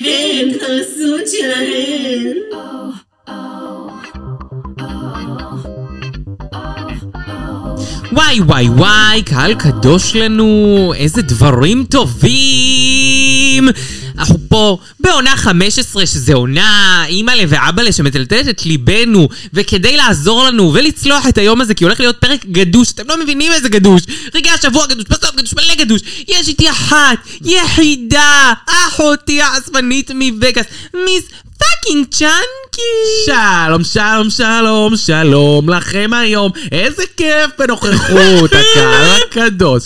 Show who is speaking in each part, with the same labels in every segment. Speaker 1: הם פרסות שלהם.
Speaker 2: וואי וואי וואי, קהל קדוש לנו, איזה דברים טובים! אנחנו פה בעונה 15, שזה עונה אימא'לה ואבא'לה שמטלטלת את ליבנו, וכדי לעזור לנו ולצלוח את היום הזה, כי הולך להיות פרק גדוש, אתם לא מבינים איזה גדוש! רגע השבוע גדוש, בסוף גדוש, מלא גדוש! יש איתי אחת, יחידה, אחותי העצבנית מווגאס, מיס פאקינג צ'אנקי!
Speaker 3: שלום, שלום, שלום, שלום לכם היום. איזה כיף בנוכחות, הקהל הקדוש.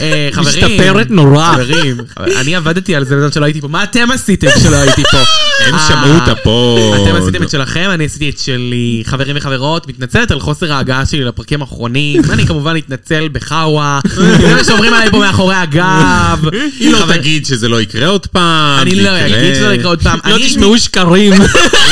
Speaker 3: אה, חברים,
Speaker 2: משתפרת נורא.
Speaker 3: חברים, אני עבדתי על זה בזמן שלא הייתי פה. מה אתם עשיתם כשלא הייתי פה?
Speaker 4: הם
Speaker 3: אה,
Speaker 4: שמעו את הפוד.
Speaker 3: אתם עשיתם את שלכם, אני עשיתי את שלי. חברים וחברות, מתנצלת על חוסר ההגעה שלי לפרקים האחרונים. אני כמובן אתנצל בחאווה. זה מה שאומרים עליי פה מאחורי הגב.
Speaker 4: היא לא
Speaker 3: חבר-
Speaker 4: תגיד שזה לא יקרה עוד פעם.
Speaker 3: אני
Speaker 4: זה
Speaker 3: לא
Speaker 4: יקרה.
Speaker 3: אגיד שזה לא יקרה עוד פעם.
Speaker 2: לא
Speaker 3: אני-
Speaker 2: תשמעו שקרים.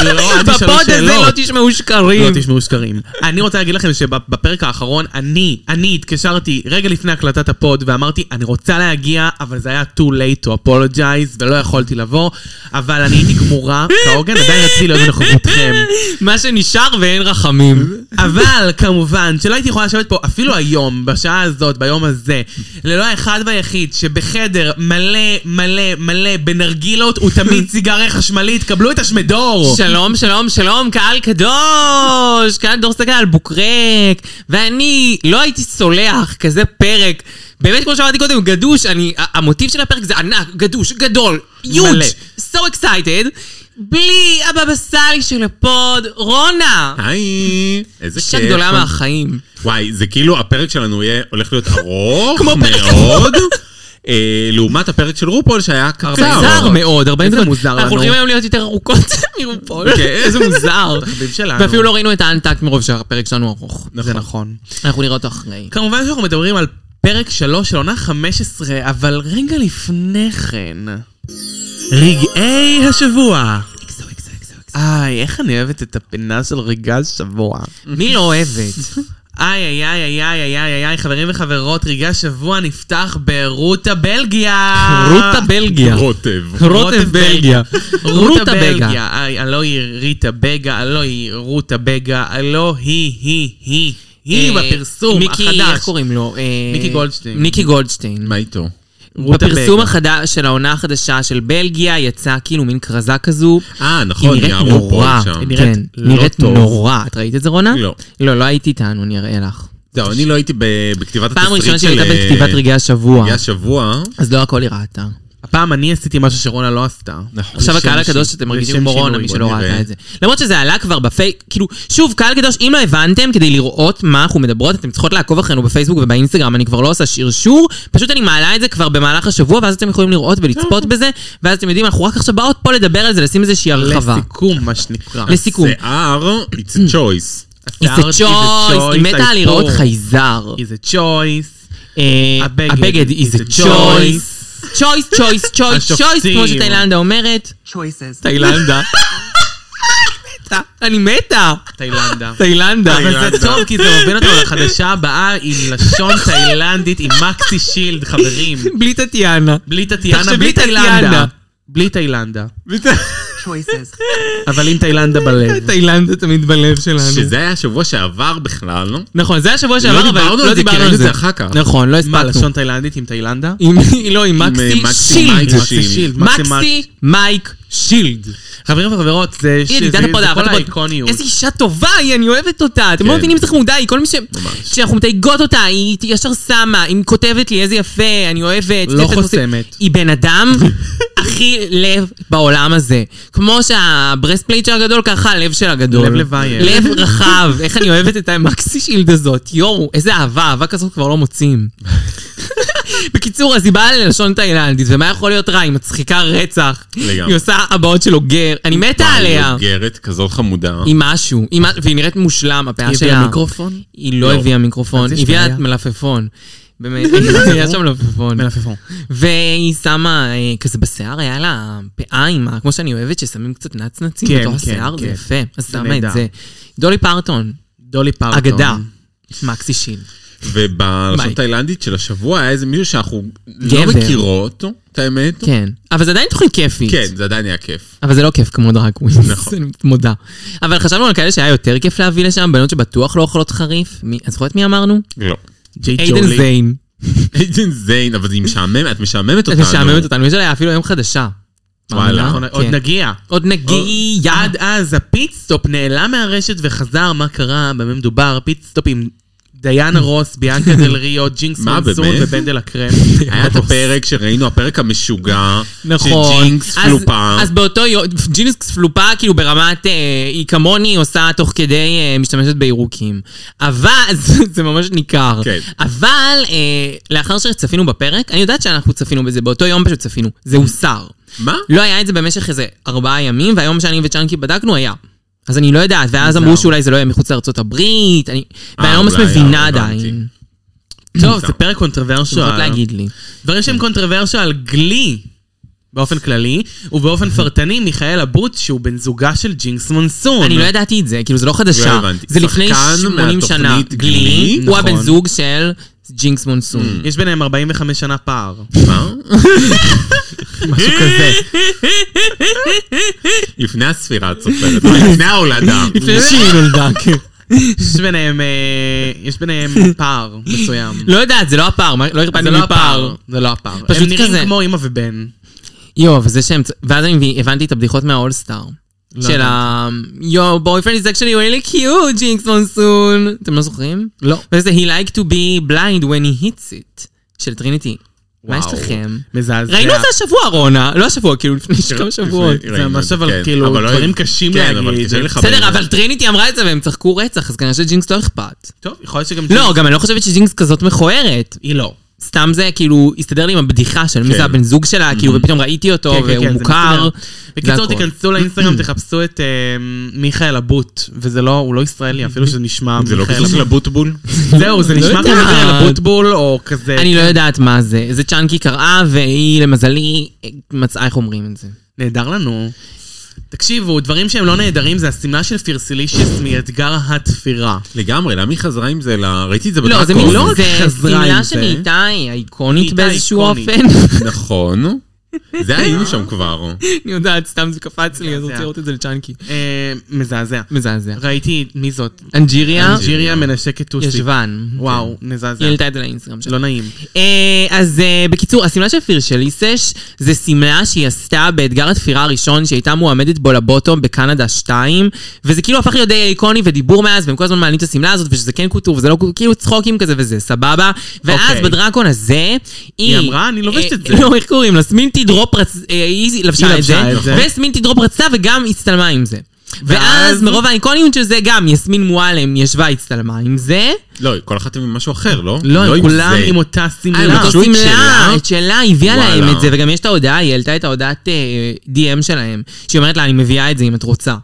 Speaker 3: לא, אל תשאלו
Speaker 2: בפוד הזה
Speaker 3: שאלות.
Speaker 2: לא תשמעו שקרים.
Speaker 3: לא תשמעו שקרים. אני רוצה להגיד לכם שבפרק האחרון, אני, אני התקשרתי רגע לפני הקלטת הפוד ואמרתי, אני רוצה להגיע, אבל זה היה too late to apologize, ולא יכולתי לבוא, אבל אני הייתי גמורה, כהוגן, עדיין רציתי להיות בנוכחותכם.
Speaker 2: מה שנשאר ואין
Speaker 3: אה,
Speaker 2: רחמים.
Speaker 3: אבל כמובן שלא הייתי יכולה לשבת פה אפילו היום, בשעה הזאת, ביום הזה, ללא האחד והיחיד שבחדר מלא מלא מלא בנרגילות הוא תמיד סיגריה חשמלית, קבלו את השמדור!
Speaker 2: שלום, שלום, שלום, קהל קדוש! קהל דור סגל על בוקרק! ואני לא הייתי סולח כזה פרק. באמת, כמו שאמרתי קודם, גדוש, אני... ה- המוטיב של הפרק זה ענק, גדוש, גדול, יוג',
Speaker 3: מלא.
Speaker 2: so excited. בלי הבבא סאלי של הפוד, רונה!
Speaker 3: אה,
Speaker 4: היי, איזה כיף.
Speaker 2: אישה גדולה מהחיים.
Speaker 4: וואי, זה כאילו הפרק שלנו יהיה, הולך להיות ארוך
Speaker 2: כמו פרק
Speaker 4: מאוד. אה, לעומת הפרק של רופול שהיה
Speaker 2: מוזר
Speaker 4: קצר.
Speaker 2: מאוד, 40
Speaker 3: איזה
Speaker 2: דקות.
Speaker 3: מוזר
Speaker 2: אנחנו
Speaker 3: לנו. אוקיי,
Speaker 2: הולכים היום להיות יותר ארוכות מרופול.
Speaker 4: כן.
Speaker 2: איזה מוזר.
Speaker 3: החביב שלנו.
Speaker 2: ואפילו לא ראינו את האנטקט מרוב שהפרק שלנו ארוך.
Speaker 3: זה נכון.
Speaker 2: אנחנו נראה אותו אחרי.
Speaker 3: כמובן שאנחנו מדברים על פרק 3 של עונה 15, אבל רגע לפני כן... רגעי השבוע. איי, איך אני אוהבת את הפינה של רגעי השבוע.
Speaker 2: מי לא אוהבת?
Speaker 3: איי, איי, איי, איי, איי, איי, איי, חברים וחברות, רגעי השבוע נפתח ברוטה בלגיה.
Speaker 2: רותה בלגיה.
Speaker 4: רוטב.
Speaker 2: רוטב בלגיה.
Speaker 3: רוטה
Speaker 2: רוטה בלגיה.
Speaker 3: בלגיה. איי, הלא היא ריטה בגה, הלא היא רוטה בגה, הלא היא, היא, היא, היא
Speaker 2: אה,
Speaker 3: בפרסום החדש.
Speaker 2: מיקי, איך קוראים לו? אה,
Speaker 3: מיקי גולדשטיין.
Speaker 2: מיקי גולדשטיין.
Speaker 4: מה איתו?
Speaker 3: רוטה
Speaker 2: בפרסום
Speaker 3: בלגיה.
Speaker 2: החדש של העונה החדשה של בלגיה יצא כאילו מין כרזה כזו.
Speaker 4: אה, נכון,
Speaker 2: היא נראית
Speaker 4: יערו
Speaker 2: נורא,
Speaker 4: שם.
Speaker 3: נראית
Speaker 2: כן,
Speaker 3: לא
Speaker 2: נראית
Speaker 3: טוב.
Speaker 2: נורא. את ראית את זה רונה?
Speaker 4: לא.
Speaker 2: לא, לא הייתי איתנו, אני אראה לך.
Speaker 4: זהו, אני לא הייתי ב- בכתיבת התסריט של...
Speaker 2: פעם ראשונה שהייתה
Speaker 4: אה,
Speaker 2: בכתיבת רגעי השבוע,
Speaker 4: רגעי השבוע.
Speaker 2: אז לא הכל היא ראתה.
Speaker 3: הפעם אני עשיתי משהו שרונה לא עשתה.
Speaker 4: נכון.
Speaker 2: עכשיו
Speaker 3: לשם
Speaker 2: הקהל
Speaker 3: שינוי.
Speaker 2: הקדוש שאתם מרגישים
Speaker 3: לשם
Speaker 2: כמו רונה,
Speaker 3: שינוי,
Speaker 2: מי
Speaker 4: בוא
Speaker 2: שלא
Speaker 4: נראה.
Speaker 2: ראתה את זה. למרות שזה עלה כבר בפייק, כאילו, שוב, קהל קדוש, אם לא הבנתם, כדי לראות מה אנחנו מדברות, אתם צריכות לעקוב אחרינו בפייסבוק ובאינסטגרם, אני כבר לא עושה שרשור, פשוט אני מעלה את זה כבר במהלך השבוע, ואז אתם יכולים לראות ולצפות בזה, ואז אתם יודעים, אנחנו רק עכשיו באות פה לדבר על זה, לשים איזושהי הרחבה.
Speaker 3: לסיכום, מה שנקרא.
Speaker 2: לסיכום,
Speaker 4: שיער, it's a choice.
Speaker 2: איזה
Speaker 3: שיער,
Speaker 2: צ'וייס,
Speaker 3: choice,
Speaker 2: היא מתה
Speaker 3: I
Speaker 2: על לראות
Speaker 3: fall.
Speaker 2: חייזר.
Speaker 3: איזה צ'וייס.
Speaker 2: אה,
Speaker 3: הבגד.
Speaker 2: הבגד is
Speaker 3: It's
Speaker 2: a
Speaker 3: a
Speaker 2: choice. צ'וייס, צ'וייס, צ'וייס, צ'וייס,
Speaker 3: השופטים.
Speaker 2: כמו שתאילנדה אומרת.
Speaker 1: choices.
Speaker 3: תאילנדה.
Speaker 2: אני מתה.
Speaker 3: תאילנדה.
Speaker 2: תאילנדה.
Speaker 3: אבל זה טוב, כי זה מוביל אותנו לחדשה הבאה עם לשון תאילנדית, עם מקסי שילד, חברים.
Speaker 2: בלי טטיאנה.
Speaker 3: בלי טטיאנה,
Speaker 2: תחשבי
Speaker 3: בלי תאילנדה.
Speaker 2: טטיאנה.
Speaker 3: בלי תאילנדה.
Speaker 1: choices.
Speaker 3: אבל עם תאילנדה בלב.
Speaker 2: תאילנדה תמיד בלב שלנו.
Speaker 4: שזה היה השבוע שעבר בכלל, לא?
Speaker 2: נכון, זה השבוע
Speaker 4: לא
Speaker 2: שעבר, אבל
Speaker 4: דיברנו על
Speaker 2: לא
Speaker 4: זה, כי
Speaker 2: דיברנו
Speaker 4: ראינו
Speaker 2: על
Speaker 4: את
Speaker 2: זה
Speaker 4: זה אחר כך.
Speaker 2: נכון, לא
Speaker 3: מה, לשון
Speaker 2: הספקנו.
Speaker 3: תאילנדית עם תאילנדה?
Speaker 2: עם- לא, עם
Speaker 4: עם,
Speaker 2: מקסי
Speaker 4: אה, מקסי
Speaker 2: שילד.
Speaker 4: מייק.
Speaker 3: מקסי שילד.
Speaker 2: מקסי מייק שילד.
Speaker 3: חברים וחברות, זה
Speaker 2: היא
Speaker 3: שזה-
Speaker 2: ידידת
Speaker 3: זה
Speaker 2: הפוד,
Speaker 3: כל
Speaker 2: אהבת הפוד.
Speaker 3: האיקוניות.
Speaker 2: איזה אישה טובה היא, אני אוהבת אותה. אתם לא
Speaker 4: כן.
Speaker 2: מבינים איך מודע היא, כל מי ש... כשאנחנו מתייגות אותה, היא ישר שמה, היא כותבת לי איזה יפה, אני אוהבת.
Speaker 3: לא
Speaker 2: כותבת-
Speaker 3: חוסמת.
Speaker 2: היא בן אדם הכי לב בעולם הזה. כמו שהברספלייט שלה גדול, ככה הלב שלה גדול.
Speaker 3: לב אה. לבייר.
Speaker 2: לב רחב. איך אני אוהבת את המקסי שילד הזאת. יואו, איזה אהבה, אהבה כזאת כבר לא מוצאים. בקיצור, אז היא באה ללשון תאילנדית, ומה יכול להיות רע? היא מצחיקה רצח.
Speaker 4: לגמרי.
Speaker 2: היא עושה הבעות של אוגר. אני מתה
Speaker 4: וואי,
Speaker 2: עליה.
Speaker 3: לא
Speaker 4: אוגרת כזאת חמודה.
Speaker 2: היא משהו, היא מ- והיא נראית מושלם, הפאה
Speaker 3: היא
Speaker 2: שלה.
Speaker 3: הביאה מיקרופון?
Speaker 2: היא לא
Speaker 4: לא.
Speaker 2: הביאה מיקרופון,
Speaker 3: אז יש
Speaker 2: היא הביאה
Speaker 3: בעיה.
Speaker 2: מלפפון. באמת, היה שם מלפפון.
Speaker 3: מלפפון.
Speaker 2: והיא שמה, אה, כזה בשיער היה לה פאה עם, ה- כמו שאני אוהבת, ששמים קצת נצנצים
Speaker 3: כן,
Speaker 2: בתוך
Speaker 3: כן,
Speaker 2: השיער, זה
Speaker 3: כן.
Speaker 2: יפה. אז
Speaker 3: זה
Speaker 2: שמה את
Speaker 3: נהדר.
Speaker 2: זה. דולי פרטון,
Speaker 3: דולי פרטון.
Speaker 2: אגדה, מקסי שין.
Speaker 4: ובלשון
Speaker 2: מייק.
Speaker 4: תאילנדית של השבוע היה איזה מישהו שאנחנו לא
Speaker 2: גבר.
Speaker 4: מכירות אותו, את האמת.
Speaker 2: כן. אבל זה עדיין תוכנית כיפית.
Speaker 4: כן, זה עדיין היה כיף.
Speaker 2: אבל זה לא כיף כמו דרג ווינס,
Speaker 4: נכון.
Speaker 2: אני מודה. אבל חשבנו על כאלה שהיה יותר כיף להביא לשם, בנות שבטוח לא אוכלות חריף. מי- את זוכרת מי אמרנו?
Speaker 4: לא.
Speaker 3: ג'יי
Speaker 2: איידן
Speaker 3: ג'ולי.
Speaker 2: זיין.
Speaker 4: איידן זיין, אבל היא משעממת, את משעממת
Speaker 2: את
Speaker 4: אותנו.
Speaker 2: משעממת אותנו, יש עליה אפילו היום חדשה.
Speaker 4: וואלה,
Speaker 2: מאמינה?
Speaker 3: נכון, עוד
Speaker 2: כן.
Speaker 3: נגיע.
Speaker 2: עוד נגיע.
Speaker 3: עד אז הפיטסטופ נעלם מהרשת וחזר, מה קרה, במה מדובר, פיטסטופ עם דיאנה רוס, ביאנקה דל ריו, ג'ינקס
Speaker 4: מה,
Speaker 3: מנסון
Speaker 4: באמת?
Speaker 3: ובנדל הקרם.
Speaker 4: היה את הפרק שראינו, הפרק המשוגע.
Speaker 2: נכון.
Speaker 4: שג'ינקס
Speaker 2: אז-
Speaker 4: פלופה.
Speaker 2: אז באותו יום, ג'ינקס פלופה, כאילו ברמת, אה, היא כמוני עושה תוך כדי, אה, משתמשת בירוקים. אבל, זה זה ממש ניכר.
Speaker 4: כן.
Speaker 2: אבל, אה, לאחר שצפינו בפרק, אני יודעת שאנחנו צפינו בזה, באותו יום פשוט צפינו. זה הוסר.
Speaker 4: מה?
Speaker 2: לא היה את זה במשך איזה ארבעה ימים, והיום שאני וצ'אנקי בדקנו היה. אז אני לא יודעת, ואז אמרו שאולי זה לא יהיה מחוץ לארצות הברית, אני... ואני לא ממש
Speaker 4: אולי,
Speaker 2: מבינה
Speaker 4: אה, הבנתי. אה.
Speaker 2: עדיין.
Speaker 3: טוב, זה
Speaker 4: מוזר.
Speaker 3: פרק קונטרוורשואל.
Speaker 2: צריכות להגיד לי.
Speaker 3: דברים
Speaker 4: כן.
Speaker 3: שהם קונטרוורשואל, גלי. באופן כללי, ובאופן פרטני, מיכאל אבוט, שהוא בן זוגה של ג'ינקס מונסון.
Speaker 2: אני לא ידעתי את זה, כאילו זה לא חדשה.
Speaker 4: לא הבנתי.
Speaker 2: זה לפני
Speaker 4: שחקן
Speaker 2: 80 שנה.
Speaker 4: מהתוכנית גלי,
Speaker 2: גלי, הוא
Speaker 4: נכון.
Speaker 2: הבן זוג של ג'ינקס מונסון.
Speaker 3: יש ביניהם 45 שנה פער.
Speaker 4: מה?
Speaker 2: משהו כזה.
Speaker 4: לפני הספירה את סופרת, לפני ההולדה.
Speaker 2: שהיא נולדה, כן.
Speaker 3: יש ביניהם, אה, יש ביניהם פער מסוים.
Speaker 2: לא יודעת, זה לא הפער, מה- לא הרפאתי
Speaker 3: Mm. זה לא
Speaker 2: מפער.
Speaker 3: הפער, זה לא הפער.
Speaker 2: פשוט
Speaker 3: הם נראים
Speaker 2: כזה.
Speaker 3: כמו אימא ובן.
Speaker 2: יואו, אבל זה שהם... צ- ואז אני מבין- הבנתי את הבדיחות מהאולסטאר.
Speaker 3: לא
Speaker 2: של ה... יואו, boyfriend is actually really cute, ג'ינקס מונסון. אתם לא זוכרים?
Speaker 3: לא.
Speaker 2: וזה He like to be blind when he hits it, של טריניטי. מה יש
Speaker 4: וואו.
Speaker 2: לכם?
Speaker 3: מזעזע.
Speaker 2: ראינו את זה השבוע, רונה. לא השבוע, כאילו לפני כמה שבועות.
Speaker 4: לפני-
Speaker 3: זה
Speaker 4: ראינו את
Speaker 3: ממש
Speaker 4: זה,
Speaker 3: אבל
Speaker 4: כן.
Speaker 3: כאילו
Speaker 4: אבל לא-
Speaker 3: דברים קשים
Speaker 4: כן, אבל
Speaker 3: להגיד.
Speaker 4: כדאי לחבר.
Speaker 2: בסדר, אבל טריניטי אמרה את זה והם צחקו רצח, אז כנראה שג'ינקס לא אכפת.
Speaker 3: טוב, יכול להיות שגם...
Speaker 2: לא, גם אני לא חושבת שג'ינקס כזאת מכוערת.
Speaker 3: היא לא.
Speaker 2: סתם זה, כאילו, הסתדר לי עם הבדיחה של מי
Speaker 4: כן.
Speaker 2: זה הבן זוג שלה, כאילו, ופתאום ראיתי אותו,
Speaker 3: Mm-hmm. כן, כן,
Speaker 2: והוא
Speaker 3: כן, זה
Speaker 2: מוכר.
Speaker 3: מסתדר. בקיצור,
Speaker 2: הכל.
Speaker 3: תיכנסו לאינסטגרם, תחפשו את אה, מיכאל אבוט, וזה לא, הוא לא ישראלי, אפילו שזה נשמע
Speaker 4: זה לא
Speaker 3: מיכאל
Speaker 4: קשור של הבוטבול?
Speaker 3: אבוט. זהו, זה
Speaker 2: לא
Speaker 3: נשמע כמו
Speaker 2: יודעת.
Speaker 3: מיכאל אבוטבול, או כזה...
Speaker 2: אני לא יודעת מה זה. זה צ'אנקי קראה, והיא, למזלי, מצאה איך אומרים את זה.
Speaker 3: נהדר לנו. תקשיבו, דברים שהם לא נהדרים זה השמלה של פירסילישיס מאתגר התפירה.
Speaker 4: לגמרי, למה היא חזרה עם זה? ל- ראיתי את זה
Speaker 2: לא, זה מין-
Speaker 4: בדרקון.
Speaker 2: זה
Speaker 3: רק חזרה עם
Speaker 2: סמלה
Speaker 3: זה.
Speaker 2: שנהייתה איקונית
Speaker 3: נהייתה
Speaker 2: באיזשהו
Speaker 3: איקונית.
Speaker 2: אופן.
Speaker 4: נכון. זה היינו שם כבר.
Speaker 2: אני יודעת, סתם זה קפץ לי, אז
Speaker 3: מזעזע.
Speaker 2: רוצה לראות את זה לצ'אנקי.
Speaker 3: אה, מזעזע.
Speaker 2: מזעזע.
Speaker 3: ראיתי, מי זאת?
Speaker 2: אנג'יריה,
Speaker 3: ג'יריה מנשקת טוסי.
Speaker 2: ישבן.
Speaker 3: וואו, מזעזע.
Speaker 2: היא העלתה את זה לאינסטגרם שלה.
Speaker 3: לא נעים.
Speaker 2: אה, אז אה, בקיצור, השמלה של פירשליסש זה שמלה שהיא עשתה באתגר התפירה הראשון, שהיא הייתה מועמדת בו לבוטום בקנדה 2, וזה כאילו הפך להיות די איקוני ודיבור מאז, והם כל הזמן מעלים את השמלה הזאת, ושזה כן קוטור, וזה לא קוטור, כאילו צחוקים כזה וזה, סבבה. ואז
Speaker 3: אוקיי.
Speaker 2: בדרקון הזה, היא...
Speaker 3: אמרה, "אני לובשת
Speaker 2: אה,
Speaker 3: את זה."
Speaker 2: לא, איך קוראים לה? סמין תדרופ רצ... אה, היא לבשה את זה,
Speaker 3: לבשה את זה.
Speaker 2: וסמין תדרופ רצה וגם הצטלמה עם זה.
Speaker 3: ואז-
Speaker 2: ואז מרוב האיקוניות של זה גם יסמין מועלם ישבה הצטלמה עם זה.
Speaker 4: לא, כל אחת עם משהו אחר, לא?
Speaker 3: לא, הם
Speaker 4: עם
Speaker 3: כולם
Speaker 4: זה.
Speaker 3: עם אותה
Speaker 2: אה, הם
Speaker 3: שמלה.
Speaker 2: אותו
Speaker 4: פשוט
Speaker 2: שמלה,
Speaker 4: שלה?
Speaker 2: את שלה, היא הביאה
Speaker 4: וואלה.
Speaker 2: להם את זה, וגם יש את ההודעה, היא העלתה את ההודעת אה, DM שלהם, שהיא אומרת לה, אני מביאה את זה אם את רוצה.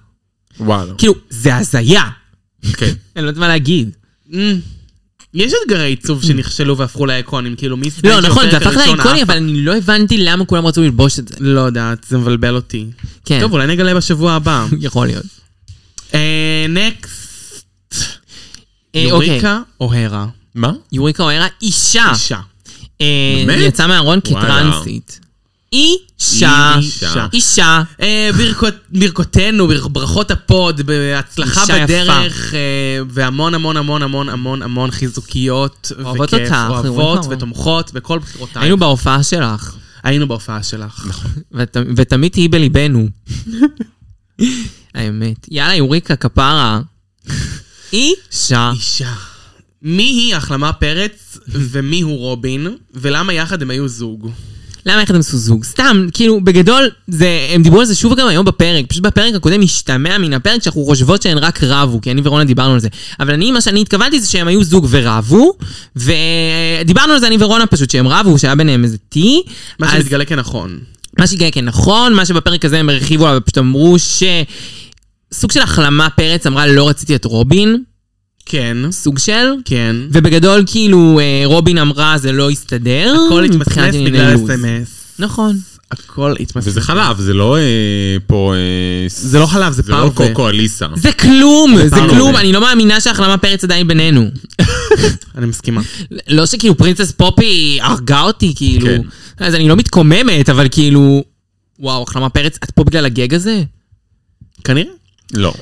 Speaker 4: וואלה.
Speaker 2: כאילו, זה הזיה.
Speaker 4: כן.
Speaker 2: אני לא יודעת מה להגיד.
Speaker 3: אמ, יש אתגרי עיצוב שנכשלו והפכו לאיקונים, כאילו מי
Speaker 2: לא, נכון, זה
Speaker 3: שהפרק
Speaker 2: הפך
Speaker 3: הראשון
Speaker 2: לאיקוני,
Speaker 3: עף-
Speaker 2: אבל אני לא הבנתי למה כולם רצו ללבוש את זה.
Speaker 3: לא יודעת, זה מבלבל אותי.
Speaker 2: כן,
Speaker 3: טוב, אולי נגלה בשבוע הבא.
Speaker 2: יכול להיות.
Speaker 3: נקסט,
Speaker 2: אה, אוקיי,
Speaker 3: יוריקה אוהרה.
Speaker 4: מה?
Speaker 2: יוריקה אוהרה, אישה.
Speaker 3: אישה.
Speaker 2: אה,
Speaker 4: באמת?
Speaker 2: יצאה מהארון
Speaker 4: וואלה.
Speaker 2: כטרנסית. אישה.
Speaker 4: אישה.
Speaker 2: אישה.
Speaker 3: אה, ברכות- ברכותינו, בר- ברכות הפוד, בהצלחה
Speaker 2: אישה יפה.
Speaker 3: בדרך, אה, והמון המון המון המון המון המון חיזוקיות.
Speaker 2: אוהבות
Speaker 3: וכיף,
Speaker 2: אותך, אנחנו רואים
Speaker 3: אוהבות
Speaker 2: אותך.
Speaker 3: ותומכות בכל בחירותייך.
Speaker 2: היינו נכון. בהופעה שלך,
Speaker 3: היינו בהופעה שלך.
Speaker 2: ות- ותמיד תהיי בליבנו. האמת. יאללה, יוריקה, כפרה. אישה.
Speaker 3: אישה. מי היא החלמה פרץ ומי הוא רובין, ולמה יחד הם היו זוג?
Speaker 2: למה איך אתם עשו זוג? סתם, כאילו, בגדול, זה, הם דיברו על זה שוב גם היום בפרק. פשוט בפרק הקודם השתמע מן הפרק שאנחנו חושבות שהן רק רבו, כי אני ורונה דיברנו על זה. אבל אני, מה שאני התכוונתי זה שהם היו זוג ורבו, ודיברנו על זה אני ורונה פשוט, שהם רבו, שהיה ביניהם איזה טי.
Speaker 3: מה
Speaker 2: אז-
Speaker 3: שמתגלה כנכון.
Speaker 2: מה שהגיע כן נכון, מה שבפרק הזה הם הרחיבו עליו, פשוט אמרו ש... סוג של החלמה פרץ אמרה לא רציתי את רובין,
Speaker 3: כן,
Speaker 2: סוג של,
Speaker 3: כן.
Speaker 2: ובגדול כאילו אה, רובין אמרה זה לא הסתדר.
Speaker 3: הכל התמסמס
Speaker 2: מבחינת ענייני
Speaker 3: בגלל
Speaker 2: לוז."
Speaker 3: אס.אם.אס.
Speaker 2: נכון.
Speaker 3: הכל התמצא.
Speaker 4: וזה חלב, זה לא אה, פה... אה, ס-
Speaker 3: זה לא חלב, זה
Speaker 4: זה לא
Speaker 3: פרווה.
Speaker 4: קוקו אליסה.
Speaker 2: זה כלום, זה
Speaker 4: דיברנו על
Speaker 2: כלום,
Speaker 4: זה.
Speaker 2: אני לא מאמינה שהחלמה פרץ עדיין בינינו.
Speaker 3: אני מסכימה.
Speaker 2: לא שכאילו פרינסס פופי הרגה אותי, כאילו.
Speaker 4: כן.
Speaker 2: אז אני לא מתקוממת, אבל כאילו... וואו, החלמה פרץ, את פה בגלל הגג הזה?
Speaker 3: כנראה.
Speaker 4: לא.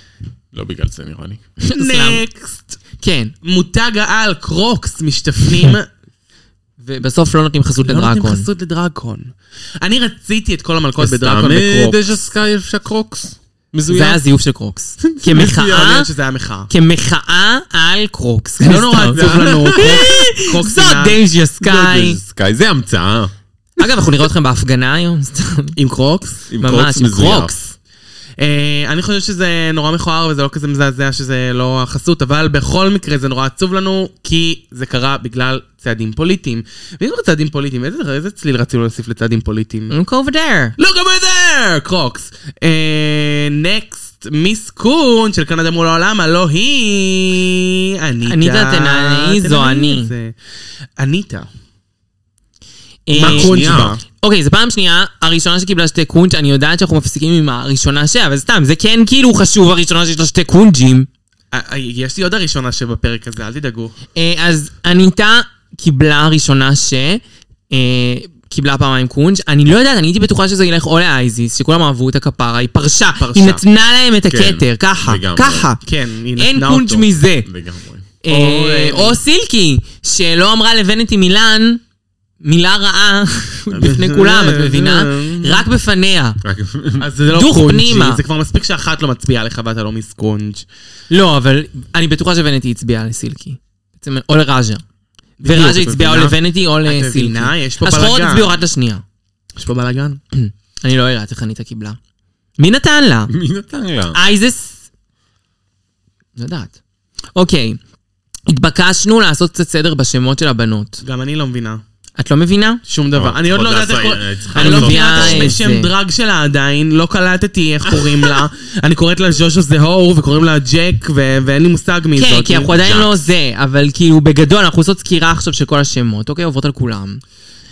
Speaker 4: לא בגלל זה נראה לי.
Speaker 2: סלאם.
Speaker 3: נקסט.
Speaker 2: כן.
Speaker 3: מותג העל, קרוקס, משתפנים.
Speaker 2: ובסוף לא נותנים חסות
Speaker 3: לא נותנים
Speaker 2: לדרקון.
Speaker 3: חסות לדרגון. אני רציתי את כל המלכות
Speaker 4: סתם
Speaker 3: בדרגון בקרוקס.
Speaker 4: דז'ה סקאי אפשר קרוקס.
Speaker 2: זה היה
Speaker 4: מזוין.
Speaker 2: זיוף של קרוקס.
Speaker 3: מצוין,
Speaker 2: כמחאה,
Speaker 3: שזה היה מחאה.
Speaker 2: כמחאה על קרוקס.
Speaker 3: לא נורא,
Speaker 2: סתם.
Speaker 3: עצוב לנו, קרוקס- קרוקס
Speaker 2: זאת
Speaker 3: נראה-
Speaker 2: דייג'יה
Speaker 4: לא, זה
Speaker 2: סקאי.
Speaker 4: דז'ה סקאי, זה המצאה.
Speaker 2: אגב, אנחנו נראה אתכם בהפגנה היום, סתם.
Speaker 3: עם קרוקס.
Speaker 4: עם
Speaker 2: ממש,
Speaker 4: קרוקס
Speaker 2: עם
Speaker 4: מזויף.
Speaker 2: קרוקס.
Speaker 3: אה, אני חושב שזה נורא מכוער וזה לא כזה מזעזע שזה לא החסות, אבל בכל מקרה זה נורא עצוב לנו, כי זה קרה בגלל צעדים פוליטיים. ואם כבר צעדים פוליטיים, איזה, איזה צליל רצינו להוסיף לצעדים פוליטיים? לא,
Speaker 2: Look over there.
Speaker 3: Look over there! קרוקס. אה, נקסט, מיס קון של קנדה מול העולם, הלא היא... אניטה.
Speaker 2: אניטה תנעני, זו
Speaker 3: תנעני
Speaker 2: אני.
Speaker 3: את זה. אניטה.
Speaker 2: אה,
Speaker 3: מה קונץ'
Speaker 4: שנייה.
Speaker 3: בה?
Speaker 2: אוקיי, זו פעם שנייה, הראשונה שקיבלה שתי קונג', אני יודעת שאנחנו מפסיקים עם הראשונה ש... אבל סתם, זה כן כאילו חשוב, הראשונה שיש לה שתי קונג'ים.
Speaker 3: אה, אה, יש לי עוד הראשונה שבפרק הזה, אל תדאגו.
Speaker 2: אה, אז אניטה קיבלה הראשונה ש... אה, קיבלה פעמיים קונג', אני לא יודעת, אני הייתי בטוחה שזה ילך או לאייזיס, שכולם אהבו את הכפרה, היא פרשה,
Speaker 3: פרשה.
Speaker 2: היא נתנה להם את הכתר,
Speaker 4: כן,
Speaker 2: ככה,
Speaker 4: לגמרי.
Speaker 2: ככה.
Speaker 3: כן, היא נתנה
Speaker 2: אין
Speaker 3: אותו.
Speaker 2: קונג' מזה.
Speaker 4: לגמרי.
Speaker 2: אה,
Speaker 3: אה,
Speaker 2: או סילקי, שלא אמרה לבנטי מילן מילה רעה בפני כולם, את מבינה? רק בפניה.
Speaker 4: רק-
Speaker 3: אז זה לא
Speaker 2: דוך
Speaker 3: קונג'י,
Speaker 2: פנימה.
Speaker 3: זה כבר מספיק שאחת לא מצביעה לך ואתה לא מיס קונג'.
Speaker 2: לא, אבל אני בטוחה שוונטי הצביעה לסילקי. בעצם, או לראז'ה.
Speaker 3: בדיוק,
Speaker 2: וראז'ה
Speaker 3: את
Speaker 2: הצביעה או
Speaker 3: מבינה?
Speaker 2: לוונטי או
Speaker 3: מבינה?
Speaker 2: לסילקי.
Speaker 3: יש פה
Speaker 2: השחורות
Speaker 3: בלאגן.
Speaker 2: הצביעו אחת לשנייה.
Speaker 3: יש פה בלאגן?
Speaker 2: אני לא יודעת איך אניטה קיבלה. מי נתן לה?
Speaker 4: מי נתן לה?
Speaker 2: אייזס? לא יודעת. אוקיי. התבקשנו לעשות קצת סדר בשמות של הבנות.
Speaker 3: גם אני לא מבינה.
Speaker 2: את לא מבינה?
Speaker 3: שום דבר.
Speaker 4: לא,
Speaker 3: אני עוד לא
Speaker 4: עוד
Speaker 3: יודעת איך...
Speaker 4: לעשות, אני צריכה
Speaker 3: אני לא
Speaker 4: לעשות.
Speaker 3: מבינה את
Speaker 2: אה,
Speaker 3: השם
Speaker 2: זה.
Speaker 3: דרג שלה עדיין, לא קלטתי איך קוראים לה. אני קוראת לה ז'וז'ו זהור וקוראים לה ג'ק, ו- ואין לי מושג מי זאת.
Speaker 2: כן, כי אנחנו עדיין לא זה, אבל כאילו בגדול אנחנו עושות סקירה עכשיו של כל השמות, אוקיי? עוברות על כולם.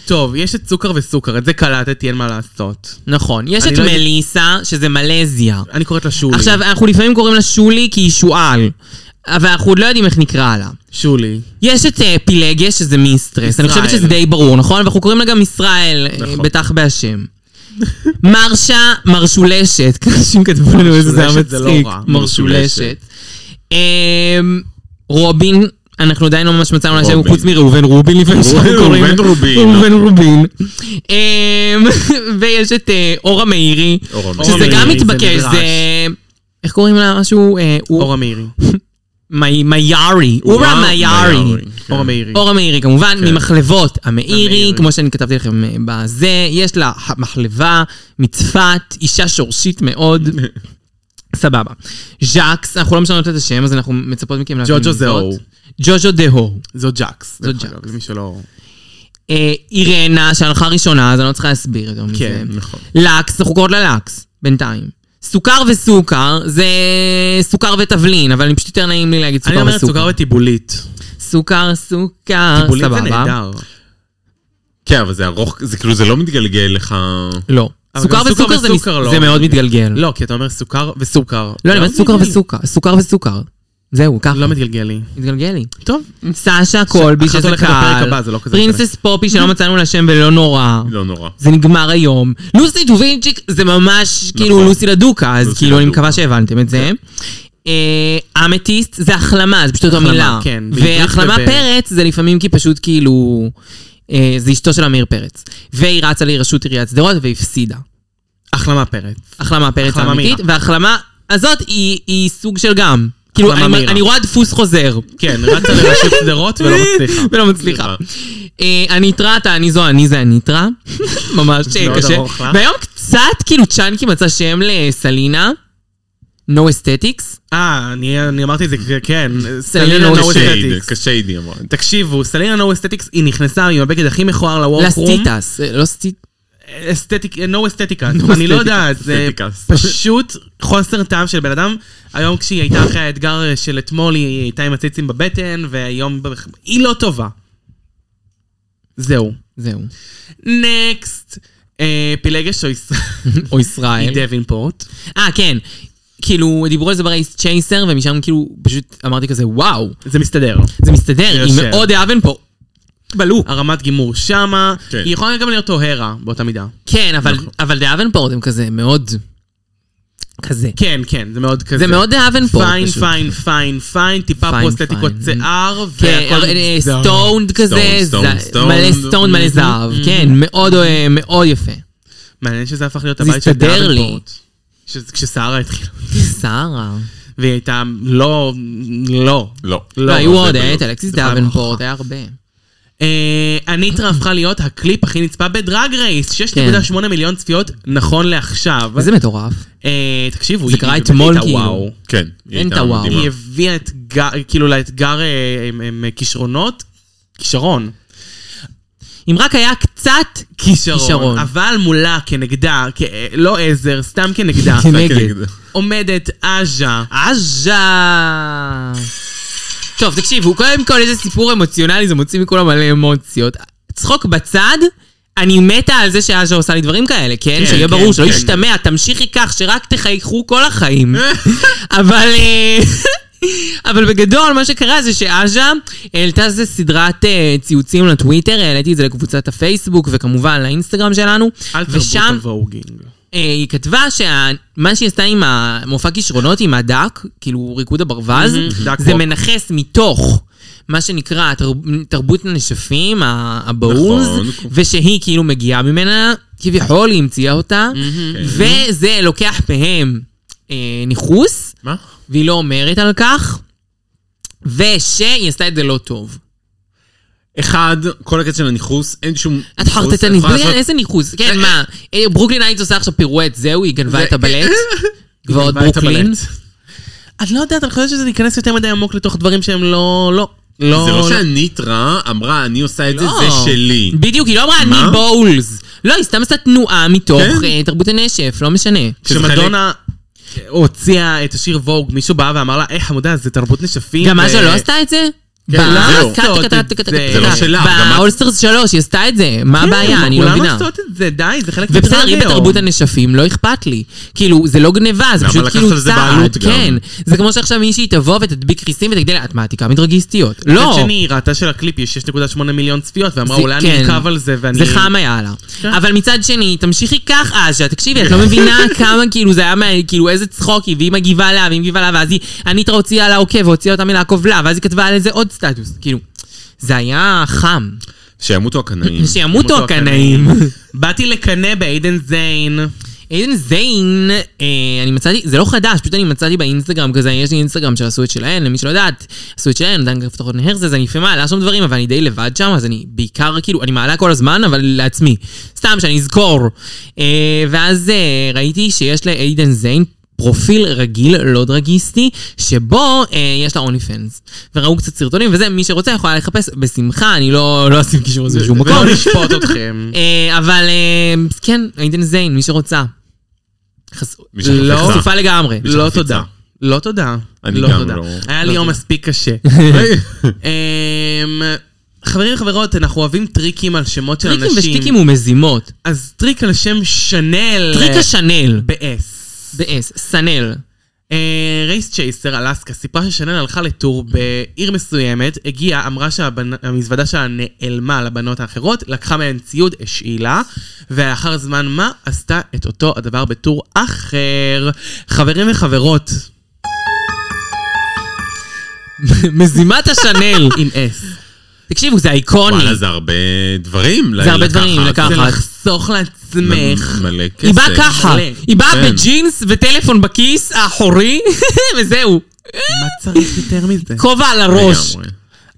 Speaker 3: טוב, יש את סוכר וסוכר, את זה קלטתי, אין מה לעשות.
Speaker 2: נכון. יש
Speaker 3: אני
Speaker 2: את
Speaker 3: לא יודע-
Speaker 2: מליסה, שזה מלזיה.
Speaker 3: אני קוראת לה שולי.
Speaker 2: עכשיו, אנחנו לפעמים קוראים לה שולי כי היא שועל, אבל אנחנו עוד לא יודעים איך נקרא לה.
Speaker 3: שולי.
Speaker 2: יש את אה, פילגיה, שזה מיסטרס, אני חושבת
Speaker 3: ישראל.
Speaker 2: שזה די ברור, נכון? ואנחנו קוראים לה גם ישראל, אה,
Speaker 3: נכון.
Speaker 2: בטח בהשם. מרשה מרשולשת, אנשים כתבו לנו איזה זה היה
Speaker 3: מרשולשת זה לא
Speaker 2: מצחיק,
Speaker 3: רע,
Speaker 2: מרשולשת. אמ, רובין, אנחנו עדיין לא ממש מצאנו לה שם,
Speaker 4: רובין.
Speaker 2: חוץ מראובן רובין לפעמים
Speaker 4: ראובן
Speaker 2: שאנחנו קוראים. לו.
Speaker 4: רובין.
Speaker 2: ראובן רובין. אמ, ויש את אה, אורה מאירי,
Speaker 4: אורה מאירי.
Speaker 2: שזה
Speaker 4: אורה
Speaker 2: גם
Speaker 3: מאירי, זה
Speaker 2: מתבקש,
Speaker 3: נדרש.
Speaker 2: זה... איך קוראים לה משהו? אה,
Speaker 3: אורה מאירי.
Speaker 2: מי- מיארי, אורה מיארי.
Speaker 4: כן.
Speaker 3: אורה מאירי.
Speaker 2: אור המאירי כמובן,
Speaker 4: כן.
Speaker 2: ממחלבות המאירי,
Speaker 3: המאירי.
Speaker 2: כמו שאני כתבתי לכם אה, בזה, יש לה ח- מחלבה מצפת, אישה שורשית מאוד. סבבה. ז'קס, אנחנו לא משנות את השם, אז אנחנו מצפות מכם להבין
Speaker 3: ג'וג'ו
Speaker 2: זאת.
Speaker 3: זה אור.
Speaker 2: ג'וג'ו דה הו.
Speaker 3: זו ג'קס.
Speaker 2: זו
Speaker 3: דרך אגב,
Speaker 2: ג'קס.
Speaker 3: למי שלא...
Speaker 2: אה, אירנה, שהלכה ראשונה, אז אני לא צריכה להסביר יותר מזה.
Speaker 3: כן,
Speaker 4: נכון.
Speaker 2: לקס, אנחנו קוראות לה לקס, בינתיים. סוכר וסוכר, זה סוכר ותבלין, אבל אני פשוט יותר נעים לי להגיד
Speaker 3: אני
Speaker 2: סוכר
Speaker 3: אומרת סוכר
Speaker 2: וסוכר.
Speaker 3: וטיבולית.
Speaker 2: סוכר, סוכר,
Speaker 3: טיבולית זה
Speaker 2: סבבה.
Speaker 3: נהדר.
Speaker 4: כן, אבל זה ארוך, זה כאילו זה לא מתגלגל לך...
Speaker 2: לא.
Speaker 3: אבל
Speaker 2: סוכר
Speaker 3: גם סוכר
Speaker 2: וסוכר זה מס-
Speaker 3: וסוכר לא.
Speaker 2: זה מאוד מתגלגל.
Speaker 3: לא, כי אתה אומר סוכר וסוכר.
Speaker 2: לא, אני אומרת סוכר
Speaker 3: מתגלגל.
Speaker 2: וסוכר, סוכר וסוכר. זהו, ככה.
Speaker 3: לא מתגלגל לי.
Speaker 2: מתגלגל לי.
Speaker 3: טוב.
Speaker 2: סשה קולבי,
Speaker 3: אחת
Speaker 2: שזה
Speaker 3: הולכת לפרק
Speaker 2: קל.
Speaker 3: הבא, זה לא כזה
Speaker 2: פרינסס פופי, שלא מצאנו לה שם ולא נורא.
Speaker 4: לא נורא.
Speaker 2: זה נגמר היום. לוסי טובינצ'יק זה ממש כאילו
Speaker 4: נכון.
Speaker 2: לוסי לדוקה, אז
Speaker 4: לוסי
Speaker 2: כאילו אני
Speaker 4: לדוקה.
Speaker 2: מקווה שהבנתם את
Speaker 3: כן.
Speaker 2: זה. אה, אמתיסט זה החלמה, זה פשוט אותה
Speaker 3: החלמה,
Speaker 2: מילה.
Speaker 3: כן, בעברית
Speaker 2: והחלמה
Speaker 3: וב-
Speaker 2: פרץ זה לפעמים כי פשוט כאילו... אה, זה אשתו של עמיר פרץ. והיא רצה לראשות עיריית שדרות והפסידה.
Speaker 3: החלמה פרץ.
Speaker 2: החלמה פרץ
Speaker 3: החלמה
Speaker 2: האמיתית, וההחלמה הזאת היא, היא סוג של גם. כאילו,
Speaker 3: החלמה
Speaker 2: אני,
Speaker 3: מהירה.
Speaker 2: אני רואה דפוס חוזר,
Speaker 3: כן, רצה לרשות שדרות ולא מצליחה.
Speaker 2: ולא מצליחה. אה, הניטרה, אתה אני זו, אני זה הניטרה. ממש אה,
Speaker 3: מאוד
Speaker 2: קשה.
Speaker 3: ארוך לך.
Speaker 2: והיום קצת, כאילו, צ'אנקי מצא שם לסלינה. No aesthetics.
Speaker 3: אה, אני אני אמרתי את זה, כן.
Speaker 2: סלינה לא
Speaker 3: No
Speaker 2: נו
Speaker 4: קשייד,
Speaker 3: Aesthetics.
Speaker 4: קשיידי אמרה.
Speaker 3: תקשיבו, סלינה נו אסתטיקס, היא נכנסה עם הבגד הכי מכוער לוורקרום.
Speaker 2: לסטיטס. אה, לא סטיט...
Speaker 3: אסתטיק, נו אסתטיקה. אני לא יודעת, זה
Speaker 4: אסתטיקס.
Speaker 3: פשוט חוסר טעם של בן אדם. היום כשהיא הייתה אחרי האתגר של אתמול, היא הייתה עם הציצים בבטן, והיום... היא לא טובה. זהו.
Speaker 2: זהו.
Speaker 3: נקסט. אה, פילגש או ישראל?
Speaker 2: או ישראל.
Speaker 3: מדווינפורט.
Speaker 2: אה, כן. כאילו, דיברו על זה ברייס צ'ייסר, ומשם כאילו, פשוט אמרתי כזה, וואו,
Speaker 3: זה מסתדר.
Speaker 2: זה מסתדר, היא
Speaker 3: יושב.
Speaker 2: מאוד אהבן פה.
Speaker 3: בלו. הרמת גימור שמה.
Speaker 4: כן.
Speaker 3: היא יכולה גם להיות אוהרה באותה מידה.
Speaker 2: כן, אבל, אבל דאבנפורט הם כזה מאוד... כזה.
Speaker 3: כן, כן, זה מאוד כזה.
Speaker 2: זה מאוד דאבנפורט
Speaker 3: פיין,
Speaker 2: פשוט.
Speaker 3: פיין, פיין, פיין, טיפה
Speaker 2: פיין,
Speaker 3: פרוסטטיקות
Speaker 2: פיין.
Speaker 3: שיער,
Speaker 2: כן,
Speaker 3: והכל
Speaker 2: אה,
Speaker 3: מסתדר.
Speaker 2: סטונד כזה, ז-
Speaker 4: סטון, סטון.
Speaker 2: מלא סטון, מלא זהב, כן, מאוד אה, מאוד יפה.
Speaker 3: מעניין שזה הפך להיות
Speaker 2: זה
Speaker 3: הבית של
Speaker 2: הסתדר לי.
Speaker 3: דאבנפורט. ש- כששערה התחילה.
Speaker 2: שרה.
Speaker 3: והיא הייתה לא, לא.
Speaker 4: לא.
Speaker 2: לא,
Speaker 3: לא.
Speaker 2: היו
Speaker 4: זה
Speaker 2: עוד,
Speaker 4: בדיוק.
Speaker 2: היה את אלכסיס
Speaker 3: זה פעם
Speaker 2: דאבנפורט, היה הרבה.
Speaker 3: אה, הניטרה הפכה להיות הקליפ הכי נצפה בדרג רייס,
Speaker 2: כן.
Speaker 3: 6.8 מיליון צפיות נכון לעכשיו.
Speaker 2: וזה מטורף.
Speaker 3: אה, תקשיבו,
Speaker 2: זה
Speaker 3: היא
Speaker 2: קרה
Speaker 3: באמת
Speaker 2: אתמול,
Speaker 3: הייתה
Speaker 2: כאילו.
Speaker 3: וואו.
Speaker 4: כן. היא
Speaker 2: אין
Speaker 4: הייתה
Speaker 2: את הוואו.
Speaker 4: מדהימה.
Speaker 3: היא הביאה אתגר, כאילו לאתגר אה, עם- עם כישרונות, כישרון.
Speaker 2: אם רק היה קצת
Speaker 3: כישרון.
Speaker 2: כישרון.
Speaker 3: אבל מולה, כנגדה, כ- אה, לא עזר, סתם כנגדה.
Speaker 2: כן.
Speaker 4: רק
Speaker 2: נגד.
Speaker 4: נגד.
Speaker 3: עומדת עז'ה.
Speaker 2: עז'ה. טוב, תקשיבו, קודם כל איזה סיפור אמוציונלי, זה מוציא מכולם מלא אמוציות. צחוק בצד, אני מתה על זה שעז'ה עושה לי דברים כאלה, כן?
Speaker 3: כן,
Speaker 2: שיהיה
Speaker 3: כן,
Speaker 2: ברור, שלא
Speaker 3: כן.
Speaker 2: ישתמע, תמשיכי כך, שרק תחייכו כל החיים. אבל... אה, אבל בגדול, מה שקרה זה שעז'ה העלתה איזה סדרת אה, ציוצים לטוויטר, העליתי את זה לקבוצת הפייסבוק וכמובן לאינסטגרם שלנו.
Speaker 3: אל תרבו
Speaker 2: ושם
Speaker 3: את הווגינג.
Speaker 2: אה, היא כתבה שמה שהיא עשתה עם המופע כישרונות, עם הדק, כאילו ריקוד הברווז,
Speaker 3: Mhm, דק
Speaker 2: זה
Speaker 3: פופ.
Speaker 2: מנכס מתוך מה שנקרא התרב- תרבות הנשפים, ה- הבאוז,
Speaker 4: נכון.
Speaker 2: ושהיא כאילו מגיעה ממנה, כביכול היא המציאה אותה,
Speaker 4: כן.
Speaker 2: וזה לוקח מהם אה, ניכוס,
Speaker 4: מה?
Speaker 2: והיא לא אומרת על כך, ושהיא עשתה את זה לא טוב.
Speaker 4: אחד, כל הקטע של הניכוס, אין שום...
Speaker 2: את
Speaker 4: ניכוס,
Speaker 2: חרטטנית,
Speaker 4: יכולה
Speaker 2: בלי
Speaker 4: לעשות-
Speaker 2: איזה ניכוס, כן, מה, אה, ברוקלין הייטס עושה עכשיו פירואט, זהו, היא גנבה את הבלט, גבעות
Speaker 3: גנבה את
Speaker 2: ברוקלין.
Speaker 3: הבלט. את לא יודעת, אני חושבת שזה להיכנס יותר מדי עמוק לתוך דברים שהם לא... לא.
Speaker 4: זה לא
Speaker 3: לא.
Speaker 4: שהניטרה אמרה, אני עושה את זה,
Speaker 2: לא.
Speaker 4: זה שלי.
Speaker 2: בדיוק, היא לא אמרה
Speaker 4: מה?
Speaker 2: אני בואולס. לא, היא סתם עשתה תנועה מתוך
Speaker 4: כן.
Speaker 2: אה, תרבות הנשף, לא משנה.
Speaker 3: כשמדונה הוציאה את השיר ווג, מישהו בא ואמר לה, היי חמודה, זה תרבות נשפים. אה,
Speaker 2: גם עז'ה
Speaker 3: ו-
Speaker 2: לא עשתה את זה?
Speaker 4: כן,
Speaker 2: ב-
Speaker 4: למה
Speaker 2: טק,
Speaker 4: לעשות
Speaker 2: טק,
Speaker 3: את
Speaker 2: טק, טק, טק,
Speaker 3: זה?
Speaker 2: טק,
Speaker 4: זה לא
Speaker 2: טק.
Speaker 4: שלה, גם את-
Speaker 2: באולסטרס 3 היא עשתה את זה,
Speaker 4: כן,
Speaker 2: מה הבעיה? אני לא
Speaker 3: כולנו
Speaker 2: מבינה.
Speaker 3: כן, עושות את זה, די, זה חלק
Speaker 2: ובסדר, אם
Speaker 3: מהרדיו.
Speaker 2: בתרבות הנשפים, לא אכפת לי. כאילו, זה לא גניבה, זה
Speaker 4: למה
Speaker 2: פשוט
Speaker 4: לקחת
Speaker 2: כאילו
Speaker 4: על זה
Speaker 2: צעד,
Speaker 4: בעלות גם?
Speaker 2: כן. זה כמו שעכשיו מישהי תבוא ותדביק ריסים ותגדל, את מעתיקה מדרגיסטיות. לא.
Speaker 3: מצד שני, היא ראתה שלקליפ יש 6.8 מיליון צפיות, ואמרה,
Speaker 2: זה-
Speaker 3: אולי
Speaker 2: כן.
Speaker 3: אני ארכב על זה, ואני...
Speaker 2: זה חם היה לה.
Speaker 3: כן.
Speaker 2: אבל מצד שני, תמשיכי כך, אשה, תקשיבי, את לא מבינה כמה, כאילו, זה היה, מה- כאילו, איזה צחוק היא, והיא מגיבה לה, והיא מגיבה לה, ואז היא, הניטרה הוציאה לה עוקב, אוקיי, והוציאה אותה מלעקוב לה, ואז היא כתבה על איזה עוד סטטוס, כאילו. זה היה חם.
Speaker 4: שימותו הקנאים.
Speaker 2: שימותו
Speaker 3: אותו
Speaker 2: הקנאים.
Speaker 3: באתי לקנא בעידן זיין.
Speaker 2: עדן זיין, אה, אני מצאתי, זה לא חדש, פשוט אני מצאתי באינסטגרם כזה, יש לי אינסטגרם שעשו את שלהן, למי שלא יודעת, עשו את שלהן, דן כפתוחות נהרס, אז אני לפעמים מעלה שם דברים, אבל אני די לבד שם, אז אני בעיקר, כאילו, אני מעלה כל הזמן, אבל לעצמי. סתם, שאני אזכור. אה, ואז אה, ראיתי שיש לעדן זיין פרופיל רגיל, לא דרגיסטי, שבו אה, יש לה אוני פנס. וראו קצת סרטונים, וזה, מי שרוצה יכול לחפש בשמחה, אני לא לא אשים קישור לזה בשום מקום.
Speaker 3: ולא נשפוט אתכם.
Speaker 2: אה, אבל אה, כן, עידן זיין, מי שרוצה. חס-
Speaker 4: מי שחפצה.
Speaker 2: לא, חשופה לגמרי.
Speaker 4: של
Speaker 3: לא
Speaker 4: חפיצה.
Speaker 3: תודה. לא תודה.
Speaker 4: אני
Speaker 3: לא
Speaker 4: גם
Speaker 3: תודה.
Speaker 4: לא.
Speaker 3: היה
Speaker 2: לא
Speaker 3: לי יום
Speaker 2: תודה.
Speaker 3: מספיק קשה. אמ, חברים וחברות, אנחנו אוהבים טריקים על שמות של אנשים. אה.
Speaker 2: טריקים ושטיקים ומזימות.
Speaker 3: אז טריק על שם שנל.
Speaker 2: טריק השנל.
Speaker 3: ב-S.
Speaker 2: באס, סנל.
Speaker 3: אה, רייס צ'ייסר, אלסקה, סיפרה ששנל הלכה לטור בעיר מסוימת, הגיעה, אמרה שהמזוודה שלה נעלמה לבנות האחרות, לקחה מהן ציוד, השאילה, ולאחר זמן מה עשתה את אותו הדבר בטור אחר. חברים וחברות,
Speaker 2: מזימת השנל.
Speaker 3: עם S.
Speaker 2: תקשיבו, זה איקוני.
Speaker 4: וואלה, זה הרבה דברים. ל-
Speaker 2: זה הרבה
Speaker 4: לקחת.
Speaker 2: דברים לקחת.
Speaker 3: זה לחסוך לעצמך.
Speaker 4: מ- מלא כסף.
Speaker 2: היא באה ככה.
Speaker 3: מלא.
Speaker 2: היא באה
Speaker 4: כן.
Speaker 2: בג'ינס וטלפון בכיס האחורי, וזהו.
Speaker 3: מה צריך יותר מזה?
Speaker 2: כובע על הראש.
Speaker 4: לגמרי.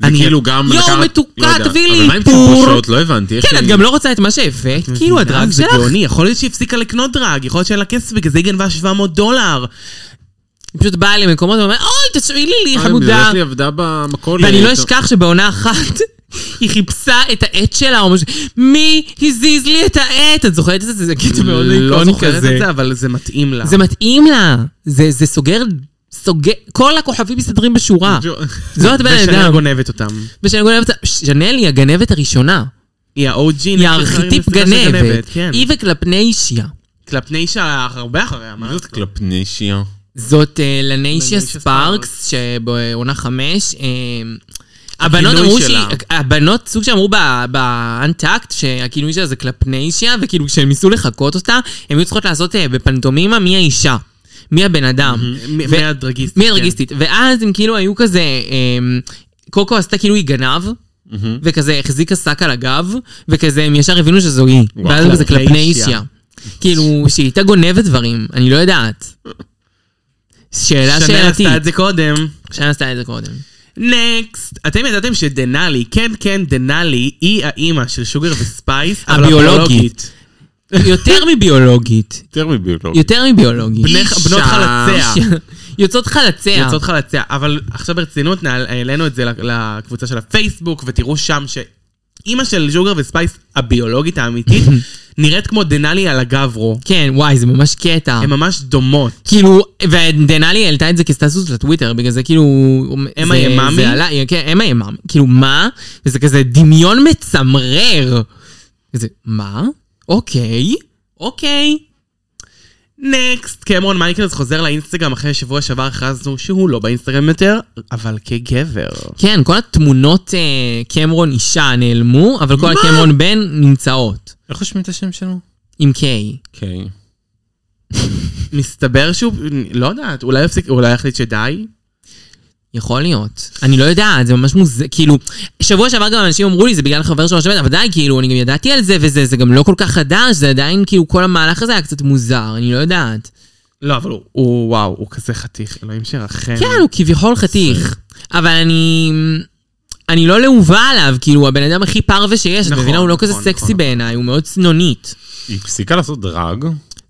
Speaker 4: זה
Speaker 3: אני-
Speaker 4: כאילו גם
Speaker 2: יואו,
Speaker 4: לקחת-
Speaker 2: מתוקה,
Speaker 4: לא יודע.
Speaker 2: תביא לי
Speaker 4: אבל מה עם
Speaker 2: איפור.
Speaker 4: תחבושות? לא הבנתי. איך
Speaker 2: כן, את
Speaker 4: היא-
Speaker 2: גם לא רוצה את מה
Speaker 4: כן.
Speaker 2: שהבאת, כאילו
Speaker 4: אה,
Speaker 2: הדרג
Speaker 3: זה
Speaker 2: שלך.
Speaker 3: גאוני, יכול להיות שהיא הפסיקה לקנות דרג, יכול להיות שאין לה כסף, בגלל זה היא גנבה 700 דולר.
Speaker 2: היא פשוט באה למקומות ואומרת, אוי, תשאירי לי,
Speaker 4: אה, בגלל
Speaker 2: לא חמודה.
Speaker 4: שהיא עבדה במכולת.
Speaker 2: ואני לא אשכח שבעונה אחת היא חיפשה את העט שלה, או משהו, מי הזיז לי את העט? את זוכרת את זה? זה קטע מאוד
Speaker 3: לא
Speaker 2: איקוני
Speaker 3: זוכרת את
Speaker 2: כזה.
Speaker 3: זה, אבל זה מתאים לה.
Speaker 2: זה מתאים לה, זה זה סוגר, סוגר, כל הכוכבים מסתדרים בשורה. זאת בן
Speaker 3: ושנל
Speaker 2: אדם.
Speaker 3: גונבת אותם.
Speaker 2: ושאני גונבת, שנל היא הגנבת הראשונה.
Speaker 3: כן, היא ה-OG.
Speaker 2: היא הארכיטיפ גנבת.
Speaker 3: כן.
Speaker 2: היא וקלפניישיה.
Speaker 3: קלפניישה הרבה אחריה, מה?
Speaker 4: זאת קלפנישיה.
Speaker 2: זאת אה, לניישיה
Speaker 3: לניישיה
Speaker 2: ספארקס, שבעונה חמש. אה, הבנות
Speaker 3: הכינוי
Speaker 2: אמרו שהיא,
Speaker 3: שלה.
Speaker 2: הבנות סוג שאמרו ב- באנטקט שהכינוי שלה זה קלפניישיה, וכאילו כשהם ניסו לחקות אותה, הם היו צריכות לעשות אה, בפנטומימה מי האישה, מי הבן אדם.
Speaker 3: מ-
Speaker 2: ו-
Speaker 3: מהדרגיסטית.
Speaker 2: מי הדרגיסטית. ואז הם כאילו היו כזה, אמ, קוקו עשתה כאילו היא גנב, וכזה החזיקה שק על הגב, וכזה הם ישר הבינו שזו היא.
Speaker 4: וואו.
Speaker 2: ואז הם כזה
Speaker 3: כלפני
Speaker 2: כלפני
Speaker 3: אישיה.
Speaker 2: אישיה. כאילו, שהיא הייתה גונבת דברים, אני לא יודעת. שאלה
Speaker 3: כן. שנר
Speaker 2: שאלתית.
Speaker 3: עשתה את זה קודם.
Speaker 2: שנר עשתה את זה קודם.
Speaker 3: נקסט. אתם ידעתם שדנאלי, כן כן דנאלי, היא האימא של שוגר וספייס, אבל
Speaker 2: הביולוגית. יותר מביולוגית.
Speaker 4: יותר מביולוגיה.
Speaker 2: יותר מביולוגית.
Speaker 3: בני- בנות חלציה.
Speaker 2: יוצאות חלציה.
Speaker 3: יוצאות חלציה. אבל עכשיו ברצינות, נעל- העלינו את זה ל- לקבוצה של הפייסבוק, ותראו שם שאימא של שוגר וספייס, הביולוגית האמיתית, נראית כמו דנאלי על הגברו.
Speaker 2: כן, וואי, זה ממש קטע.
Speaker 3: הן ממש דומות.
Speaker 2: כאילו, ודנאלי העלתה את זה כסטטוס לטוויטר, בגלל זה כאילו...
Speaker 3: אמה
Speaker 2: זה-
Speaker 3: יממי?
Speaker 2: זה עלה, כן, אמה יממי. כאילו, מה? וזה כזה דמיון מצמרר. כזה, מה? אוקיי, אוקיי.
Speaker 3: נקסט, קמרון מייקלס חוזר לאינסטגרם אחרי שבוע שעבר הכרזנו שהוא לא באינסטגרם יותר, אבל כגבר.
Speaker 2: כן, כל התמונות אה, קמרון אישה נעלמו, אבל כל הקמרון בן נמצאות.
Speaker 4: איך רושמים את השם שלו?
Speaker 2: עם קיי.
Speaker 4: אוקיי.
Speaker 3: מסתבר שהוא, לא יודעת, אולי יפסיק, אולי יחליט שדי?
Speaker 2: יכול להיות. אני לא יודעת, זה ממש מוזר, כאילו, שבוע שעבר גם אנשים אמרו לי, זה בגלל חבר שלו השבת, אבל די, כאילו, אני גם ידעתי על זה, וזה זה גם לא כל כך חדש, זה עדיין, כאילו, כל המהלך הזה היה קצת מוזר, אני לא יודעת.
Speaker 3: לא, אבל הוא, הוא וואו, הוא כזה חתיך, אלוהים שרחם.
Speaker 2: כן, הוא כביכול חתיך, אבל אני... אני לא לאובה עליו, כאילו, הוא הבן אדם הכי פרווה שיש, את
Speaker 3: נכון,
Speaker 2: מבינה? הוא לא
Speaker 3: נכון,
Speaker 2: כזה
Speaker 3: נכון,
Speaker 2: סקסי
Speaker 3: נכון.
Speaker 2: בעיניי, הוא מאוד צנונית.
Speaker 4: היא הפסיקה לעשות דרג?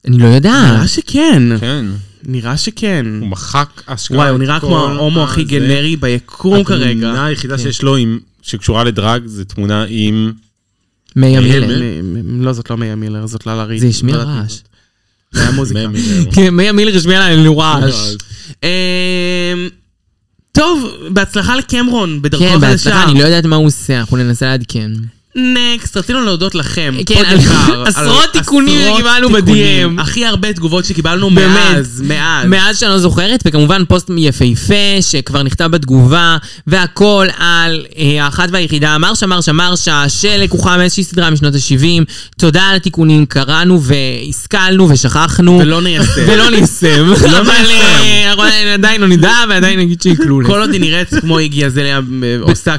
Speaker 2: אני לא
Speaker 3: נראה
Speaker 2: יודעת.
Speaker 3: שכן,
Speaker 4: כן.
Speaker 3: נראה שכן.
Speaker 4: הוא מחק אשכרה.
Speaker 3: וואי, הוא
Speaker 4: את
Speaker 3: נראה
Speaker 4: כל
Speaker 3: כמו ההומו הכי
Speaker 4: הזה.
Speaker 3: גנרי ביקום
Speaker 4: התמונה
Speaker 3: כרגע. כן.
Speaker 4: היחידה שיש לו עם- שקשורה לדרג זה תמונה עם...
Speaker 2: מיה מילר.
Speaker 4: כן.
Speaker 3: מ- מ- לא, זאת לא מיה מילר, זאת ללה ריד.
Speaker 2: זה השמיע
Speaker 3: לא יודעת מי
Speaker 2: רעש.
Speaker 3: זאת. זה היה מוזיקה.
Speaker 4: מאה מיליון.
Speaker 2: כן, מיה מילר השמיע לה
Speaker 3: לא
Speaker 2: לנו רעש.
Speaker 3: אמ, טוב, בהצלחה לקמרון, בדרכו
Speaker 2: כן,
Speaker 3: החדשה.
Speaker 2: בהצלחה, אני לא יודעת מה הוא עושה, אנחנו ננסה לעדכן.
Speaker 3: נקסט, רצינו להודות לכם.
Speaker 2: כן,
Speaker 3: עוד
Speaker 2: על-
Speaker 3: דבר, על
Speaker 2: עשרות תיקונים
Speaker 3: עשרות
Speaker 2: שקיבלנו ב-DM.
Speaker 3: תיקונים. הכי הרבה תגובות שקיבלנו
Speaker 2: באמת.
Speaker 3: מאז, מאז.
Speaker 2: מאז שאני לא זוכרת, וכמובן פוסט יפהפה שכבר נכתב בתגובה, והכל על אה, האחת והיחידה, מרשה מרשה מרשה, שלקוחה מאיזושהי סדרה משנות ה-70. תודה על התיקונים, קראנו והשכלנו ושכחנו.
Speaker 3: ולא ניישם.
Speaker 2: ולא ניישם.
Speaker 3: לא
Speaker 2: אבל
Speaker 3: ניישם.
Speaker 2: אה, אבל עדיין לא נדע, ועדיין נגיד שהיא כלולת.
Speaker 3: כל עוד היא נראית כמו איגי אזליה אה, עושה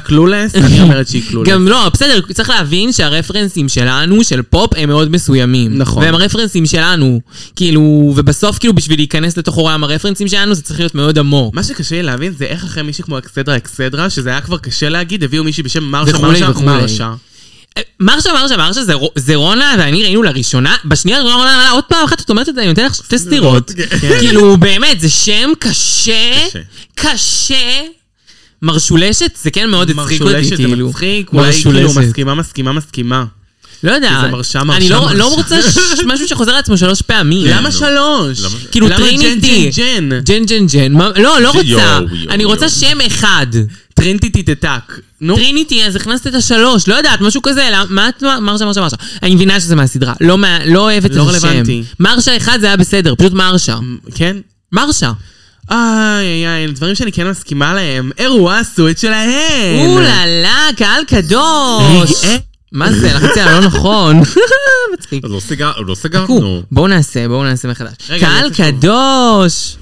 Speaker 3: קלולס, אני אומרת שהיא קלולס.
Speaker 2: גם לא, בסדר, צריך להבין שהרפרנסים שלנו, של פופ, הם מאוד מסוימים.
Speaker 3: נכון.
Speaker 2: והם הרפרנסים שלנו. כאילו, ובסוף, כאילו, בשביל להיכנס לתוך עולם הרפרנסים שלנו, זה צריך להיות מאוד עמוק.
Speaker 3: מה שקשה לי להבין זה איך אחרי מישהי כמו אקסדרה אקסדרה, שזה היה כבר קשה להגיד, הביאו מישהי בשם מרשה
Speaker 2: וכולי
Speaker 3: מרשה
Speaker 2: וכולי.
Speaker 3: מרשה.
Speaker 2: מרשה, מרשה, מרשה, זה רו- זה רונה ואני ראינו לראשונה, בשנייה רונה רונה רונה, עוד פעם אחת את אומרת את זה, אני נותן לך
Speaker 3: לא,
Speaker 2: שתי סטירות.
Speaker 3: כן.
Speaker 2: כאילו, באמת, זה שם קשה,
Speaker 4: קשה.
Speaker 2: קשה. מרשולשת, זה כן מאוד הצחיק אותי,
Speaker 3: מרשולשת, זה
Speaker 2: כאילו.
Speaker 3: מצחיק, אולי כאילו
Speaker 2: מרשולשת.
Speaker 3: מסכימה, מסכימה, מסכימה.
Speaker 2: לא יודע.
Speaker 3: זה מרשה, מרשה,
Speaker 2: אני לא- לא
Speaker 3: מרשה.
Speaker 2: רוצה ש- משהו שחוזר על עצמו שלוש פעמים.
Speaker 3: למה שלוש?
Speaker 4: למה-
Speaker 2: כן, לא. כאילו,
Speaker 3: למה
Speaker 2: טריניטי.
Speaker 3: ג'ן ג'ן ג'ן?
Speaker 2: ג'ן ג'ן ג'ן, מה- לא, לא
Speaker 4: יואו,
Speaker 2: רוצה.
Speaker 4: יואו,
Speaker 2: אני רוצה
Speaker 4: יואו.
Speaker 2: שם אחד.
Speaker 3: טרינטי תטטק. נו,
Speaker 2: טריניטי, אז הכנסת את השלוש, לא יודעת, משהו כזה, למה- מה את מרשה, מרשה, מרשה. אני מבינה שזה מהסדרה, לא מה- לא אוהבת את
Speaker 3: לא
Speaker 2: השם.
Speaker 3: רלוונטי.
Speaker 2: מרשה אחד זה היה בסדר, פשוט מרשה.
Speaker 3: כן?
Speaker 2: מרשה.
Speaker 3: איי איי איי, דברים שאני כן מסכימה להם. אירוע עשו את שלהם.
Speaker 2: אוללה, קהל קדוש.
Speaker 3: רגע, כן. אה.
Speaker 2: מה זה, לחצי הלא נכון. מצחיק.
Speaker 4: אז לא סגר- לא
Speaker 2: חכו,
Speaker 4: סגרנו.
Speaker 2: בואו נעשה, בואו נעשה מחדש.
Speaker 3: רגע,
Speaker 2: קהל
Speaker 3: אני רוצה שוב.
Speaker 2: קדוש!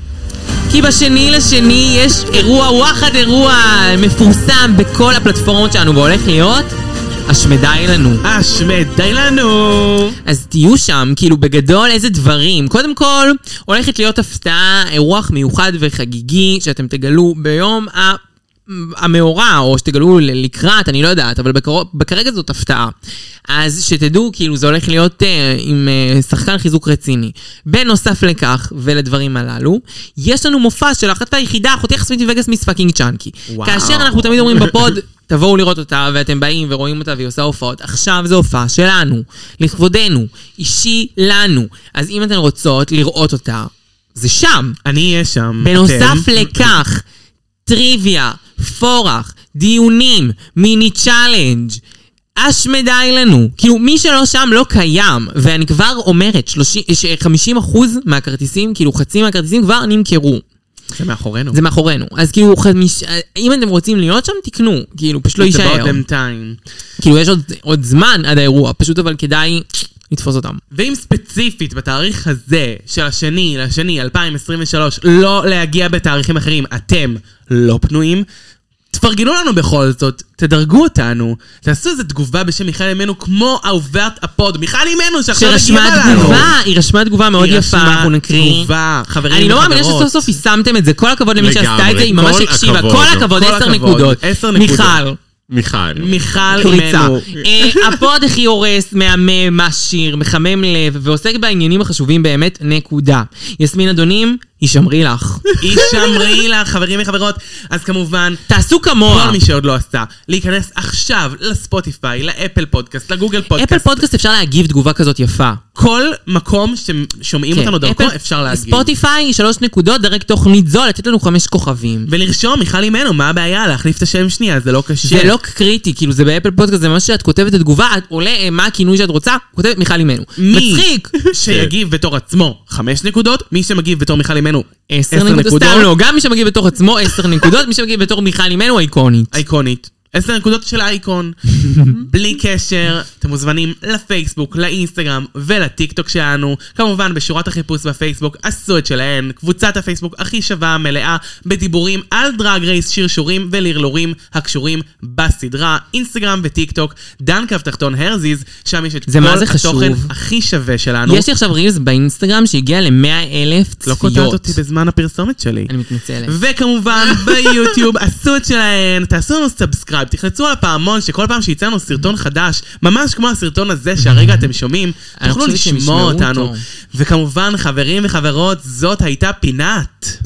Speaker 2: כי בשני לשני יש אירוע, וואחד אירוע מפורסם בכל הפלטפורמות שלנו, והולך להיות השמדי לנו.
Speaker 3: אשמד, די לנו!
Speaker 2: אז תהיו שם, כאילו בגדול איזה דברים. קודם כל, הולכת להיות הפתעה, אירוח מיוחד וחגיגי, שאתם תגלו ביום ה... המאורע, או שתגלו ל- לקראת, אני לא יודעת, אבל בקרוב, כרגע זאת הפתעה. אז שתדעו, כאילו, זה הולך להיות אה, עם אה, שחקן חיזוק רציני. בנוסף לכך, ולדברים הללו, יש לנו מופע של אחת היחידה, אחותי חסמית מווגאס מיס פאקינג צ'אנקי.
Speaker 3: וואו.
Speaker 2: כאשר אנחנו תמיד אומרים בפוד, תבואו לראות אותה, ואתם באים ורואים אותה והיא עושה הופעות. עכשיו זו הופעה שלנו, לכבודנו, אישי לנו. אז אם אתן רוצות לראות אותה, זה שם.
Speaker 3: אני אהיה שם.
Speaker 2: בנוסף
Speaker 3: אתם.
Speaker 2: לכך, טריוויה, פורח, דיונים, מיני צ'אלנג', אש מדי לנו. כאילו, מי שלא שם לא קיים. ואני כבר אומרת, 30, ש- 50% מהכרטיסים, כאילו חצי מהכרטיסים כבר נמכרו.
Speaker 3: זה מאחורינו.
Speaker 2: זה מאחורינו. אז כאילו, חמיש... אם אתם רוצים להיות שם, תקנו. כאילו, פשוט לא
Speaker 3: It's
Speaker 2: יישאר.
Speaker 3: about them time.
Speaker 2: כאילו, יש עוד, עוד זמן עד האירוע, פשוט אבל כדאי לתפוס אותם.
Speaker 3: ואם ספציפית בתאריך הזה, של השני לשני 2023, לא להגיע בתאריכים אחרים, אתם לא פנויים, תפרגנו לנו בכל זאת, תדרגו אותנו, תעשו איזו תגובה בשם מיכל ימינו, כמו אהובת הפוד, מיכל ימינו שעכשיו
Speaker 2: שרשמה
Speaker 3: הגיבה לנו.
Speaker 2: תגובה, היא רשמה תגובה מאוד
Speaker 3: היא
Speaker 2: יפה,
Speaker 3: רשמה
Speaker 2: אנחנו נקריא.
Speaker 3: תגובה, חברים
Speaker 2: אני לא מאמינה
Speaker 3: וחברות.
Speaker 2: שסוף סוף יישמתם את זה, כל הכבוד למי
Speaker 4: לגמרי,
Speaker 2: שעשתה את זה, היא ממש
Speaker 4: כל
Speaker 2: הקשיבה.
Speaker 4: הכבוד.
Speaker 2: כל הכבוד,
Speaker 3: כל
Speaker 2: עשר
Speaker 3: הכבוד,
Speaker 2: נקודות.
Speaker 3: עשר נקודות.
Speaker 2: מיכל,
Speaker 4: מיכל.
Speaker 3: מיכל
Speaker 2: קריצה.
Speaker 3: ימינו.
Speaker 2: אה, הפוד הכי הורס, מהמם, מעשיר, מחמם לב, ועוסק בעניינים החשובים באמת, נקודה. יסמין אדונים, הישמרי לך.
Speaker 3: הישמרי לך, חברים וחברות. אז כמובן,
Speaker 2: תעשו כמוה.
Speaker 3: כל מי שעוד לא עשה, להיכנס עכשיו לספוטיפיי, לאפל פודקאסט, לגוגל פודקאסט.
Speaker 2: אפל פודקאסט אפשר להגיב תגובה כזאת יפה.
Speaker 3: כל מקום ששומעים אותנו
Speaker 2: כן,
Speaker 3: דרכו
Speaker 2: אפל-
Speaker 3: אפשר להגיד.
Speaker 2: ספוטיפיי, שלוש נקודות, דרג תוכנית זו, לתת לנו חמש כוכבים.
Speaker 3: ולרשום מיכל אימנו, מה הבעיה? להחליף את השם שנייה, זה לא קשה.
Speaker 2: זה לא קריטי, כאילו זה באפל פודקאסט, זה ממש שאת כותבת את התגובה, את עולה אה, מה הכינוי שאת רוצה, כותבת מיכל אימנו.
Speaker 3: מי
Speaker 2: מצחיק!
Speaker 3: שיגיב בתור עצמו חמש נקודות, מי שמגיב בתור מיכל אימנו
Speaker 2: עשר נקודות, סתם לא, גם מי שמגיב בתור עצמו עשר נקודות, מי שמגיב בתור מיכל אימנו איקונית.
Speaker 3: אייקונית. עשר נקודות של האייקון. בלי קשר, אתם מוזמנים לפייסבוק, לאינסטגרם ולטיקטוק שלנו. כמובן, בשורת החיפוש בפייסבוק עשו את שלהן. קבוצת הפייסבוק הכי שווה, מלאה, בדיבורים על דרג רייס, שרשורים ולרלורים הקשורים בסדרה, אינסטגרם וטיקטוק, דן קו תחתון הרזיז, שם יש את
Speaker 2: זה
Speaker 3: כל
Speaker 2: מה זה חשוב?
Speaker 3: התוכן הכי שווה שלנו.
Speaker 2: יש לי עכשיו רילס באינסטגרם שהגיע ל-100 אלף
Speaker 3: לא קוטעת
Speaker 2: צפיות.
Speaker 3: אותי בזמן הפרסומת שלי.
Speaker 2: אני מתנצלת.
Speaker 3: וכמובן ביוטיוב, עשו את שלהן, תעשו לנו סאבסקרייב, תחלצו על הפעמון שכל פעם שיצא לנו סרטון חדש, ממש כמו הסרטון הזה שהרגע אתם שומעים,
Speaker 2: אני
Speaker 3: תוכלו
Speaker 2: חושבת שהם
Speaker 3: לשמוע
Speaker 2: ישמעו
Speaker 3: אותנו.
Speaker 2: אותו.
Speaker 3: וכמובן, חברים וחברות, זאת הייתה פינת.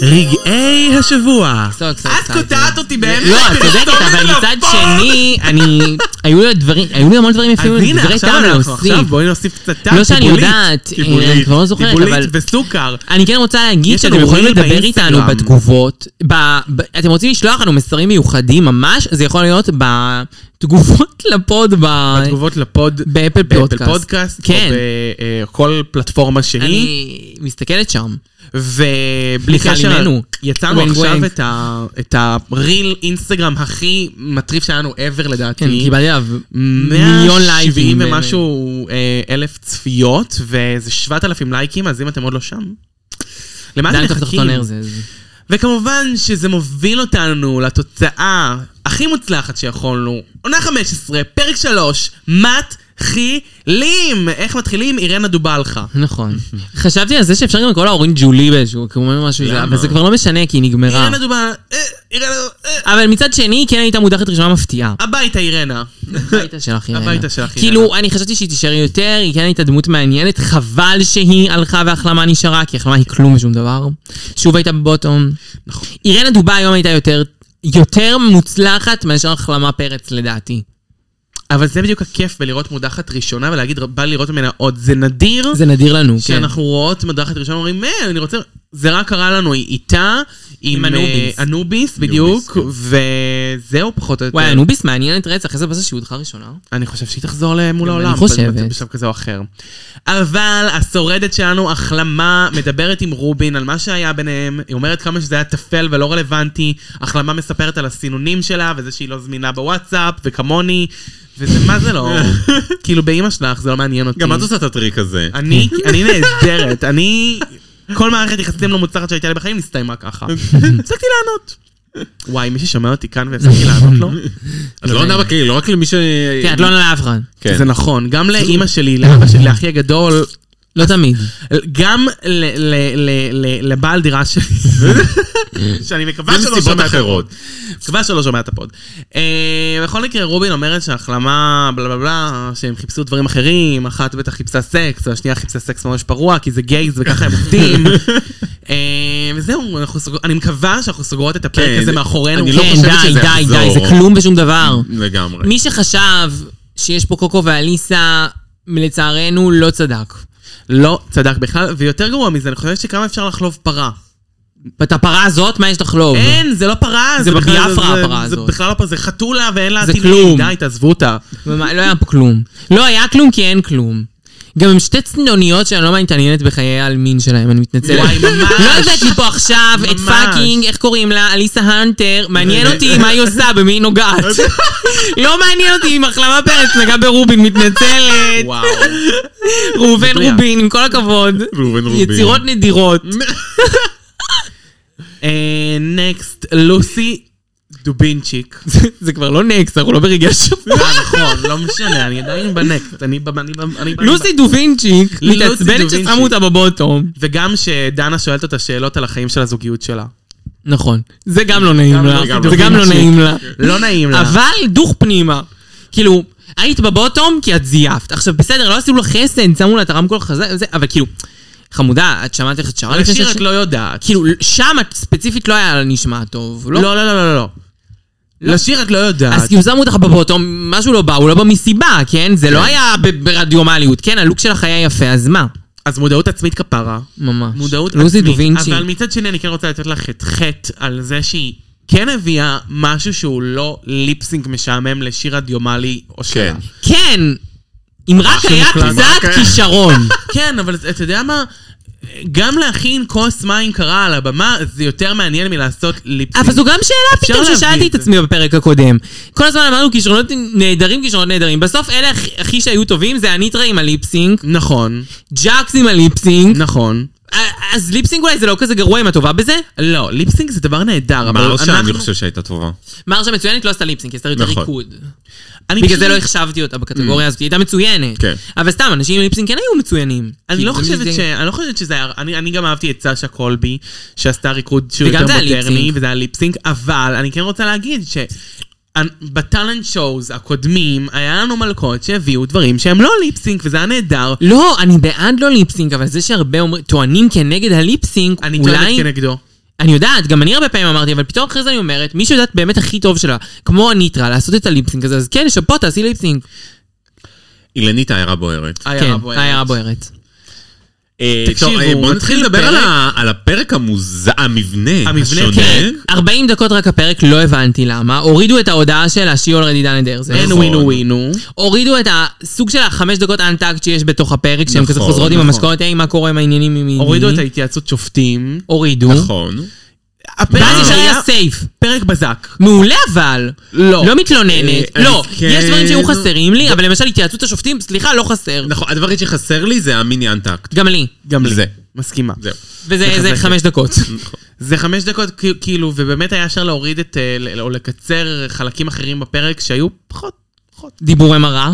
Speaker 3: רגעי השבוע.
Speaker 2: So excited.
Speaker 3: את קוטעת אותי באמת.
Speaker 2: לא, את צודקת,
Speaker 3: וסתומת
Speaker 2: אבל
Speaker 3: לי
Speaker 2: מצד
Speaker 3: לפה.
Speaker 2: שני, אני... היו לי דברים, היו לי המון דברים
Speaker 3: אז
Speaker 2: יפים,
Speaker 3: הנה,
Speaker 2: דברי
Speaker 3: עכשיו
Speaker 2: טעם
Speaker 3: אנחנו
Speaker 2: להוסיף.
Speaker 3: עכשיו, בואי נוסיף קצת טעם.
Speaker 2: לא שאני
Speaker 3: טיבולית,
Speaker 2: יודעת, אה,
Speaker 3: טיבולית,
Speaker 2: אני כבר לא זוכרת,
Speaker 3: טיבולית
Speaker 2: אבל-
Speaker 3: וסוכר.
Speaker 2: אני כן רוצה להגיד
Speaker 3: יש
Speaker 2: שאתם
Speaker 3: לנו
Speaker 2: יכולים
Speaker 3: ריל
Speaker 2: לדבר
Speaker 3: באינסטגרם.
Speaker 2: איתנו בתגובות. ב, ב, אתם רוצים לשלוח לנו מסרים מיוחדים ממש, זה יכול להיות בתגובות לפוד, ב,
Speaker 3: התגובות לפוד,
Speaker 2: אוקיי. באפל פודקאסט.
Speaker 3: פודקאסט,
Speaker 2: כן.
Speaker 3: או בכל אה, פלטפורמה שהיא,
Speaker 2: אני מסתכלת שם.
Speaker 3: ובלי
Speaker 2: מיכל
Speaker 3: קשר,
Speaker 2: אימנו.
Speaker 3: יצרנו
Speaker 2: ווינג
Speaker 3: עכשיו
Speaker 2: ווינג.
Speaker 3: את ה- את הריל אינסטגרם הכי מטריף שלנו ever לדעתי.
Speaker 2: כן, קיבלתי עליו מיליון לייבים.
Speaker 3: 170 ומשהו אה, אלף צפיות, וזה 7,000 לייקים, אז אם אתם עוד לא שם, למה אתם
Speaker 2: דן כף
Speaker 3: מחכים?
Speaker 2: תחתון ארזז.
Speaker 3: וכמובן שזה מוביל אותנו לתוצאה הכי מוצלחת שיכולנו. עונה 15, פרק 3, מתחילים! איך מתחילים? אירנה דובלחה.
Speaker 2: נכון. חשבתי על זה שאפשר גם לקרוא לה אורין ג'ולי באיזשהו, כמו משהו, זה-
Speaker 4: למה?
Speaker 2: אבל זה כבר לא משנה, כי היא נגמרה.
Speaker 3: אירנה דובלחה, אה, אירנה, אה,
Speaker 2: אבל מצד שני, היא כן הייתה מודחת ראשונה מפתיעה.
Speaker 3: הביתה אירנה.
Speaker 2: הביתה שלך, אירנה.
Speaker 3: הביתה שלך, אירנה.
Speaker 2: כאילו, אני חשבתי שהיא תישאר יותר, היא כן הייתה דמות מעניינת, חבל שהיא הלכה והחלמה נשארה, כי החלמה היא כלום ושום דבר. שוב הייתה בבוטום. נכון. אירנה דובה היום הייתה יותר, יותר מוצלחת מאשר החלמה פרץ, לדעתי.
Speaker 3: אבל זה בדיוק הכיף בלראות מודחת ראשונה ולהגיד, בא לי לראות ממנה עוד. זה נדיר
Speaker 2: זה נדיר לנו, כן.
Speaker 3: שאנחנו רואות מודחת ראשונה, אומרים, אה, אני רוצה... זה רק קרה לנו, היא איתה, עם אה,
Speaker 2: אנוביס.
Speaker 3: אנוביס, בדיוק,
Speaker 4: כן.
Speaker 3: וזהו פחות או יותר.
Speaker 2: וואי, אנוביס מעניינת רצח, איזה באסה שהיא הודחה ראשונה.
Speaker 3: אני חושב שהיא תחזור למול
Speaker 2: גם
Speaker 3: העולם.
Speaker 2: אני חושבת.
Speaker 3: במצב- בשלב כזה או אחר. אבל השורדת שלנו, החלמה, מדברת עם רובין על מה שהיה ביניהם. היא אומרת כמה שזה היה טפל ולא רלוונטי. החלמה מספרת על הסינונים שלה, וזה שהיא לא זמינה בוואטסאפ, וכמוני. וזה מה זה לא, כאילו באימא שלך זה לא מעניין אותי.
Speaker 4: גם את עושה את הטריק הזה.
Speaker 3: אני, אני נהדרת, אני... כל מערכת יחסים לא מוצלחת שהייתה לי בחיים נסתיימה ככה. הפסקתי לענות. וואי, מי ששומע אותי כאן והפסקתי לענות לו?
Speaker 4: את לא עונה בכלי, לא רק למי ש...
Speaker 2: כן, את לא עונה לאף אחד.
Speaker 4: כן.
Speaker 3: זה נכון, גם לאימא שלי, לאבא שלי, לאחי הגדול,
Speaker 2: לא תמיד.
Speaker 3: גם ל- ל- ל- ל- לבעל דירה שלי, שאני מקווה
Speaker 4: זה
Speaker 3: שלא שומע
Speaker 4: מסיבות
Speaker 3: את הפוד.
Speaker 4: אחרות.
Speaker 3: מקווה שלא שומע את הפוד. אה, בכל מקרה, רובין אומרת שהחלמה, בלה בלה בלה, שהם חיפשו דברים אחרים, אחת בטח חיפשה סקס, והשנייה חיפשה סקס ממש פרוע, כי זה גייז וככה הם עובדים. אה, וזהו, אנחנו סוג- אני מקווה שאנחנו סוגרות את הפרק
Speaker 4: כן,
Speaker 3: הזה מאחורינו.
Speaker 4: אני לא
Speaker 2: כן,
Speaker 4: חושבת
Speaker 2: די,
Speaker 4: שזה
Speaker 2: די, די,
Speaker 4: יחזור.
Speaker 2: זה כלום ושום דבר.
Speaker 4: לגמרי.
Speaker 2: מי שחשב שיש פה קוקו ואליסה, לצערנו לא צדק.
Speaker 3: לא צדק בכלל, ויותר גרוע מזה, אני חושבת שכמה אפשר לחלוב פרה.
Speaker 2: את הפרה הזאת, מה יש לחלוב?
Speaker 3: אין, זה לא פרה,
Speaker 2: זה
Speaker 3: בכלל-
Speaker 2: בביאפרה,
Speaker 3: זה-
Speaker 2: הפרה
Speaker 3: זה
Speaker 2: הזאת.
Speaker 3: בכלל לא פרה, זה חתולה ואין לה
Speaker 2: זה
Speaker 3: טילים.
Speaker 2: כלום.
Speaker 3: די, תעזבו אותה.
Speaker 2: ומה- לא היה פה כלום. לא היה כלום כי אין כלום. גם הם שתי צנוניות שאני לא מתעניינת בחיי העלמין שלהם, אני מתנצלת.
Speaker 3: וואי, ממש.
Speaker 2: לא הבאת לי פה עכשיו את
Speaker 3: ממש.
Speaker 2: פאקינג, איך קוראים לה? אליסה הנטר. מעניין אותי מה היא עושה, במי היא נוגעת. לא מעניין אותי אם החלמה פרץ נגעה ברובין, מתנצלת.
Speaker 3: וואו.
Speaker 2: ראובן
Speaker 3: מדויק.
Speaker 2: רובין, עם כל הכבוד.
Speaker 4: ראובן רובין.
Speaker 2: יצירות נדירות.
Speaker 3: אה, נקסט, לוסי דובינצ'יק.
Speaker 2: זה כבר לא נקס, אנחנו לא ברגעי השבוע.
Speaker 3: אה, נכון, לא משנה, אני עדיין בנקסט. אני ב- אני ב- אני ב-
Speaker 2: לוסי דובינצ'יק
Speaker 3: לוסי
Speaker 2: מתעצבנת
Speaker 3: דובינצ'יק.
Speaker 2: ששמו אותה בבוטום.
Speaker 3: וגם שדנה שואלת אותה שאלות על החיים של הזוגיות שלה.
Speaker 2: נכון. זה גם לא נעים
Speaker 3: גם
Speaker 2: לה.
Speaker 3: לא-
Speaker 4: גם
Speaker 2: זה
Speaker 4: לא
Speaker 2: גם לא
Speaker 3: דובינצ'יק.
Speaker 2: נעים לה.
Speaker 3: לא נעים לה.
Speaker 2: אבל דוך פנימה. כאילו, היית בבוטום כי את זייפת. עכשיו, בסדר, לא עשו לך חסן, שמו לה את הרמקול חזק, וזה, אבל כאילו, חמודה, את שמעת איך את שרה
Speaker 3: על
Speaker 2: לפני
Speaker 3: השיר
Speaker 2: שש...
Speaker 3: את לא יודעת.
Speaker 2: כאילו, שם את ספציפית לא היה לה נשמע טוב,
Speaker 3: לא,
Speaker 2: לא?
Speaker 3: לא, לא, לא, לא. לשיר את לא יודעת.
Speaker 2: אז כאילו שמו אותך בבוטום, משהו לא בא, הוא לא בא מסיבה, כן? זה לא היה ב- ברדיומליות, כן? הלוק שלך היה יפה, אז מה?
Speaker 3: אז מודעות עצמית כפרה.
Speaker 2: ממש.
Speaker 3: מודעות
Speaker 2: לוזי
Speaker 3: עצמית.
Speaker 2: דובינצ'י.
Speaker 3: אבל מצד שני, אני כן רוצה לתת לך את חטא על זה שהיא כן הביאה משהו שהוא לא ליפסינג משעמם לשיר רדיומלי או
Speaker 4: כן.
Speaker 3: שלה.
Speaker 2: כן! אם רק היה
Speaker 4: שמוקלט. רק
Speaker 2: קצת
Speaker 4: היה.
Speaker 2: כישרון.
Speaker 3: כן, אבל אתה יודע מה? גם להכין כוס מים קרה על הבמה, זה יותר מעניין מלעשות ליפסינג.
Speaker 2: אבל זו גם שאלה
Speaker 3: אפשר
Speaker 2: פתאום
Speaker 3: להבין
Speaker 2: ששאלתי
Speaker 3: את
Speaker 2: את
Speaker 3: זה.
Speaker 2: עצמי בפרק הקודם. כל הזמן אמרנו כישרונות נהדרים, כישרונות נהדרים. בסוף אלה הכי- הכי שהיו טובים זה הניטרה עם הליפסינק,
Speaker 3: נכון,
Speaker 2: ג'אקס עם הליפסינק.
Speaker 3: נכון.
Speaker 2: א- אז ליפסינק אולי זה לא כזה גרוע אם את טובה בזה?
Speaker 3: לא, ליפסינג זה דבר נהדר, אבל
Speaker 4: מרשה,
Speaker 3: אנחנו...
Speaker 4: אני לא חושב שהייתה טובה.
Speaker 2: מרשה מצוינת לא עשתה ליפסינק, היא עשתה יותר
Speaker 4: נכון.
Speaker 2: ריקוד.
Speaker 3: אני
Speaker 2: בגלל
Speaker 3: פשוט-
Speaker 2: זה לא החשבתי אותה בקטגוריה
Speaker 3: Mm.
Speaker 2: הזאת, היא הייתה מצוינת.
Speaker 4: כן.
Speaker 2: אבל סתם, אנשים עם ליפסינק כן היו מצוינים.
Speaker 3: אני
Speaker 2: כאילו,
Speaker 3: לא
Speaker 2: זה
Speaker 3: חושבת
Speaker 2: מזה-
Speaker 3: ש... אני לא חושבת שזה היה... אני, אני גם אהבתי את סשה קולבי, שעשתה ריקוד שהוא
Speaker 2: וגם
Speaker 3: יותר
Speaker 2: זה היה
Speaker 3: מודרני,
Speaker 2: ליפסינק.
Speaker 3: וזה היה ליפסינק, אבל אני כן רוצה להגיד ש... בטאלנט שואוז הקודמים, היה לנו מלכות שהביאו דברים שהם לא ליפסינק, וזה היה נהדר.
Speaker 2: לא, אני בעד לא ליפסינק, אבל זה שהרבה אומרים- טוענים כנגד הליפסינק,
Speaker 3: אני טוענת
Speaker 2: אולי...
Speaker 3: כנגדו.
Speaker 2: אני יודעת, גם אני הרבה פעמים אמרתי, אבל פתאום אחרי זה אני אומרת, מי שיודעת באמת הכי טוב שלה, כמו הניטרה, לעשות את הליפסינק הזה, אז כן, שאפו, תעשי ליפסינק.
Speaker 4: אילנית העיירה בוערת.
Speaker 2: כן,
Speaker 3: עיירה בוערת.
Speaker 2: העיירה בוערת.
Speaker 4: אה,
Speaker 3: אה, תקשיבו,
Speaker 4: טוב, אה, בוא נתחיל
Speaker 3: נתחיל
Speaker 4: לדבר על
Speaker 3: פרק.
Speaker 4: ה- על הפרק המוזע, המבנה
Speaker 3: המבנה,
Speaker 4: השונה.
Speaker 3: כן.
Speaker 2: 40 דקות רק הפרק, לא הבנתי למה. הורידו את ההודעה של ה-She already done it there. זה-
Speaker 3: אין
Speaker 4: נכון.
Speaker 3: ווינו ווינו.
Speaker 2: אוקיי. הורידו את הסוג של החמש דקות אנטקט שיש בתוך הפרק, שהם
Speaker 4: נכון,
Speaker 2: כזה חוזרות עם
Speaker 4: נכון.
Speaker 2: המשקאות, היי, מה קורה עם העניינים עם עניינים.
Speaker 3: הורידו את ההתייעצות שופטים.
Speaker 2: הורידו.
Speaker 4: נכון. אה,
Speaker 3: הפרק
Speaker 2: ואז ישר
Speaker 3: היה
Speaker 2: היה סייף.
Speaker 3: פרק בזק.
Speaker 2: מעולה אבל.
Speaker 3: לא.
Speaker 2: לא מתלוננת.
Speaker 4: אה,
Speaker 2: לא,
Speaker 4: אז כן.
Speaker 2: יש דברים שהיו חסרים לי, אבל למשל התייעצות השופטים, סליחה, לא חסר.
Speaker 4: נכון, הדבר היחיד שחסר לי זה המיני אנטקט.
Speaker 2: גם לי.
Speaker 3: גם לי.
Speaker 4: זה.
Speaker 3: מסכימה.
Speaker 4: זהו.
Speaker 2: וזה
Speaker 3: מחזקת.
Speaker 2: איזה חמש דקות.
Speaker 3: זה חמש דקות כא- כאילו, ובאמת היה אפשר להוריד את, אה, ל- או לקצר חלקים אחרים בפרק שהיו פחות.
Speaker 2: דיבורי מרה.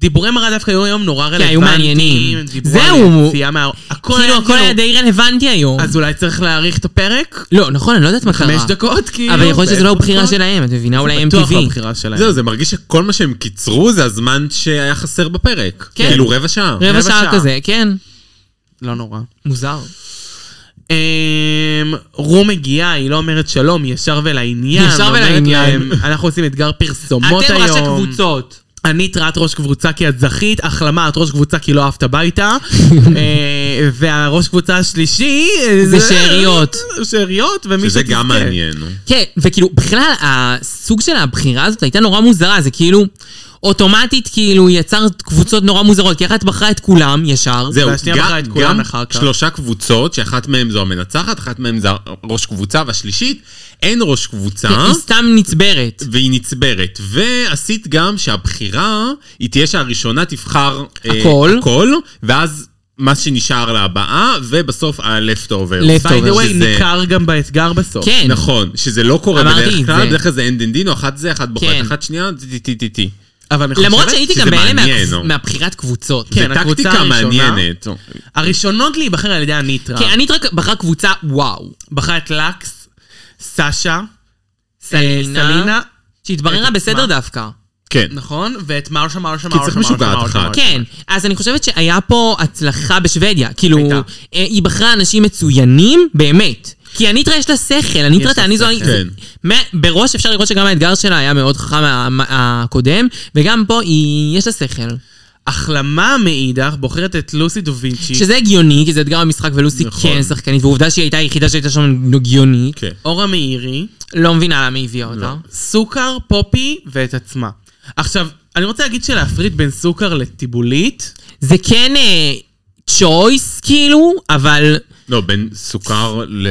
Speaker 3: דיבורי מראה דווקא היו היום נורא
Speaker 2: כן, היו
Speaker 3: רלוונטיים.
Speaker 2: מעניינים.
Speaker 3: דיברו
Speaker 2: זהו.
Speaker 3: על יציאה מה... הכל
Speaker 2: כאילו, הכל היה די רלוונטי היום.
Speaker 3: אז אולי צריך להאריך את הפרק?
Speaker 2: לא, נכון, אני לא יודעת מה קרה.
Speaker 3: חמש דקות, כאילו.
Speaker 2: אבל יכול להיות שזו לא
Speaker 3: בעשר
Speaker 2: בחירה
Speaker 3: דקות?
Speaker 2: שלהם, את מבינה? אולי
Speaker 3: בטוח לא
Speaker 2: MTV.
Speaker 3: בחירה שלהם.
Speaker 4: זהו, זה מרגיש שכל מה שהם קיצרו זה הזמן שהיה חסר בפרק.
Speaker 2: כן.
Speaker 4: כאילו רבע שעה.
Speaker 2: רבע
Speaker 3: רבע
Speaker 2: שעה
Speaker 3: שעה.
Speaker 2: כזה, כן.
Speaker 3: לא נורא.
Speaker 2: מוזר.
Speaker 3: אמ, רו מגיעה, היא לא אומרת שלום, היא ישר ולעניין.
Speaker 2: ישר
Speaker 3: אומרת
Speaker 2: ולעניין.
Speaker 3: להם, אנחנו עושים אתגר פרסומות
Speaker 2: אתם
Speaker 3: היום.
Speaker 2: ראשי קבוצות.
Speaker 3: ענית ראת ראש קבוצה כי את זכית, החלמה את ראש קבוצה כי לא אהבת הביתה. אה, והראש קבוצה השלישי... אה,
Speaker 2: זה שאריות.
Speaker 3: שאריות, ומי
Speaker 4: שזה
Speaker 3: שתזכה.
Speaker 4: גם מעניין.
Speaker 2: כן, וכאילו, בכלל, הסוג של הבחירה הזאת הייתה נורא מוזרה, זה כאילו... אוטומטית כאילו יצר קבוצות נורא מוזרות, כי אחת בחרה את כולם ישר.
Speaker 4: זהו,
Speaker 3: והשנייה
Speaker 4: גם-
Speaker 3: בחרה את כולן
Speaker 4: גם
Speaker 3: אחר כך.
Speaker 4: שלושה קבוצות, שאחת מהן זו המנצחת, אחת מהן זה ראש קבוצה, והשלישית אין ראש קבוצה.
Speaker 2: כן, היא סתם נצברת.
Speaker 4: והיא נצברת. ועשית גם שהבחירה, היא תהיה שהראשונה תבחר אה,
Speaker 2: הכל.
Speaker 4: הכל, ואז מה שנשאר להבאה, ובסוף ה-left over.
Speaker 2: Left
Speaker 3: by the
Speaker 2: טוב,
Speaker 3: way, ניכר גם באתגר בסוף.
Speaker 2: כן.
Speaker 4: נכון, שזה לא קורה
Speaker 2: אמרתי
Speaker 4: בדרך
Speaker 2: את
Speaker 4: כלל,
Speaker 2: זה.
Speaker 4: בדרך כלל זה אין דין דין, או אחת זה, אחת בוחרת,
Speaker 2: כן.
Speaker 4: אחת שנייה, טי טי טי טי.
Speaker 3: אבל אני
Speaker 2: למרות
Speaker 3: חושבת
Speaker 2: שהייתי
Speaker 4: שזה
Speaker 2: גם בהלם
Speaker 4: מעניין,
Speaker 2: מהקבוצ-
Speaker 4: נו.
Speaker 2: מהבחירת קבוצות.
Speaker 3: כן,
Speaker 4: זה
Speaker 3: הקבוצה
Speaker 4: טקטיקה
Speaker 3: הראשונה.
Speaker 4: מעניינת.
Speaker 3: הראשונות להיבחר על ידי הניטרה.
Speaker 2: כן, אני רק בחרה קבוצה, וואו.
Speaker 3: בחרה את לקס, סשה, אה,
Speaker 2: סלינה.
Speaker 3: סלינה,
Speaker 2: שהתבררה
Speaker 3: את
Speaker 2: בסדר
Speaker 3: אה, מה?
Speaker 2: דווקא.
Speaker 4: כן.
Speaker 3: נכון? ואת מרשה, מרשה,
Speaker 4: כי
Speaker 3: מרשה,
Speaker 4: צריך
Speaker 3: מרשה,
Speaker 4: משוגעת
Speaker 3: מרשה,
Speaker 4: אחת.
Speaker 3: מרשה.
Speaker 2: כן, אז אני חושבת שהיה פה הצלחה בשוודיה. כאילו,
Speaker 3: הייתה.
Speaker 2: אה, היא בחרה אנשים מצוינים, באמת. כי הניטרה יש לה שכל, הניטרה
Speaker 3: יש לה
Speaker 2: תעני זו...
Speaker 3: שכל.
Speaker 4: כן.
Speaker 2: מ- בראש אפשר לראות שגם האתגר שלה היה מאוד חכם מה- מה- הקודם, וגם פה היא... יש לה שכל.
Speaker 3: החלמה מאידך בוחרת את לוסי דוביצ'י.
Speaker 2: שזה הגיוני, כי זה אתגר המשחק ולוסי
Speaker 4: נכון.
Speaker 2: כן שחקנית, ועובדה שהיא הייתה היחידה שהייתה שם הגיונית.
Speaker 4: כן.
Speaker 3: אורה מאירי,
Speaker 2: לא מבינה למה היא הביאה אותה.
Speaker 3: סוכר, פופי ואת עצמה. עכשיו, אני רוצה להגיד שלהפריד בין סוכר לטיבולית,
Speaker 2: זה כן צ'וייס כאילו, אבל
Speaker 4: לא, בין סוכר ל...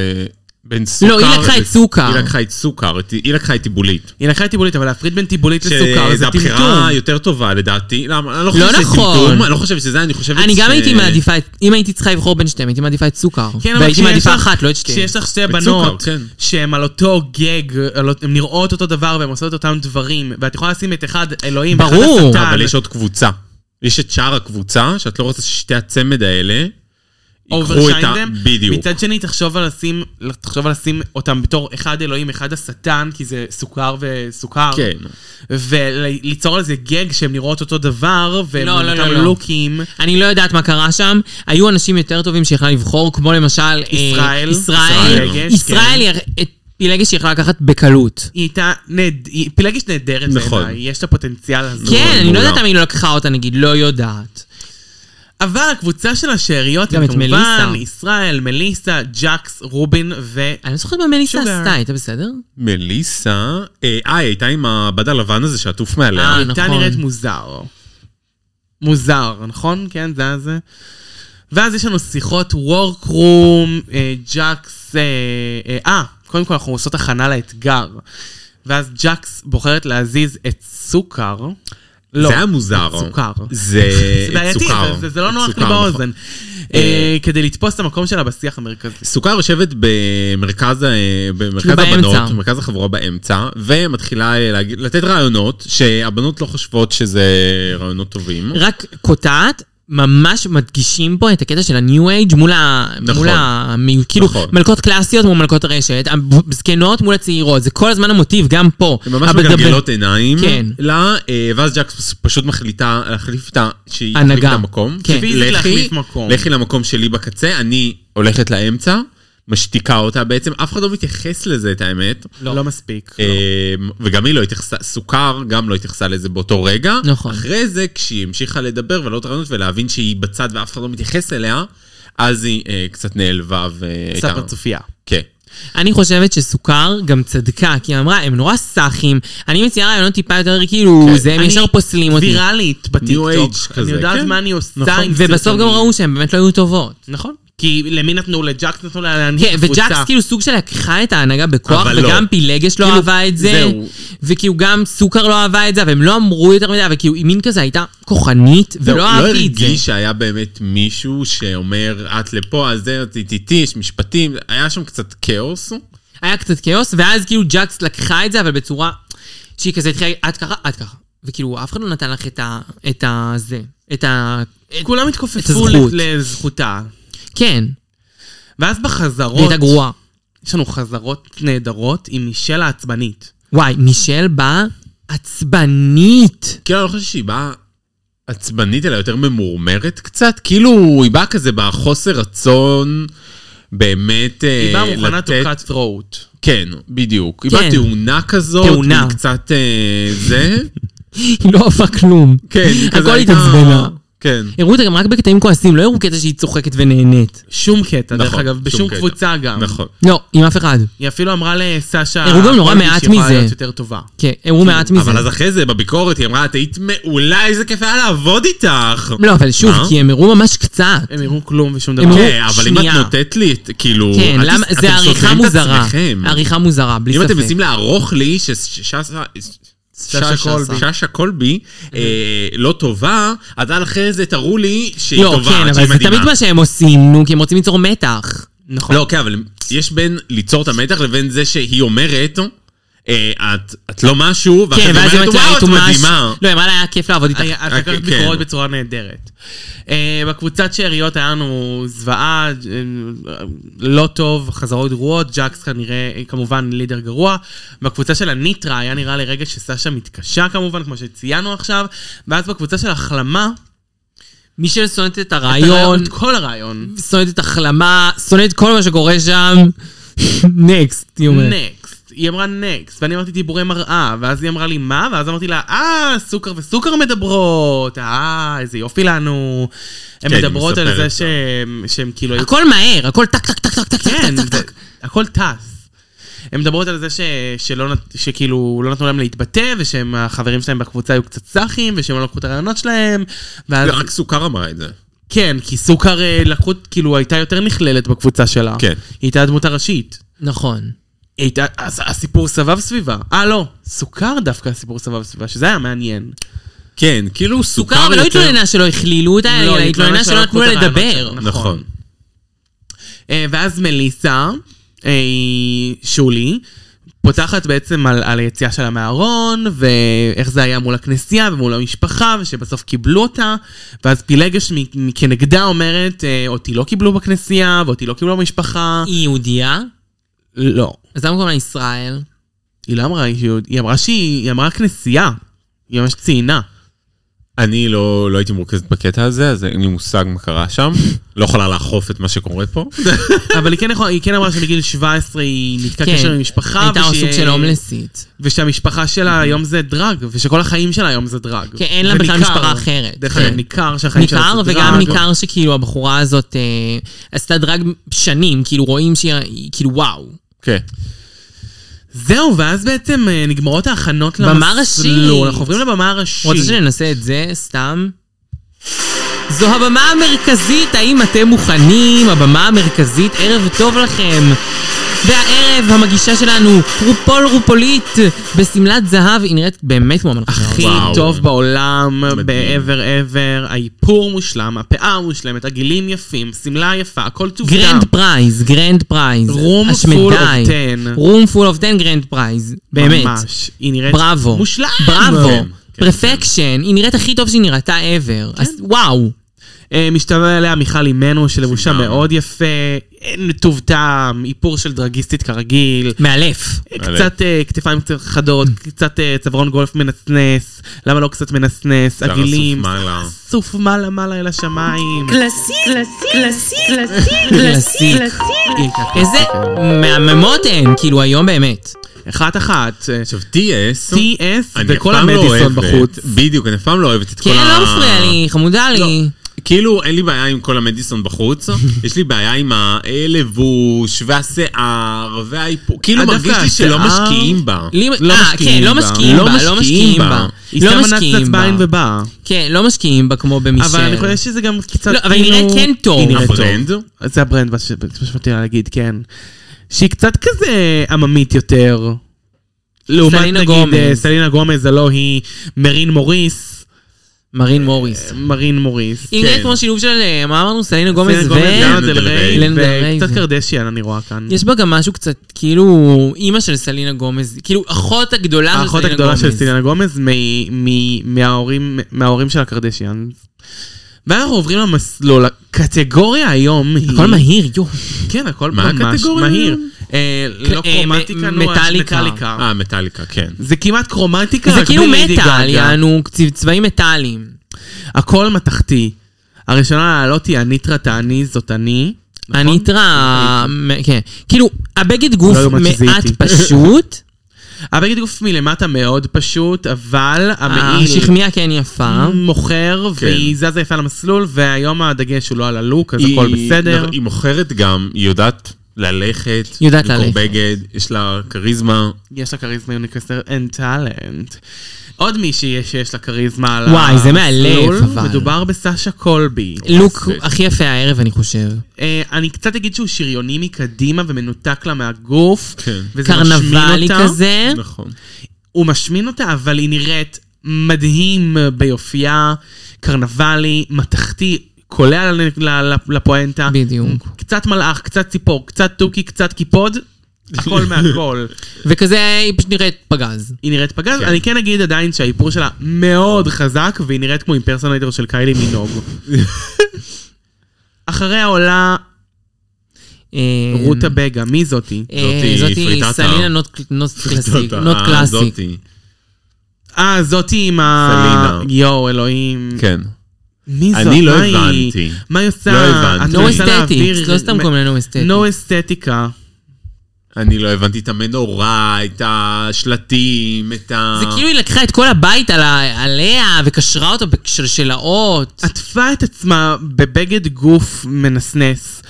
Speaker 4: בין סוכר...
Speaker 2: לא, היא לקחה את
Speaker 4: לס-
Speaker 2: סוכר.
Speaker 4: היא לקחה את סוכר, את- היא לקחה את טיבולית.
Speaker 3: היא לקחה את טיבולית, אבל להפריד בין טיבולית לסוכר זה
Speaker 4: שזה הבחירה
Speaker 3: טמטום.
Speaker 4: היותר טובה לדעתי. למה? אני לא
Speaker 2: לא
Speaker 4: חושב שזה
Speaker 2: נכון.
Speaker 4: טמטום, אני לא חושב שזה, אני חושבת
Speaker 2: אני גם
Speaker 4: ש-
Speaker 2: הייתי מעדיפה את, אם הייתי צריכה לבחור בין שתיהם, הייתי מעדיפה את סוכר. והייתי מעדיפה אחת, לא את שתיהם.
Speaker 3: כשיש כן, לך שתי
Speaker 4: בצוקר,
Speaker 3: בנות,
Speaker 4: כן.
Speaker 3: שהן על אותו גג, על- הן נראות אותו דבר והן עושות אותם דברים, ואת יכולה לשים את אחד אלוהים,
Speaker 2: ברור.
Speaker 3: ואחד השטן,
Speaker 4: אבל יש עוד קבוצה. יש את שאר הקבוצה, שאת לא רוצה ששתי הצמד האלה ייקחו את ה...
Speaker 3: אוברשיינדם.
Speaker 4: בדיוק.
Speaker 3: מצד שני, תחשוב על לשים, תחשוב על לשים אותם בתור אחד אלוהים, אחד השטן, כי זה סוכר
Speaker 2: אה.
Speaker 3: וסוכר.
Speaker 4: כן.
Speaker 3: וליצור על זה גג שהן נראות אותו דבר, והם
Speaker 2: לא, לא,
Speaker 3: אותם
Speaker 2: לא, לא.
Speaker 3: לוקים.
Speaker 2: אני לא יודעת מה קרה שם. היו אנשים יותר טובים שיכלה לבחור, כמו למשל... אה,
Speaker 3: ישראל.
Speaker 2: ישראל.
Speaker 3: ישראל, כן.
Speaker 2: ישראל היא הר- את פילגש שיכלה לקחת בקלות.
Speaker 3: היא הייתה נד... היא פילגש נהדרת
Speaker 4: נכון.
Speaker 3: בעיניי, יש את הפוטנציאל הזה.
Speaker 2: כן, אני לא
Speaker 4: מעולה.
Speaker 2: יודעת למה היא לא לקחה אותה, נגיד, לא יודעת.
Speaker 3: אבל הקבוצה של השאריות,
Speaker 2: גם
Speaker 3: הם
Speaker 2: את
Speaker 3: כמובן,
Speaker 2: מליסה.
Speaker 3: ישראל, מליסה, ג'קס, רובין ו...
Speaker 2: אני לא זוכרת מה מליסה
Speaker 3: שוגר.
Speaker 2: עשתה, הייתה בסדר?
Speaker 4: מליסה, אה, אה, היא הייתה עם הבד הלבן הזה שעטוף מעליה.
Speaker 2: אה,
Speaker 3: היא הייתה
Speaker 2: נכון.
Speaker 3: נראית מוזר. מוזר, נכון? כן, זה היה זה. ואז יש לנו שיחות וורקרום, אה, ג'קס... אה, אה, אה, קודם כל אנחנו עושות הכנה לאתגר. ואז ג'קס בוחרת להזיז את סוכר. לא,
Speaker 4: זה היה מוזר.
Speaker 3: את סוכר.
Speaker 4: זה
Speaker 3: זה בעייתי,
Speaker 4: סוכר.
Speaker 3: זה- זה- זה לא
Speaker 4: את
Speaker 3: נוח לי
Speaker 4: סוכר, נכון.
Speaker 3: באוזן. אה, כדי לתפוס את המקום שלה בשיח המרכזי.
Speaker 4: סוכר יושבת במרכז, ה- במרכז
Speaker 2: באמצע.
Speaker 4: הבנות, במרכז החבורה באמצע, ומתחילה אה, להגיד- לתת רעיונות שהבנות לא חושבות שזה רעיונות טובים.
Speaker 2: רק קוטעת, ממש מדגישים פה את הקטע של הניו אייג' מול ה...
Speaker 4: נכון.
Speaker 2: מול ה... מ- כאילו,
Speaker 4: נכון.
Speaker 2: מלכות קלאסיות מול מלכות הרשת, הזקנות מול הצעירות, זה כל הזמן המוטיב, גם פה.
Speaker 4: הן ממש
Speaker 2: הבדבד-
Speaker 4: מגלגלות עיניים
Speaker 2: כן.
Speaker 4: לה, אה, ואז ג'קס פשוט מחליטה להחליף את ה... שהיא
Speaker 2: הנהגה.
Speaker 4: תחליף את המקום.
Speaker 2: כן.
Speaker 3: פיזית
Speaker 4: לכי-
Speaker 3: להחליף מקום.
Speaker 4: לכי למקום שלי בקצה, אני הולכת לאמצע, משתיקה אותה בעצם, אף אחד לא מתייחס לזה, את האמת.
Speaker 3: לא מספיק.
Speaker 4: אמ, וגם היא לא התייחסה, סוכר גם לא התייחסה לזה באותו רגע.
Speaker 2: נכון.
Speaker 4: אחרי זה, כשהיא המשיכה לדבר ולהעלות רעיונות ולהבין שהיא בצד ואף אחד לא מתייחס אליה, אז היא אה, קצת נעלבה והייתה...
Speaker 3: עשה פרצופייה.
Speaker 4: כן.
Speaker 2: אני חושבת שסוכר גם צדקה, כי היא אמרה, הם נורא סאחים, אני מציעה רעיונות טיפה יותר כאילו,
Speaker 4: כן.
Speaker 2: זה, הם
Speaker 3: אני
Speaker 2: ישר פוסלים אותי.
Speaker 3: ויראלית בטיקטוק.
Speaker 4: Age
Speaker 3: אני
Speaker 4: כזה,
Speaker 3: יודעת
Speaker 4: כן.
Speaker 3: מה אני עושה
Speaker 4: נכון.
Speaker 3: עם
Speaker 2: ובסוף
Speaker 3: סרטונים.
Speaker 2: גם ראו שהם באמת לא היו טובות.
Speaker 3: נכון. כי למי נתנו? לג'קס נתנו להנהיג
Speaker 2: כן,
Speaker 3: קבוצה.
Speaker 2: וג'קס כאילו סוג של לקחה את ההנהגה בכוח,
Speaker 4: אבל לא.
Speaker 2: וגם פילגש לא
Speaker 4: כאילו,
Speaker 2: אהבה את זה,
Speaker 4: זהו.
Speaker 2: וכאילו גם סוכר לא אהבה את זה, והם לא אמרו יותר מדי, אבל כאילו היא מין כזה הייתה כוחנית,
Speaker 4: זהו,
Speaker 2: ולא
Speaker 4: לא
Speaker 2: אהבתי את זה.
Speaker 4: הרגיש שהיה באמת מישהו שאומר, את לפה, אז זה, טיטיטי, יש משפטים, היה שם קצת כאוס.
Speaker 2: היה קצת כאוס, ואז כאילו ג'קס לקחה את זה, אבל בצורה שהיא כזה התחילה, את ככה, את ככה. וכאילו אף אחד לא נתן לך את ה... את ה... זה. את ה... את...
Speaker 3: כולם
Speaker 2: את
Speaker 3: התכופפו
Speaker 2: הזכות.
Speaker 3: ל- לזכותה.
Speaker 2: כן,
Speaker 3: ואז
Speaker 2: היא
Speaker 3: בחזרות,
Speaker 2: הייתה גרועה.
Speaker 3: יש לנו חזרות נהדרות עם מישל העצבנית.
Speaker 2: וואי, מישל באה עצבנית.
Speaker 4: כאילו, אני לא חושב שהיא באה עצבנית, אלא יותר ממורמרת קצת. כאילו, היא באה כזה בחוסר רצון, באמת אה,
Speaker 3: היא
Speaker 4: לתת...
Speaker 3: באה מוכנה to cut throat.
Speaker 4: כן, בדיוק. היא
Speaker 2: כן.
Speaker 4: באה תאונה כזאת,
Speaker 2: תאונה.
Speaker 4: היא קצת אה, זה,
Speaker 2: היא לא אהבה כלום.
Speaker 4: כן, היא כזה
Speaker 2: הכל התעצבנה.
Speaker 4: כן.
Speaker 2: הראו אותה גם רק בקטעים כועסים, לא הראו קטע שהיא צוחקת ונהנית.
Speaker 3: שום קטע, דרך
Speaker 4: נכון,
Speaker 3: אגב,
Speaker 4: שום
Speaker 3: בשום
Speaker 4: קטע.
Speaker 3: קבוצה גם.
Speaker 4: נכון.
Speaker 2: לא, עם אף אחד.
Speaker 3: היא אפילו אמרה לסשה...
Speaker 2: הראו גם נורא
Speaker 3: פולין
Speaker 2: מעט
Speaker 3: שהיא יכולה
Speaker 2: מזה.
Speaker 3: להיות יותר טובה.
Speaker 2: כן, הראו מעט מזה.
Speaker 4: אבל אז אחרי זה, בביקורת, היא אמרה, את היית מעולה, איזה כיף היה לעבוד איתך.
Speaker 2: לא, אבל שוב,
Speaker 4: מה?
Speaker 2: כי הם הראו ממש קצת.
Speaker 3: הם הראו כלום ושום דבר.
Speaker 2: הם הראו-
Speaker 4: כן, אבל אם את
Speaker 2: שנייה.
Speaker 4: נותנת לי, את- כאילו,
Speaker 2: כן,
Speaker 4: אל תס-
Speaker 2: למה,
Speaker 4: אתם
Speaker 2: זה עריכה
Speaker 4: סותרים את
Speaker 2: מוזרה.
Speaker 4: עצמכם.
Speaker 2: עריכה מוזרה, בלי
Speaker 4: אם
Speaker 2: ספק.
Speaker 4: אתם מנסים לערוך לי שששה...
Speaker 2: ששה קולבי.
Speaker 4: ששה קולבי אה, לא טובה, אז על אחרי זה תראו לי שהיא
Speaker 2: לא,
Speaker 4: טובה,
Speaker 2: כן,
Speaker 4: שהיא
Speaker 2: אבל זה
Speaker 4: מדהימה.
Speaker 2: תמיד מה שהם עושים, נו, כי הם רוצים ליצור מתח.
Speaker 3: נכון.
Speaker 4: לא, כן, אבל יש בין ליצור את המתח לבין זה שהיא אומרת, אה, את- את לא משהו,
Speaker 2: כן,
Speaker 4: ואחרי
Speaker 2: ואז
Speaker 4: זה
Speaker 2: היא
Speaker 4: אומרת,
Speaker 2: מצאה
Speaker 4: וואו, את
Speaker 2: איתו משהו.
Speaker 4: מדהימה.
Speaker 2: לא, היא אמרה לה, היה כיף לעבוד איתך.
Speaker 3: היה- את
Speaker 4: אה,
Speaker 3: לקחת
Speaker 4: כן.
Speaker 3: ביקורות בצורה נהדרת. אה, בקבוצת שאריות היה לנו זוועה, אה, לא טוב, חזרות גרועות, ג'קס כנראה, אה, כמובן לידר גרוע. בקבוצה של הניטרה היה נראה לרגע שסשה מתקשה כמובן, כמו שציינו עכשיו, ואז בקבוצה של החלמה,
Speaker 2: מישל שונאת את
Speaker 3: אתה רואה
Speaker 2: הרעיון,
Speaker 3: את כל הרעיון.
Speaker 2: שונאת את החלמה, שונאת כל מה שקורה שם. נקסט, היא אומרת.
Speaker 3: נקסט. היא אמרה נקסט, ואני אמרתי דיבורי מראה, ואז היא אמרה לי מה, ואז אמרתי לה, אה, סוכר וסוכר מדברות, אה, איזה יופי לנו. הן
Speaker 4: כן, היא
Speaker 3: מדברות על זה
Speaker 4: מספרת
Speaker 3: שהם- שהם כאילו היו
Speaker 2: הכל מהר, הכל טק טק טק טק טק טק
Speaker 3: כן,
Speaker 2: טק טק
Speaker 3: זה-
Speaker 2: טק.
Speaker 3: הכל טס. הן מדברות על זה ש, שלא, נת- שכאילו לא נתנו להם להתבטא, ושהם, החברים שלהם בקבוצה היו קצת סאחים, ושהם לא לקחו את הרעיונות שלהם,
Speaker 2: לא,
Speaker 3: ואז,
Speaker 4: לא, רק סוכר אמרה את זה.
Speaker 3: כן, כי סוכר אה, לקחו, כאילו הייתה יותר נכללת בקבוצה שלה.
Speaker 4: כן.
Speaker 3: היא הייתה הדמות הראשית.
Speaker 2: נכון.
Speaker 3: היא הייתה, אז הסיפור סבב סביבה. אה, לא, סוכר דווקא הסיפור סבב סביבה, שזה היה מעניין.
Speaker 4: כן, כאילו סוכר
Speaker 2: סוכר, אבל לא
Speaker 4: יותר-
Speaker 2: התלוננה שלא הכלילו אותה,
Speaker 3: לא,
Speaker 2: אלא
Speaker 3: היא התלוננה
Speaker 2: התלוננה
Speaker 3: שלא
Speaker 2: שלא נתנו לה
Speaker 3: לקחו את הרעיונות
Speaker 2: לדבר.
Speaker 3: שלה. נכון.
Speaker 4: נכון.
Speaker 3: אה, ואז מליסה, אה, שולי, פותחת בעצם על, על היציאה שלה מהארון, ואיך זה היה מול הכנסייה ומול המשפחה, ושבסוף קיבלו אותה, ואז פילגש מ- מ- כנגדה אומרת, אה, אותי לא קיבלו בכנסייה, ואותי לא קיבלו במשפחה.
Speaker 2: היא יהודייה,
Speaker 3: לא.
Speaker 2: אז למה קוראים לה ישראל?
Speaker 3: היא לא אמרה, היא, היא אמרה שהיא היא אמרה כנסייה. היא ממש ציינה.
Speaker 4: אני לא, לא הייתי מורכזת בקטע הזה, אז אין לי מושג מה קרה שם. לא יכולה לאכוף את מה שקורה פה.
Speaker 3: אבל היא כן, יכול, היא כן אמרה שבגיל 17 היא נתקעה
Speaker 2: כן.
Speaker 3: קשר עם המשפחה.
Speaker 2: הייתה
Speaker 3: ושהיא-
Speaker 2: סוג של הומלסית.
Speaker 3: ושהמשפחה שלה היום זה דרג, ושכל החיים שלה היום זה דרג.
Speaker 2: כן, Mm-hmm. אין לה בכלל
Speaker 3: וניכר.
Speaker 2: משפחה אחרת.
Speaker 3: דרך
Speaker 2: כן.
Speaker 3: אגב, ניכר שהחיים שלה
Speaker 2: ניכר,
Speaker 3: זה דרג.
Speaker 2: וגם ניכר שכאילו הבחורה הזאת אה, עשתה דרג שנים, כאילו רואים שהיא היא כאילו וואו.
Speaker 4: כן.
Speaker 3: זהו, ואז בעצם אה, נגמרות ההכנות
Speaker 2: במה
Speaker 3: למסלול.
Speaker 2: ראשית.
Speaker 3: אנחנו עוברים לבמה הראשית.
Speaker 2: רוצה שננסה את זה סתם? זו הבמה המרכזית, האם אתם מוכנים? הבמה המרכזית, ערב טוב לכם. והערב המגישה שלנו, רופול רופולית, בשמלת זהב, היא נראית באמת כמו המלכה.
Speaker 3: הכי
Speaker 4: וואו.
Speaker 3: טוב בעולם,
Speaker 4: מדהים.
Speaker 3: בעבר עבר, האיפור מושלם, הפאה מושלמת, הגילים יפים, שמלה יפה, הכל טוב
Speaker 2: גרנד פרייז, גרנד פרייז.
Speaker 3: Room
Speaker 2: השמדי.
Speaker 3: full of 10.
Speaker 2: רום פול אוף 10 גרנד פרייז. באמת.
Speaker 3: ממש. היא נראית
Speaker 2: בראבו.
Speaker 3: מושלם.
Speaker 2: בראבו.
Speaker 4: כן.
Speaker 2: פרפקשן. היא נראית הכי טוב שהיא נראתה ever. אז וואו.
Speaker 3: אה, משתווה עליה מיכל אימנו, שלבושה
Speaker 4: לגמרי.
Speaker 3: מאוד יפה, אין טוב טעם, איפור של דרגיסטית כרגיל.
Speaker 2: מאלף.
Speaker 3: קצת אה, כתפיים קצת חדות, קצת אה, צווארון גולף מנצנץ, למה לא קצת מנצנץ,
Speaker 4: אפשר
Speaker 3: עגילים,
Speaker 4: לסוף מעלה.
Speaker 3: סוף מעלה מעלה אל השמיים.
Speaker 1: קלאסי, קלאסי, קלאסי, קלאסי,
Speaker 3: היא הייתה
Speaker 2: איזה מהממות הן, כאילו היום באמת.
Speaker 3: אחת אחת, אה,
Speaker 4: עכשיו, TS,
Speaker 3: TS
Speaker 4: אני אף
Speaker 3: וכל
Speaker 4: פעם לא
Speaker 3: המדיסון
Speaker 4: אוהבת.
Speaker 3: בחוץ.
Speaker 4: בדיוק, אני אף פעם לא אוהבת את כל
Speaker 2: כן,
Speaker 4: ה...
Speaker 2: לא מפריע לי, חמודה לי.
Speaker 3: לא,
Speaker 4: כאילו, אין לי בעיה עם כל המדיסון בחוץ, יש לי בעיה עם הלבוש, והשיער, והאיפור, כאילו
Speaker 3: דווקא
Speaker 4: מרגיש לי שלא
Speaker 3: השיער-
Speaker 4: משקיעים בה.
Speaker 2: לי-
Speaker 3: לא
Speaker 2: אה,
Speaker 3: משקיעים
Speaker 2: כן, לא
Speaker 3: בה.
Speaker 2: משקיעים
Speaker 4: לא
Speaker 2: בה, לא
Speaker 4: משקיעים
Speaker 2: משקיעים
Speaker 4: בה.
Speaker 2: בה.
Speaker 3: היא
Speaker 2: לא
Speaker 3: שמה
Speaker 2: משקיעים
Speaker 3: נצנץ
Speaker 2: בה.
Speaker 3: בעין ובאה.
Speaker 2: כן, לא משקיעים בה כמו במישל.
Speaker 3: אבל אני חושב שזה גם קצת כאילו-
Speaker 2: לא, אבל היא נראית כן טוב.
Speaker 3: היא נראית טוב.
Speaker 4: הברנד?
Speaker 3: זה הברנד, מה ש- מה שבאתי לה להגיד, כן. שהיא קצת כזה עממית יותר. לעומת
Speaker 2: סלינה
Speaker 3: נגיד
Speaker 2: גומז.
Speaker 3: אה, סלינה גומז, הלא היא מרין מוריס.
Speaker 2: מרין מוריס.
Speaker 3: מרין מוריס.
Speaker 2: היא
Speaker 4: כן.
Speaker 2: נראית כמו שילוב של, אה, מה אמרנו? סלינה גומז
Speaker 3: כן. סלינה
Speaker 2: ו...
Speaker 3: לאנה דל
Speaker 4: ריי.
Speaker 3: ריי,
Speaker 2: לאנה דל ריי
Speaker 3: וקצת
Speaker 2: ו-
Speaker 3: קרדשיאן אני רואה כאן.
Speaker 2: יש בה גם משהו קצת, כאילו, אימא של סלינה גומז, כאילו, אחות הגדולה של סלינה גומז.
Speaker 3: האחות הגדולה של סלינה גומז מ- מ- מההורים- מההורים של הקרדשיאן. ואנחנו עוברים למסלול, הקטגוריה היום היא...
Speaker 2: הכל מהיר, יואו.
Speaker 3: כן, הכל
Speaker 4: מה
Speaker 3: ממש
Speaker 4: הקטגוריה
Speaker 3: מהיר.
Speaker 4: היום?
Speaker 3: אה, לא
Speaker 2: אה,
Speaker 3: קרומטיקה,
Speaker 2: מ-
Speaker 3: נו,
Speaker 2: מטאליקה.
Speaker 3: מטאליקה. אה,
Speaker 4: אה, מטאליקה, כן.
Speaker 3: זה כמעט קרומטיקה,
Speaker 2: זה
Speaker 3: רק
Speaker 2: כאילו
Speaker 3: בלי לידי
Speaker 2: מטאל,
Speaker 3: גגה.
Speaker 2: יענו, צבע- צבעים מטאליים.
Speaker 3: הכל מתכתי. הראשונה לעלות היא הניטרה תעני, זאת אני. נכון?
Speaker 2: הניטרה, מ- כן. כאילו, הבגד גוף
Speaker 3: לא יאומן שזה
Speaker 2: מעט
Speaker 3: איטי.
Speaker 2: פשוט,
Speaker 3: הבגד גוף מלמטה מאוד פשוט, אבל המעיל
Speaker 2: השכמיה כן יפה.
Speaker 3: מוכר,
Speaker 4: אה? כן.
Speaker 3: והיא זזה יפה למסלול, והיום הדגש הוא לא על הלוק, אז הכל בסדר.
Speaker 4: היא מוכרת גם, היא יודעת ללכת.
Speaker 2: יודעת
Speaker 4: לקרוא
Speaker 2: ללכת.
Speaker 4: בגד, יש לה כריזמה.
Speaker 3: יש לה כריזמה יוניקסטר אין טאלנט. עוד מישהי יש שיש לה כריזמה על
Speaker 2: וואי, זה מהלב,
Speaker 3: המסלול,
Speaker 2: אבל.
Speaker 3: מדובר בסשה קולבי.
Speaker 2: לוק
Speaker 4: יפה.
Speaker 2: הכי יפה הערב, אני חושב.
Speaker 3: אה, אני קצת אגיד שהוא שריוני מקדימה ומנותק לה מהגוף.
Speaker 4: כן.
Speaker 3: וזה משמין
Speaker 2: קרנבלי
Speaker 3: אותה.
Speaker 2: כזה.
Speaker 3: כן.
Speaker 4: נכון.
Speaker 3: הוא משמין אותה, אבל היא נראית מדהים ביופייה, קרנבלי, מתכתי, קולע ל- ל- ל- לפואנטה.
Speaker 2: בדיוק.
Speaker 3: קצת מלאך, קצת ציפור, קצת תוכי, קצת קיפוד, הכל מהכל.
Speaker 2: וכזה היא פשוט נראית פגז.
Speaker 3: היא נראית פגז,
Speaker 4: כן.
Speaker 3: אני כן אגיד עדיין שהאיפור שלה מאוד חזק, והיא נראית כמו אימפרסונטור של קיילי מינוג. אחריה עולה
Speaker 2: אה,
Speaker 4: כן.
Speaker 3: רותה בגה, מי זאתי?
Speaker 2: אה,
Speaker 4: זאתי
Speaker 2: זאתי
Speaker 4: פריטטה.
Speaker 2: סלינה נוט קלאסיק. נוט
Speaker 4: אה,
Speaker 2: קלאסיק.
Speaker 4: זאתי.
Speaker 3: אה, זאתי עם ה...
Speaker 4: סלינה.
Speaker 3: יואו, אלוהים.
Speaker 4: כן.
Speaker 3: מי זאת?
Speaker 4: אני לא
Speaker 3: מה היא?
Speaker 4: הבנתי.
Speaker 3: מה היא עושה?
Speaker 4: לא הבנתי.
Speaker 3: את
Speaker 4: No
Speaker 2: נו
Speaker 3: מנסה
Speaker 2: אסתטיקס,
Speaker 3: להעביר-
Speaker 2: לא סתם קוראים לנו
Speaker 3: נו
Speaker 2: אסתטיקס.
Speaker 3: אסתטיקה.
Speaker 4: אני לא הבנתי את המנורה, את השלטים, את ה...
Speaker 2: זה כאילו היא לקחה את כל הבית על ה- עליה וקשרה אותו בשלשלאות.
Speaker 3: עטפה את עצמה בבגד גוף מנסנס.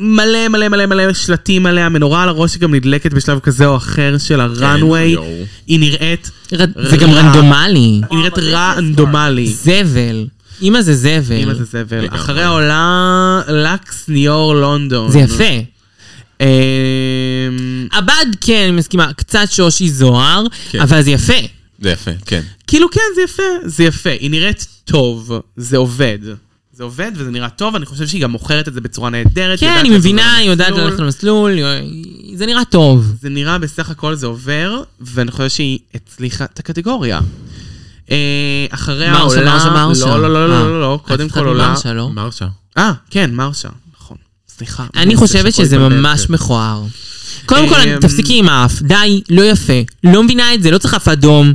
Speaker 3: מלא מלא מלא מלא שלטים עליה, מנורה על הראש שגם נדלקת בשלב כזה או אחר של הראנוויי.
Speaker 4: כן, יואו.
Speaker 3: היא נראית,
Speaker 2: רד- זה גם
Speaker 3: רע.
Speaker 2: רנדומלי.
Speaker 3: היא נראית רנדומלי.
Speaker 2: זבל. אמא זה
Speaker 3: אימא זה
Speaker 2: זבל.
Speaker 3: זבל.
Speaker 4: לגמרי.
Speaker 3: אחריה עולה לקס ניאור לונדון.
Speaker 2: זה יפה.
Speaker 3: אמ,
Speaker 2: עבד, כן, אני מסכימה, קצת שושי זוהר,
Speaker 4: כן.
Speaker 2: אבל זה יפה.
Speaker 4: זה יפה, כן.
Speaker 3: כאילו כן, זה יפה, זה יפה. היא נראית טוב, זה עובד. זה עובד וזה נראה טוב, אני חושב שהיא גם מוכרת את זה בצורה נהדרת.
Speaker 2: כן,
Speaker 3: יודעת
Speaker 2: אני
Speaker 3: לעשות
Speaker 2: מבינה,
Speaker 3: את
Speaker 2: היא יודעת
Speaker 3: המסלול.
Speaker 2: ללכת למסלול, זה נראה טוב.
Speaker 3: זה נראה בסך הכל זה עובר, ואני חושב שהיא הצליחה את הקטגוריה. אה, אחריה
Speaker 2: מרשה,
Speaker 3: עולה...
Speaker 2: מרשה, מרשה.
Speaker 3: לא, לא, לא, לא,
Speaker 2: אה,
Speaker 3: לא, לא, לא, קודם
Speaker 2: אף אחד
Speaker 3: כל עולה...
Speaker 2: ממרשה, לא?
Speaker 4: מרשה.
Speaker 3: אה, כן, מרשה, נכון. סליחה.
Speaker 2: אני
Speaker 3: זה
Speaker 2: חושבת
Speaker 3: שפה
Speaker 2: שזה
Speaker 3: התבלבל,
Speaker 2: ממש
Speaker 3: כן.
Speaker 2: מכוער. קודם כל,
Speaker 3: אמ,
Speaker 2: תפסיקי עם האף, די, לא יפה. לא מבינה את זה, לא צריך אף אדום.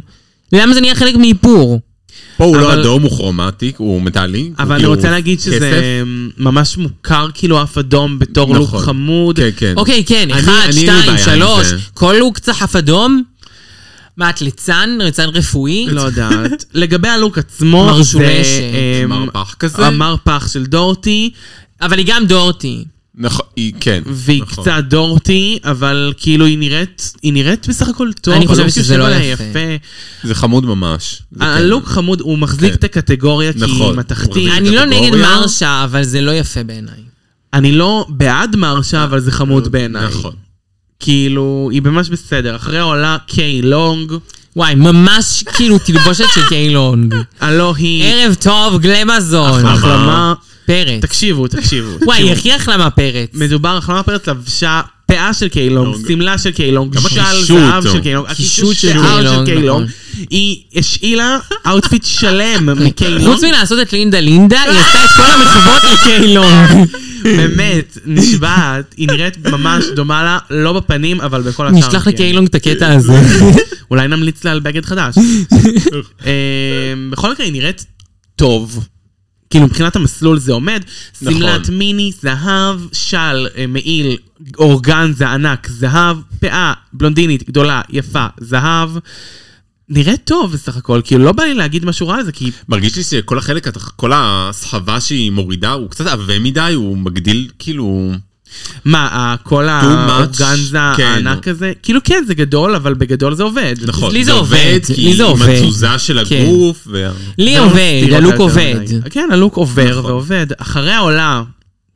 Speaker 2: למה זה נהיה חלק מאיפור?
Speaker 4: פה הוא
Speaker 3: אבל-
Speaker 4: לא אדום, הוא כרומטי, הוא מטאלי. הוא
Speaker 3: אבל אני
Speaker 4: כאילו
Speaker 3: רוצה להגיד
Speaker 4: כסף.
Speaker 3: שזה ממש מוכר, כאילו, אף אדום בתור לוק
Speaker 4: נכון.
Speaker 3: חמוד.
Speaker 4: כן, כן.
Speaker 2: אוקיי, כן,
Speaker 4: אני-
Speaker 2: אחד,
Speaker 4: אני אין לי בעיה
Speaker 2: שתיים,
Speaker 4: עם
Speaker 2: שלוש,
Speaker 4: זה.
Speaker 2: כל לוק צריך אף אדום? מה, את ליצן? ליצן רפואי?
Speaker 3: לא יודעת. לגבי הלוק עצמו,
Speaker 2: מרשולשת.
Speaker 3: זה, אמ,
Speaker 4: מרפח כזה.
Speaker 3: המרפח של דורטי,
Speaker 2: אבל היא גם דורטי.
Speaker 4: נכון, היא- כן.
Speaker 3: והיא
Speaker 4: נכון.
Speaker 3: קצת דורטי, אבל כאילו היא נראית, היא נראית בסך הכל טוב.
Speaker 2: אני חושבת
Speaker 3: הלוק
Speaker 2: שזה
Speaker 3: יושב
Speaker 2: לא
Speaker 3: עליה
Speaker 2: יפה.
Speaker 4: זה חמוד ממש. זה
Speaker 2: אה,
Speaker 3: הלוק חמוד, הוא מחזיק
Speaker 4: כן.
Speaker 3: את הקטגוריה כי היא
Speaker 4: נכון.
Speaker 3: מתכתית.
Speaker 4: הוא
Speaker 2: אני לא
Speaker 4: קטגוריה?
Speaker 2: נגד מרשה, אבל זה לא יפה בעיניי.
Speaker 3: אני לא בעד מרשה, אבל זה חמוד
Speaker 4: כן.
Speaker 3: בעיניי.
Speaker 4: נכון.
Speaker 3: כאילו, היא ממש בסדר. אחרי העולה קיי לונג,
Speaker 2: וואי, ממש כאילו תלבושת של קיילונג.
Speaker 3: הלא היא
Speaker 2: ערב טוב, גלמזון.
Speaker 3: החלמה.
Speaker 4: אה,
Speaker 2: פרץ.
Speaker 3: תקשיבו, תקשיבו.
Speaker 2: וואי,
Speaker 3: תקשיבו.
Speaker 2: הכי החלמה פרץ.
Speaker 3: מדובר, החלמה פרץ לבשה פאה של קיילונג,
Speaker 4: לונג.
Speaker 3: שמלה של קיילונג,
Speaker 4: גם
Speaker 3: שעל
Speaker 4: הקישוט
Speaker 3: זהב
Speaker 4: טוב.
Speaker 3: של קיילונג,
Speaker 2: קישוט
Speaker 3: הקישוט
Speaker 2: של
Speaker 3: שיער של
Speaker 2: קיילונג,
Speaker 3: קיילונג,
Speaker 2: נכון.
Speaker 3: היא השאילה אאוטפיט שלם מקיילונג,
Speaker 2: חוץ מלעשות את לינדה לינדה, היא עשתה את כל המחוות לקיילונג.
Speaker 3: באמת, נשבעת, היא נראית ממש דומה לה, לא בפנים, אבל בכל השאר.
Speaker 2: נשלח
Speaker 3: כן.
Speaker 2: לקיילונג את הקטע הזה.
Speaker 3: אולי נמליץ לה על בגד חדש. אה, בכל מקרה, היא נראית טוב. כאילו, מבחינת המסלול זה עומד,
Speaker 4: נכון.
Speaker 3: שמלת מיני, זהב, של, אה, מעיל, אורגנזה ענק, זהב, פאה, בלונדינית, גדולה, יפה, זהב. נראית טוב בסך הכל, כאילו, לא בא לי להגיד משהו רע על זה, כי
Speaker 4: מרגיש לי שכל החלק, כל הסחבה שהיא מורידה, הוא קצת עבה מדי, הוא מגדיל כאילו...
Speaker 3: מה, ה- כל האורגנזה
Speaker 4: כן.
Speaker 3: הענק הזה? כאילו, כן, זה גדול, אבל בגדול זה עובד.
Speaker 4: נכון.
Speaker 2: לי זה
Speaker 4: זה
Speaker 2: עובד,
Speaker 4: כי
Speaker 2: לי זה
Speaker 4: עם
Speaker 2: עובד.
Speaker 4: התזוזה של
Speaker 2: כן.
Speaker 4: הגוף. וה-
Speaker 2: לי
Speaker 3: זה לא
Speaker 2: עובד,
Speaker 3: מסתיר
Speaker 2: הלוק
Speaker 3: אותה יותר
Speaker 2: עובד.
Speaker 3: מדי. כן, הלוק עובר
Speaker 4: נכון.
Speaker 3: ועובד. אחרי העולה,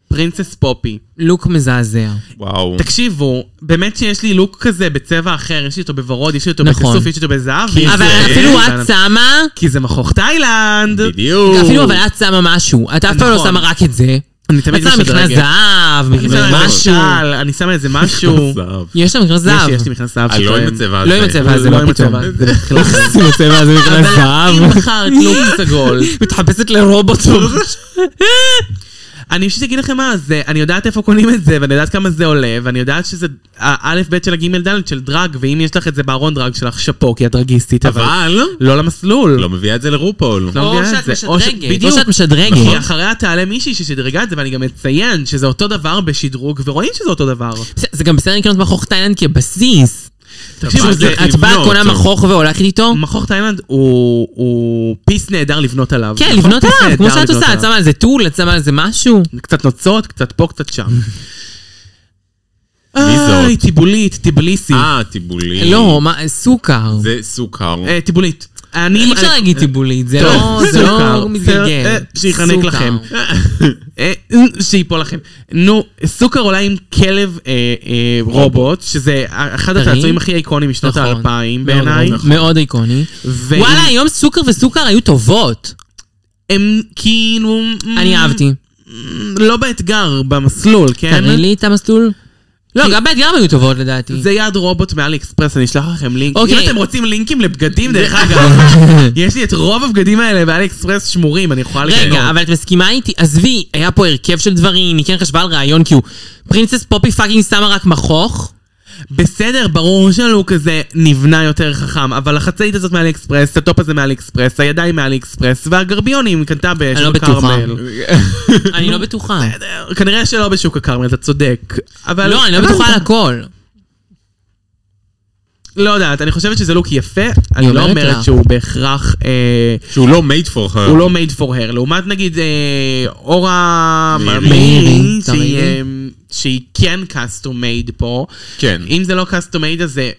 Speaker 3: פרינסס פופי.
Speaker 2: לוק מזעזע.
Speaker 4: וואו.
Speaker 3: תקשיבו, באמת שיש לי לוק כזה בצבע אחר, יש לי אותו בוורוד, יש לי אותו
Speaker 2: נכון.
Speaker 3: בכסוף, יש לי אותו בזהב.
Speaker 4: כי
Speaker 3: ויש
Speaker 2: אבל
Speaker 3: לי-
Speaker 4: זה-
Speaker 2: אפילו
Speaker 3: כן,
Speaker 2: את שמה,
Speaker 3: כי זה מכוך תאילנד.
Speaker 4: בדיוק.
Speaker 2: אפילו אבל את שמה משהו. את אף פעם לא
Speaker 3: נכון.
Speaker 2: שמה רק את זה.
Speaker 3: אני
Speaker 2: את
Speaker 3: תמיד
Speaker 2: שמה מכנס
Speaker 3: משדרגת.
Speaker 2: זהב,
Speaker 3: אני שמה
Speaker 2: מכנס
Speaker 3: איזה
Speaker 2: משהו.
Speaker 3: משל, אני שמה איזה משהו.
Speaker 4: זהב.
Speaker 2: יש לה מכנס
Speaker 3: יש
Speaker 2: זהב.
Speaker 3: לי- יש לי מכנס זהב
Speaker 4: אה, לא עם
Speaker 3: שטועם.
Speaker 4: הצבע הזה.
Speaker 2: לא עם הצבע הזה,
Speaker 3: לא
Speaker 2: לא
Speaker 3: עם
Speaker 2: פתאום.
Speaker 3: הצבע, זה בכלל.
Speaker 2: עם הצבע הזה מכנס
Speaker 3: אבל אם בחרת לוק סגול,
Speaker 2: מתחפשת לרובוט.
Speaker 3: אני פשוט אגיד לכם מה זה, אני יודעת איפה קונים את זה, ואני יודעת כמה זה עולה, ואני יודעת שזה האלף בית של הגימל דלת של דרג, ואם יש לך את זה בארון דרג שלך, שאפו, כי את דרגיסטית, אבל
Speaker 4: אבל
Speaker 3: לא למסלול.
Speaker 4: לא מביאה את זה לרופול.
Speaker 3: לא
Speaker 2: או
Speaker 3: מביאה את
Speaker 2: שאת
Speaker 3: זה.
Speaker 2: משדרגת.
Speaker 3: או ש-
Speaker 2: או
Speaker 3: בדיוק. נכון.
Speaker 2: שאת משדרגת.
Speaker 3: כי אחריה תעלה מישהי ששדרגה את זה, ואני גם אציין שזה אותו דבר בשדרוג, ורואים שזה אותו דבר.
Speaker 2: זה- זה גם בסדר לקנות מכוך תאילנד כבסיס.
Speaker 3: תקשיבו,
Speaker 4: זה-
Speaker 3: זה-
Speaker 2: את באה,
Speaker 4: לבנות,
Speaker 2: קונה
Speaker 4: טוב.
Speaker 2: מכוך והולכת איתו?
Speaker 3: מכוך תאילנד הוא- הוא פיס נהדר לבנות עליו.
Speaker 2: כן,
Speaker 3: נכון?
Speaker 2: לבנות
Speaker 3: פיס
Speaker 2: עליו, כמו
Speaker 3: נהדר
Speaker 2: שאת
Speaker 3: לבנות
Speaker 2: עושה, את
Speaker 3: עליו.
Speaker 2: שמה על זה טול, את שמה על זה משהו.
Speaker 3: קצת נוצות, קצת פה, קצת שם.
Speaker 4: מי זאת?
Speaker 3: איי, טיבולית, טיבליסי.
Speaker 4: אה, טיבולי.
Speaker 2: לא, מה, סוכר.
Speaker 4: זה סוכר.
Speaker 3: אה, טיבולית. אני-
Speaker 2: אי אפשר
Speaker 3: אני-
Speaker 2: להגיד טיבולית, זה
Speaker 3: טוב,
Speaker 2: לא- זה
Speaker 3: אה. סוכר.
Speaker 2: לא מתגלגל.
Speaker 3: אה, שיחנק
Speaker 2: סוכר.
Speaker 3: לכם. אה, שיפול לכם. נו, סוכר עולה עם כלב אה, אה, רובוט, שזה אחד
Speaker 2: טרי.
Speaker 3: הצעצועים הכי איקונים משנות
Speaker 2: נכון.
Speaker 3: האלפיים
Speaker 2: מאוד,
Speaker 3: בעיניי.
Speaker 2: מאוד, נכון. מאוד איקוני.
Speaker 3: ועם-
Speaker 2: וואלה, היום סוכר וסוכר היו טובות.
Speaker 3: הם כאילו... מ,
Speaker 2: אני אהבתי.
Speaker 3: לא באתגר, במסלול, כן?
Speaker 2: תראי לי את המסלול. לא,
Speaker 3: כי-
Speaker 2: גם באתגר היו טובות לדעתי.
Speaker 3: זה יד רובוט מאלי אקספרס, אני אשלח לכם לינק.
Speaker 2: אוקיי.
Speaker 3: אם אתם רוצים לינקים לבגדים, דרך אגב, יש לי את רוב הבגדים האלה באלי אקספרס שמורים, אני יכולה לקנות.
Speaker 2: רגע, אבל את מסכימה איתי? עזבי, היה פה הרכב של דברים, היא כן חשבה על רעיון, כי הוא... פרינסס פופי פאקינג שמה רק מכוך?
Speaker 3: בסדר, ברור שהלוק הזה נבנה יותר חכם, אבל החצאית הזאת מאלי אקספרס, הטופ הזה מאלי אקספרס, הידיים מאלי אקספרס, והגרביונים קנתה בשוק
Speaker 2: לא בטוחה.
Speaker 3: הכרמל.
Speaker 2: אני לא בטוחה.
Speaker 3: בסדר, כנראה שלא בשוק הכרמל, אתה צודק. אבל...
Speaker 2: לא, אני לא
Speaker 3: אבל-
Speaker 2: בטוחה על הכל.
Speaker 3: לא יודעת, אני חושבת שזה לוק יפה, אני לא
Speaker 2: אומרת
Speaker 3: אומרת
Speaker 2: לה.
Speaker 3: שהוא בהכרח... אה,
Speaker 4: שהוא לא made for her.
Speaker 3: הוא לא made for her. לעומת נגיד אה, אורה
Speaker 4: מאירי.
Speaker 2: מאירי,
Speaker 3: מאירי,
Speaker 2: מאירי.
Speaker 3: שהיא, אה, שהיא כן custom made פה.
Speaker 4: כן.
Speaker 3: אם זה לא custom made אז זה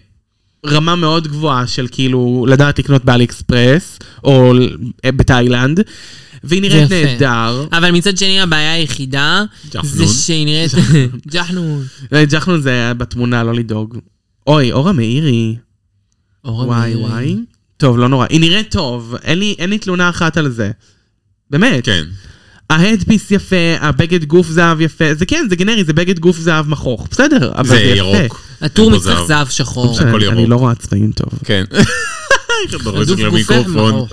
Speaker 3: רמה מאוד גבוהה של כאילו לדעת לקנות באלי אקספרס, או ל- אה, בתאילנד, והיא נראית
Speaker 2: זה יפה.
Speaker 3: נהדר.
Speaker 2: אבל מצד שני הבעיה היחידה, זה
Speaker 4: ג'חנון.
Speaker 2: שהיא נראית... ג'חנון.
Speaker 3: אה, ג'חנון זה היה בתמונה, לא לדאוג. אוי, אורה מאירי.
Speaker 2: אורה
Speaker 3: וואי
Speaker 2: מירי.
Speaker 3: וואי. טוב, לא נורא. היא נראית טוב, אין לי, אין לי תלונה אחת על זה. באמת.
Speaker 4: כן.
Speaker 3: ההדפיס יפה, הבגד גוף זהב יפה, זה כן, זה גנרי, זה בגד גוף זהב מכוך, בסדר, אבל זה,
Speaker 4: זה
Speaker 3: יפה.
Speaker 4: ירוק.
Speaker 2: הטור
Speaker 4: לא
Speaker 2: מצח
Speaker 4: זהב.
Speaker 2: זהב שחור.
Speaker 4: בסדר. הכל
Speaker 3: אני- אני
Speaker 4: ירוק.
Speaker 3: לא רואה צבעים טוב.
Speaker 4: כן. איך אתה דורש
Speaker 2: רדוף גופך
Speaker 4: למיקרופון?
Speaker 2: מאור.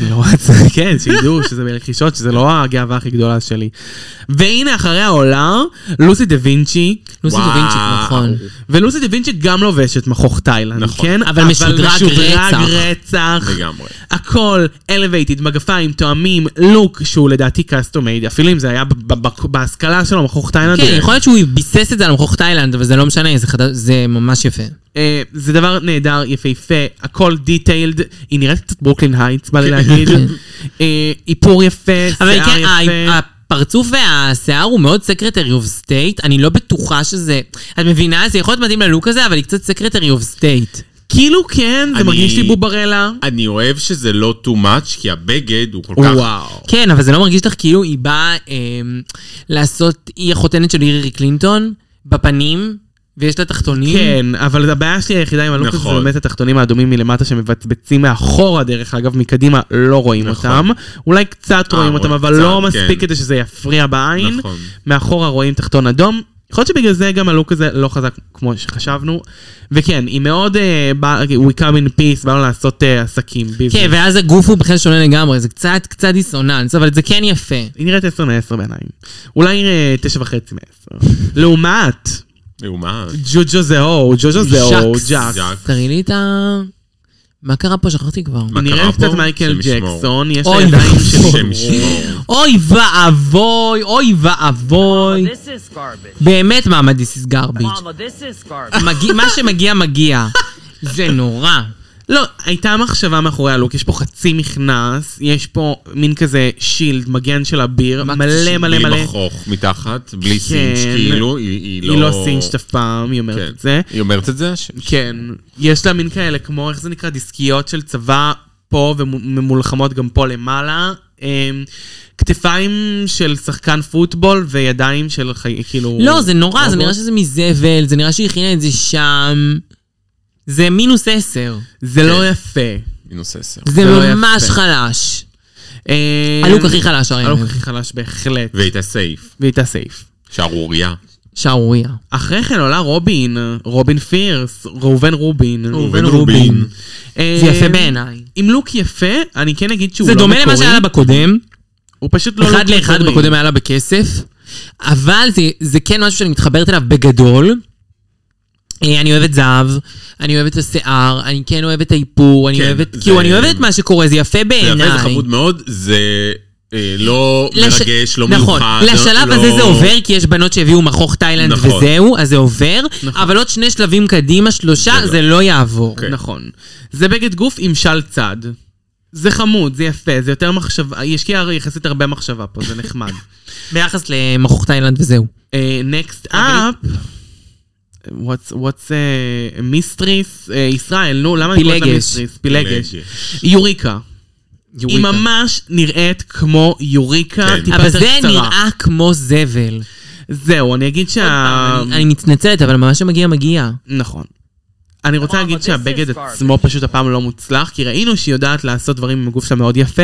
Speaker 3: אני לא רואה צבעים, כן, שידעו שזה ברכישות, שזה לא הגאווה הכי גדולה שלי. והנה אחרי העולה, לוסי דה וינצ'י,
Speaker 2: לוסי
Speaker 4: וואו.
Speaker 2: דווינצ'יק, נכון.
Speaker 3: ולוסי דה וינצ'י גם לובשת מכוך תאילנד,
Speaker 4: נכון.
Speaker 3: כן?
Speaker 2: אבל משודרג רצח.
Speaker 3: רצח.
Speaker 4: לגמרי.
Speaker 3: הכל elevated, מגפיים, תואמים, לוק שהוא לדעתי custom made, אפילו אם זה היה ב- ב- ב- בהשכלה שלו, מכוך תאילנד. אה,
Speaker 2: כן,
Speaker 3: הוא-
Speaker 2: יכול להיות שהוא ביסס את זה על מכוך תאילנד, אבל זה לא משנה, זה חדש- זה ממש יפה.
Speaker 3: אה, זה דבר נהדר, יפהפה, הכל דיטיילד, היא נראית קצת ברוקלין הייטס, בא לי להגיד. אה, איפור יפה,
Speaker 2: כן. אבל
Speaker 3: שיער
Speaker 2: כן, ה-
Speaker 3: יפה.
Speaker 2: הפרצוף והשיער הוא מאוד סקרטרי אוף סטייט, אני לא בטוחה שזה... את מבינה? זה יכול להיות מתאים ללוק הזה, אבל היא קצת סקרטרי אוף סטייט.
Speaker 3: כאילו כן, זה
Speaker 4: אני-
Speaker 3: מרגיש לי בוברלה.
Speaker 4: אני אוהב שזה לא too much, כי הבגד הוא כל כך...
Speaker 3: וואו.
Speaker 2: כן, אבל זה לא מרגיש לך כאילו היא באה אה, לעשות, היא החותנת של הירי קלינטון, בפנים, ויש לה תחתונים.
Speaker 3: כן, אבל הבעיה שלי היחידה עם הלוק הזה זה
Speaker 4: נכון.
Speaker 3: באמת התחתונים האדומים מלמטה שמבצבצים מאחורה דרך אגב, מקדימה לא רואים
Speaker 4: נכון.
Speaker 3: אותם. אולי קצת
Speaker 4: אה,
Speaker 3: רואים אותם,
Speaker 4: רואים
Speaker 3: אבל
Speaker 4: קצת,
Speaker 3: לא
Speaker 4: כן.
Speaker 3: מספיק כדי שזה יפריע בעין.
Speaker 4: נכון.
Speaker 3: מאחורה רואים תחתון אדום. יכול להיות שבגלל זה גם הלוק הזה לא חזק כמו שחשבנו. וכן, היא מאוד, אה, בא- we come in peace, באנו לעשות אה, עסקים, ביזנס.
Speaker 2: כן, ואז הגוף הוא בכלל שונה לגמרי, זה קצת, קצת דיסוננס, אבל זה כן יפה.
Speaker 3: היא נראית 10 מ-10 בעיניים. אולי אה, 9 וחצי מ-10. לעומת,
Speaker 4: לעומת.
Speaker 3: ג'וג'ו זהו, ג'וג'ו זהו,
Speaker 2: ז'קס.
Speaker 3: ג'אקס.
Speaker 4: ז'קס.
Speaker 2: תראי לי את ה... מה קרה פה? שכחתי כבר.
Speaker 4: מה קרה
Speaker 3: נראית קצת
Speaker 4: פה?
Speaker 3: מייקל
Speaker 4: שם ישמור.
Speaker 3: ג'קסון, יש לה
Speaker 2: אוי לא.
Speaker 3: ידיים של...
Speaker 4: שם ישמור.
Speaker 2: אוי ואבוי, אוי ואבוי.
Speaker 5: This is garbage.
Speaker 2: באמת מעמד this is garbage.
Speaker 5: Mama, this is garbage.
Speaker 2: מגיע- מה שמגיע מגיע. זה נורא.
Speaker 3: לא, הייתה מחשבה מאחורי הלוק, יש פה חצי מכנס, יש פה מין כזה שילד, מגן של הביר,
Speaker 2: מה
Speaker 3: מלא
Speaker 2: זה?
Speaker 3: מלא
Speaker 4: בלי
Speaker 3: מלא.
Speaker 4: מכוך מתחת, בלי
Speaker 3: כן.
Speaker 4: סינץ', כאילו, היא-
Speaker 3: היא לא סינג'ת אף פעם, היא אומרת
Speaker 4: כן.
Speaker 3: את זה.
Speaker 4: היא אומרת את זה? ש-
Speaker 3: כן, יש לה מין כאלה, כמו, איך זה נקרא, דיסקיות של צבא פה וממולחמות גם פה למעלה. אמ, כתפיים של שחקן פוטבול וידיים של חי... כאילו...
Speaker 2: לא, זה נורא, זה
Speaker 3: רובוט.
Speaker 2: נראה שזה מזבל, זה נראה שהיא הכינה את זה שם. זה מינוס עשר.
Speaker 3: זה
Speaker 2: כן.
Speaker 3: לא יפה.
Speaker 4: מינוס עשר.
Speaker 2: זה
Speaker 3: זה לא
Speaker 2: ממש
Speaker 3: יפה.
Speaker 2: חלש.
Speaker 3: אמ,
Speaker 2: הלוק הכי חלש הרי.
Speaker 3: הלוק הכי חלש בהחלט.
Speaker 4: והיא הייתה סייף.
Speaker 3: והיא הייתה סייף.
Speaker 4: שערוריה.
Speaker 2: כן, שערוריה.
Speaker 3: אחרי כן עולה רובין, רובין פירס, ראובן רובין.
Speaker 4: ראובן
Speaker 2: רובין.
Speaker 4: רובין.
Speaker 3: אה,
Speaker 2: זה יפה בעיניי.
Speaker 3: עם לוק יפה, אני כן אגיד שהוא
Speaker 2: זה
Speaker 3: לא מקורי.
Speaker 2: דומה למה שהיה לה בקודם.
Speaker 3: הוא פשוט לא לוק
Speaker 2: אחד
Speaker 3: מקורי.
Speaker 2: לאחד בקודם היה לה בכסף, אבל זה, זה כן משהו שאני מתחברת אליו בגדול. אה, אני אוהבת זהב, אני אוהבת את השיער, אני כן אוהבת את האיפור, אני
Speaker 4: כן,
Speaker 2: אוהבת,
Speaker 4: זה-
Speaker 2: כאילו אני אוהבת את מה שקורה, זה יפה
Speaker 4: זה
Speaker 2: בעיניי.
Speaker 4: יפה, זה חמוד מאוד, זה אה, לא
Speaker 2: לש-
Speaker 4: מרגש, לא
Speaker 2: נכון,
Speaker 4: מיוחד.
Speaker 2: לשלב
Speaker 4: לא-
Speaker 2: הזה זה עובר, כי יש בנות שהביאו מכוך תאילנד
Speaker 4: נכון.
Speaker 2: וזהו, אז זה עובר, אבל עוד שני שלבים קדימה, שלושה,
Speaker 4: זה לא.
Speaker 2: זה לא יעבור.
Speaker 4: אוקיי.
Speaker 3: נכון. זה בגד גוף עם של צד. זה חמוד, זה יפה, זה יותר מחשבה, היא השקיעה יחסית הרבה מחשבה פה, זה נחמד.
Speaker 2: ביחס למכוך תאילנד וזהו.
Speaker 3: נקסט אפ, what's מיסטריס, ישראל, נו, למה אני קוראת לה
Speaker 2: פילגש.
Speaker 3: מיסטריס? פילגש. יוריקה. היא
Speaker 2: יוריקה.
Speaker 3: ממש נראית כמו יוריקה,
Speaker 4: כן.
Speaker 3: טיפה
Speaker 2: אבל
Speaker 3: יותר
Speaker 2: זה
Speaker 3: קצרה.
Speaker 2: נראה כמו זבל.
Speaker 3: זהו, אני אגיד שה...
Speaker 4: אמ.
Speaker 2: אני מתנצלת, אבל מה שמגיע מגיע.
Speaker 3: נכון. אני רוצה
Speaker 5: Mama,
Speaker 3: להגיד
Speaker 5: this
Speaker 3: שהבגד
Speaker 5: is garbage.
Speaker 3: עצמו פשוט הפעם לא מוצלח, כי ראינו שהיא יודעת לעשות דברים עם הגוף שלה מאוד יפה.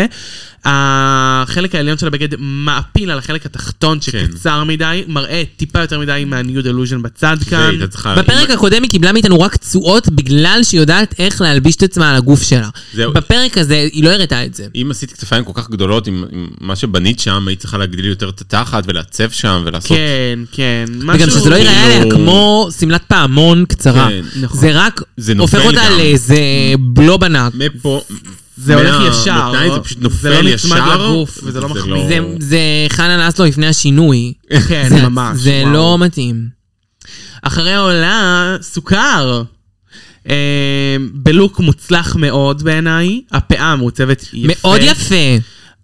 Speaker 3: החלק העליון של הבגד מעפיל על החלק התחתון שקצר מדי, מראה טיפה יותר מדי מהניו דלוז'ן בצד כאן.
Speaker 4: והייתה צריכה-
Speaker 2: בפרק
Speaker 3: לא-
Speaker 2: הקודם היא קיבלה מאיתנו רק תשואות בגלל שהיא יודעת איך להלביש את עצמה על הגוף שלה.
Speaker 4: זהו.
Speaker 2: בפרק הזה היא לא הראתה את זה.
Speaker 4: אם עשית כתפיים כל כך גדולות עם עם מה שבנית שם, היית צריכה להגדיל יותר את התחת ולעצב שם ולעשות...
Speaker 3: כן, כן.
Speaker 2: וגם שזה לא ייראה עליה
Speaker 4: כאילו-
Speaker 2: כמו שמלת פעמון קצרה.
Speaker 4: כן,
Speaker 3: נכון.
Speaker 2: זה רק
Speaker 4: זה נופל
Speaker 2: הופך אותה
Speaker 4: גם.
Speaker 2: לאיזה בלוב ענק.
Speaker 4: מפה...
Speaker 3: זה הולך ישר.
Speaker 4: מהמותניים זה פשוט
Speaker 3: זה
Speaker 4: נופל
Speaker 3: לא
Speaker 4: ישר.
Speaker 3: נצמד לגוף, וזה לא מחמיא.
Speaker 2: זה- זה חנה נס לו לפני השינוי.
Speaker 3: כן,
Speaker 2: זה-
Speaker 3: ממש.
Speaker 2: זה
Speaker 3: וואו.
Speaker 2: לא מתאים.
Speaker 3: אחרי העולה, סוכר. אה, בלוק מוצלח מאוד בעיניי, הפאה מעוצבת יפה.
Speaker 2: מאוד יפה.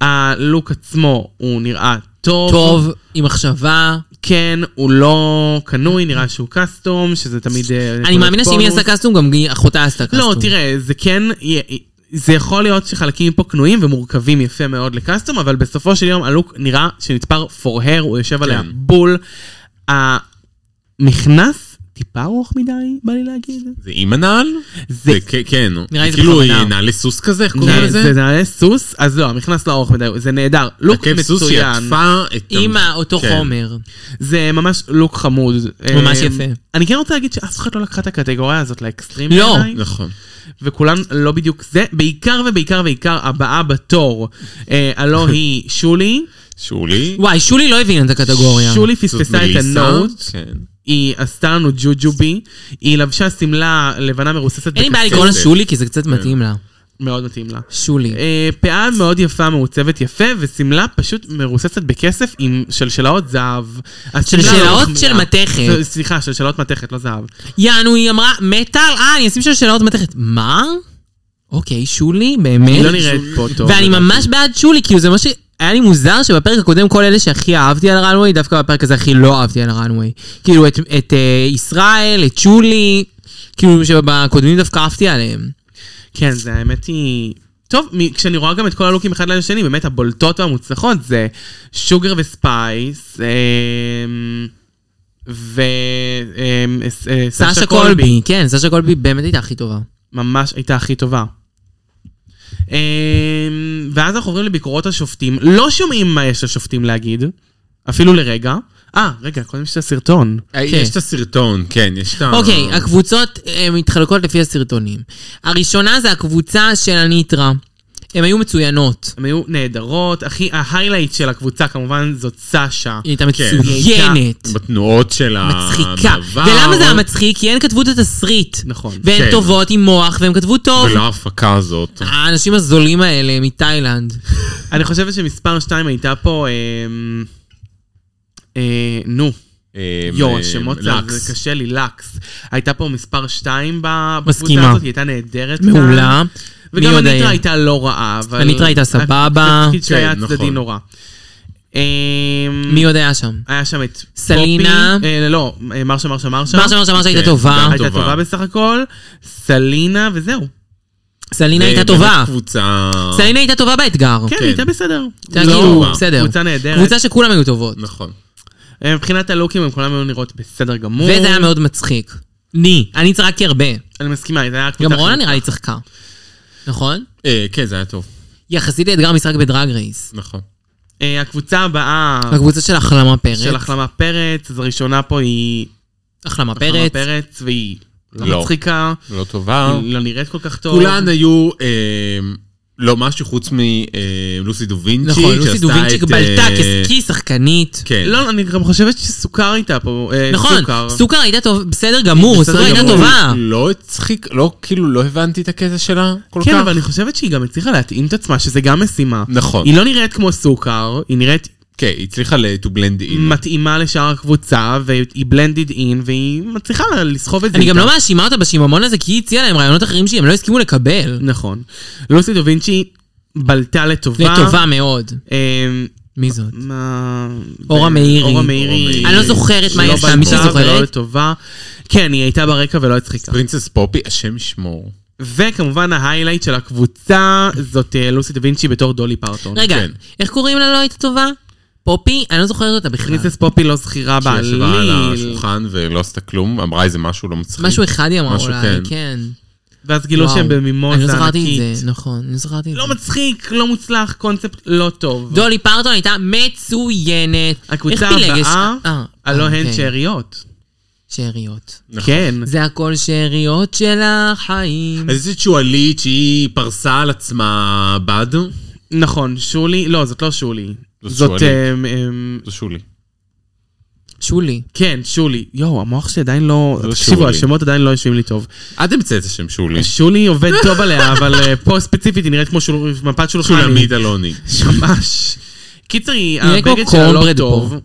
Speaker 3: הלוק עצמו הוא נראה טוב.
Speaker 2: טוב, עם מחשבה.
Speaker 3: כן, הוא לא קנוי, נראה שהוא קאסטום, שזה תמיד... אה,
Speaker 2: אני
Speaker 3: נקודת
Speaker 2: מאמינה שאם היא
Speaker 3: בונוס.
Speaker 2: עשתה קסטום, גם היא- אחותה עשתה קסטום.
Speaker 3: לא, תראה, זה כן... זה יכול להיות שחלקים פה קנויים ומורכבים יפה מאוד לקאסטום, אבל בסופו של יום הלוק נראה שנתפר for her, הוא יושב
Speaker 2: כן.
Speaker 3: עליה בול. המכנס טיפה ארוך מדי, בא לי להגיד.
Speaker 4: זה עם הנעל?
Speaker 3: זה-
Speaker 4: זה כ- כן.
Speaker 2: נראה לי זה
Speaker 4: כאילו
Speaker 2: בכוונה.
Speaker 4: היא נעלי סוס כזה, איך קוראים
Speaker 3: זה זה
Speaker 4: לזה?
Speaker 3: נעלי סוס, אז לא, המכנס לא ארוך מדי, זה נהדר. לוק
Speaker 4: עקב סוס שהיא
Speaker 3: מצוין.
Speaker 4: עטפה את...
Speaker 2: עם
Speaker 4: ה-
Speaker 2: אותו
Speaker 4: כן.
Speaker 2: חומר.
Speaker 3: זה ממש לוק חמוד.
Speaker 2: ממש
Speaker 3: אה,
Speaker 2: יפה.
Speaker 3: אני כן רוצה להגיד שאף אחד לא לקחה את הקטגוריה הזאת לאקסטרים.
Speaker 2: לא.
Speaker 3: בעיניי.
Speaker 4: נכון.
Speaker 3: וכולם לא בדיוק זה, בעיקר ובעיקר ובעיקר הבאה בתור, אה, הלא היא שולי.
Speaker 4: שולי.
Speaker 2: וואי, שולי לא הבינה את הקטגוריה.
Speaker 3: שולי
Speaker 4: זאת
Speaker 3: פספסה את
Speaker 4: מליסה,
Speaker 3: הנוט,
Speaker 4: כן.
Speaker 3: היא עשתה לנו ג'וג'ובי, היא לבשה שמלה לבנה מרוססת
Speaker 2: אין לי בעיה
Speaker 3: בכסף,
Speaker 2: לקרוא לה שולי, כי זה קצת מתאים לה.
Speaker 3: מאוד מתאים לה.
Speaker 2: שולי.
Speaker 3: כן. אה, פאה מאוד יפה, מעוצבת יפה, ושמלה פשוט מרוססת בכסף עם שלשלאות זהב. השמלה לא
Speaker 2: שלשלאות
Speaker 3: מחמיאה.
Speaker 2: של מתכת. אה,
Speaker 3: ס- סליחה, שלשלאות מתכת, לא זהב.
Speaker 2: יענו, היא אמרה, מטאל, אה, אני אשים שלשלאות מתכת. מה? אוקיי, שולי, באמת?
Speaker 3: היא לא נראית פה טוב.
Speaker 2: ואני
Speaker 3: לדעתי.
Speaker 2: ממש בעד שולי, כאילו זה מה ש... היה לי מוזר שבפרק הקודם כל אלה שהכי אהבתי על הראנווי, דווקא בפרק הזה הכי לא אהבתי על הראנווי. כאילו את, את אה, ישראל, את שולי, כאילו שבקודמים דווקא אהבתי עליהם.
Speaker 3: כן, זה האמת היא... טוב, מ- כשאני רואה גם את כל הלוקים אחד ליד השני, באמת הבולטות והמוצלחות זה שוגר וספייס, אמ,
Speaker 2: סשה
Speaker 3: אה, וסשה
Speaker 2: קולבי, כן, סשה קולבי באמת הייתה הכי טובה.
Speaker 3: ממש הייתה הכי טובה. אמ, ואז אנחנו עוברים לביקורות השופטים, לא שומעים מה יש לשופטים להגיד, אפילו לרגע. אה, רגע, קודם יש את הסרטון.
Speaker 4: אה, יש את הסרטון, כן, יש
Speaker 3: אה.
Speaker 4: את ה...
Speaker 2: אוקיי, הקבוצות אה, מתחלקות לפי הסרטונים. הראשונה זה הקבוצה של הניטרה. הן היו מצוינות.
Speaker 3: הן היו נהדרות, הכי, ההיילייט של הקבוצה כמובן זאת סשה.
Speaker 2: היא הייתה
Speaker 4: כן.
Speaker 2: מצוינת.
Speaker 4: בתנועות של
Speaker 2: מצחיקה.
Speaker 4: המעבר.
Speaker 2: ולמה זה היה מצחיק? כי הן כתבו את התסריט.
Speaker 3: נכון.
Speaker 2: והן
Speaker 4: כן.
Speaker 2: טובות עם מוח, והן כתבו טוב.
Speaker 4: ולא ההפקה הזאת.
Speaker 2: האנשים הזולים האלה מתאילנד.
Speaker 3: אני חושבת שמספר 2 הייתה פה, אמ, אה, נו,
Speaker 4: אה,
Speaker 3: יו,
Speaker 4: אה,
Speaker 3: השמות זה
Speaker 4: לקס.
Speaker 3: זה קשה לי, לקס. הייתה פה מספר 2 בקבוצה
Speaker 2: מסכימה.
Speaker 3: הזאת, היא הייתה נהדרת. כאן.
Speaker 2: מעולה. מי
Speaker 3: וגם
Speaker 2: עוד
Speaker 3: הניטרה
Speaker 2: היה?
Speaker 3: הייתה לא רעה, אבל...
Speaker 2: הניטרה הייתה סבבה.
Speaker 3: התפקיד שהיה
Speaker 4: כן,
Speaker 3: צדדי
Speaker 4: נכון.
Speaker 3: נורא. אמ,
Speaker 2: מי עוד היה שם?
Speaker 3: היה שם את
Speaker 2: סלינה.
Speaker 3: פופי, אה, לא, אה, מרשה מרשה מרשה.
Speaker 2: מרשה מרשה מרשה הייתה
Speaker 4: כן,
Speaker 2: טובה.
Speaker 4: גם-
Speaker 3: הייתה
Speaker 4: טובה.
Speaker 3: טובה בסך הכל. סלינה וזהו. כן,
Speaker 2: סלינה הייתה
Speaker 4: באמת
Speaker 2: טובה.
Speaker 4: קבוצה...
Speaker 2: סלינה הייתה טובה באתגר.
Speaker 3: כן,
Speaker 4: כן.
Speaker 3: הייתה בסדר.
Speaker 2: הייתה
Speaker 3: לא
Speaker 2: כאילו,
Speaker 3: רע.
Speaker 2: בסדר.
Speaker 3: קבוצה נהדרת.
Speaker 2: קבוצה שכולם היו טובות.
Speaker 4: נכון.
Speaker 3: אה, מבחינת הלוקים הם כולם היו נראות בסדר גמור.
Speaker 2: וזה היה מאוד מצחיק. ני, אני צחקתי הרבה.
Speaker 3: אני מסכימה, זה היה
Speaker 2: גם
Speaker 3: הקבוצה
Speaker 2: רונה
Speaker 3: הכי-
Speaker 2: נראה לי צחקה. נכון?
Speaker 4: אה, כן, זה היה טוב.
Speaker 2: יחסית לאתגר משחק בדרג רייס.
Speaker 4: נכון.
Speaker 3: אה, הקבוצה הבאה
Speaker 2: הקבוצה של החלמה פרץ.
Speaker 3: של החלמה פרץ, אז הראשונה פה היא
Speaker 2: החלמה
Speaker 3: החלמה
Speaker 2: פרץ.
Speaker 3: פרץ, והיא לא
Speaker 4: לא.
Speaker 3: מצחיקה,
Speaker 4: לא טובה.
Speaker 3: היא לא נראית כל כך טוב.
Speaker 4: כולן היו... אה, לא משהו חוץ אה, מלוסי דווינצ'י,
Speaker 2: נכון, לוסי
Speaker 4: שעשתה
Speaker 2: דובינצ'יק
Speaker 4: את,
Speaker 2: בלטה
Speaker 4: אה,
Speaker 2: כשחקנית.
Speaker 4: כן.
Speaker 3: לא, אני גם חושבת שסוכר הייתה פה. אה,
Speaker 2: נכון,
Speaker 3: סוכר.
Speaker 2: סוכר הייתה טובה, בסדר גמור,
Speaker 3: בסדר
Speaker 2: סוכר הייתה
Speaker 3: גמור. Mm.
Speaker 2: טובה.
Speaker 4: לא הצחיק, לא, כאילו, לא הבנתי את הקטע שלה כל
Speaker 3: כן,
Speaker 4: כך.
Speaker 3: אבל אני חושבת שהיא גם הצליחה להתאים את עצמה, שזה גם משימה.
Speaker 4: נכון.
Speaker 3: היא לא נראית כמו סוכר, היא נראית
Speaker 4: כן, היא הצליחה ל- to blend in.
Speaker 3: מתאימה לשאר הקבוצה, והיא blended in, והיא מצליחה לסחוב את זה
Speaker 2: אני גם
Speaker 3: איתה.
Speaker 2: לא מאשימה אותה בשיממון הזה, כי היא הציעה להם רעיונות אחרים שהם לא הסכימו לקבל.
Speaker 3: נכון. לוסי דווינצ'י בלטה לטובה.
Speaker 2: לטובה מאוד.
Speaker 3: אמ,
Speaker 2: מי זאת?
Speaker 3: מה...
Speaker 2: אורה מאירי.
Speaker 3: אורה מאירי.
Speaker 2: אני לא זוכרת מה
Speaker 3: שלא
Speaker 2: היא עשתה, מישהי
Speaker 3: בלטה ולא
Speaker 2: זוכרת?
Speaker 3: לטובה. כן, היא הייתה ברקע ולא הצחיקה.
Speaker 4: פרינסס פופי, השם ישמור.
Speaker 3: וכמובן ההיילייט של הקבוצה זאת אה, לוסי דה וינצ'י בתור דולי פרטון.
Speaker 2: רגע,
Speaker 4: כן.
Speaker 2: איך קוראים לה לא הייתה טובה? פופי? אני לא זוכרת אותה בכלל.
Speaker 3: פרינסס פופי לא זכירה
Speaker 4: שישבה על
Speaker 3: בעליל.
Speaker 4: השולחן ולא עשתה כלום, אמרה איזה משהו לא מצחיק.
Speaker 2: משהו אחד היא אמרה
Speaker 4: משהו,
Speaker 2: אולי,
Speaker 4: כן.
Speaker 2: כן.
Speaker 3: ואז גילו
Speaker 2: וואו.
Speaker 3: כאילו שהם
Speaker 2: אני לא
Speaker 3: במימוזה
Speaker 2: זכרתי
Speaker 3: ענקית.
Speaker 2: את זה, נכון, אני לא זכרתי את
Speaker 3: לא
Speaker 2: זה.
Speaker 3: מצחיק, לא מוצלח, קונספט לא טוב.
Speaker 2: דולי פרטון הייתה מצוינת.
Speaker 3: הקבוצה
Speaker 2: איך פילגש-
Speaker 3: הבאה,
Speaker 2: אה,
Speaker 3: הלא הן
Speaker 2: אוקיי.
Speaker 3: שאריות.
Speaker 2: שאריות.
Speaker 4: נכון.
Speaker 3: כן.
Speaker 2: זה הכל שאריות של החיים.
Speaker 4: אז יש את שועלית שהיא פרסה על עצמה בד.
Speaker 3: נכון, שולי, לא, זאת לא שולי.
Speaker 4: זאת
Speaker 3: זאת...
Speaker 4: שואלית.
Speaker 3: אמ, אמ,
Speaker 4: זו שולי.
Speaker 2: שולי.
Speaker 3: כן, שולי. יואו, המוח שלי עדיין לא...
Speaker 4: זה
Speaker 3: תקשיבו,
Speaker 4: שולי. כן.
Speaker 3: השמות עדיין לא יושבים לי טוב.
Speaker 4: את המצאת את השם שולי.
Speaker 3: שולי עובד טוב עליה, אבל אה, פה ספציפית היא נראית כמו שול- מפת שולחן.
Speaker 4: שולמית אלוני.
Speaker 3: ממש. קיצר, היא-
Speaker 2: נראה כמו
Speaker 3: הבגד שלה לא
Speaker 2: קורנברד
Speaker 3: טוב.
Speaker 2: פה.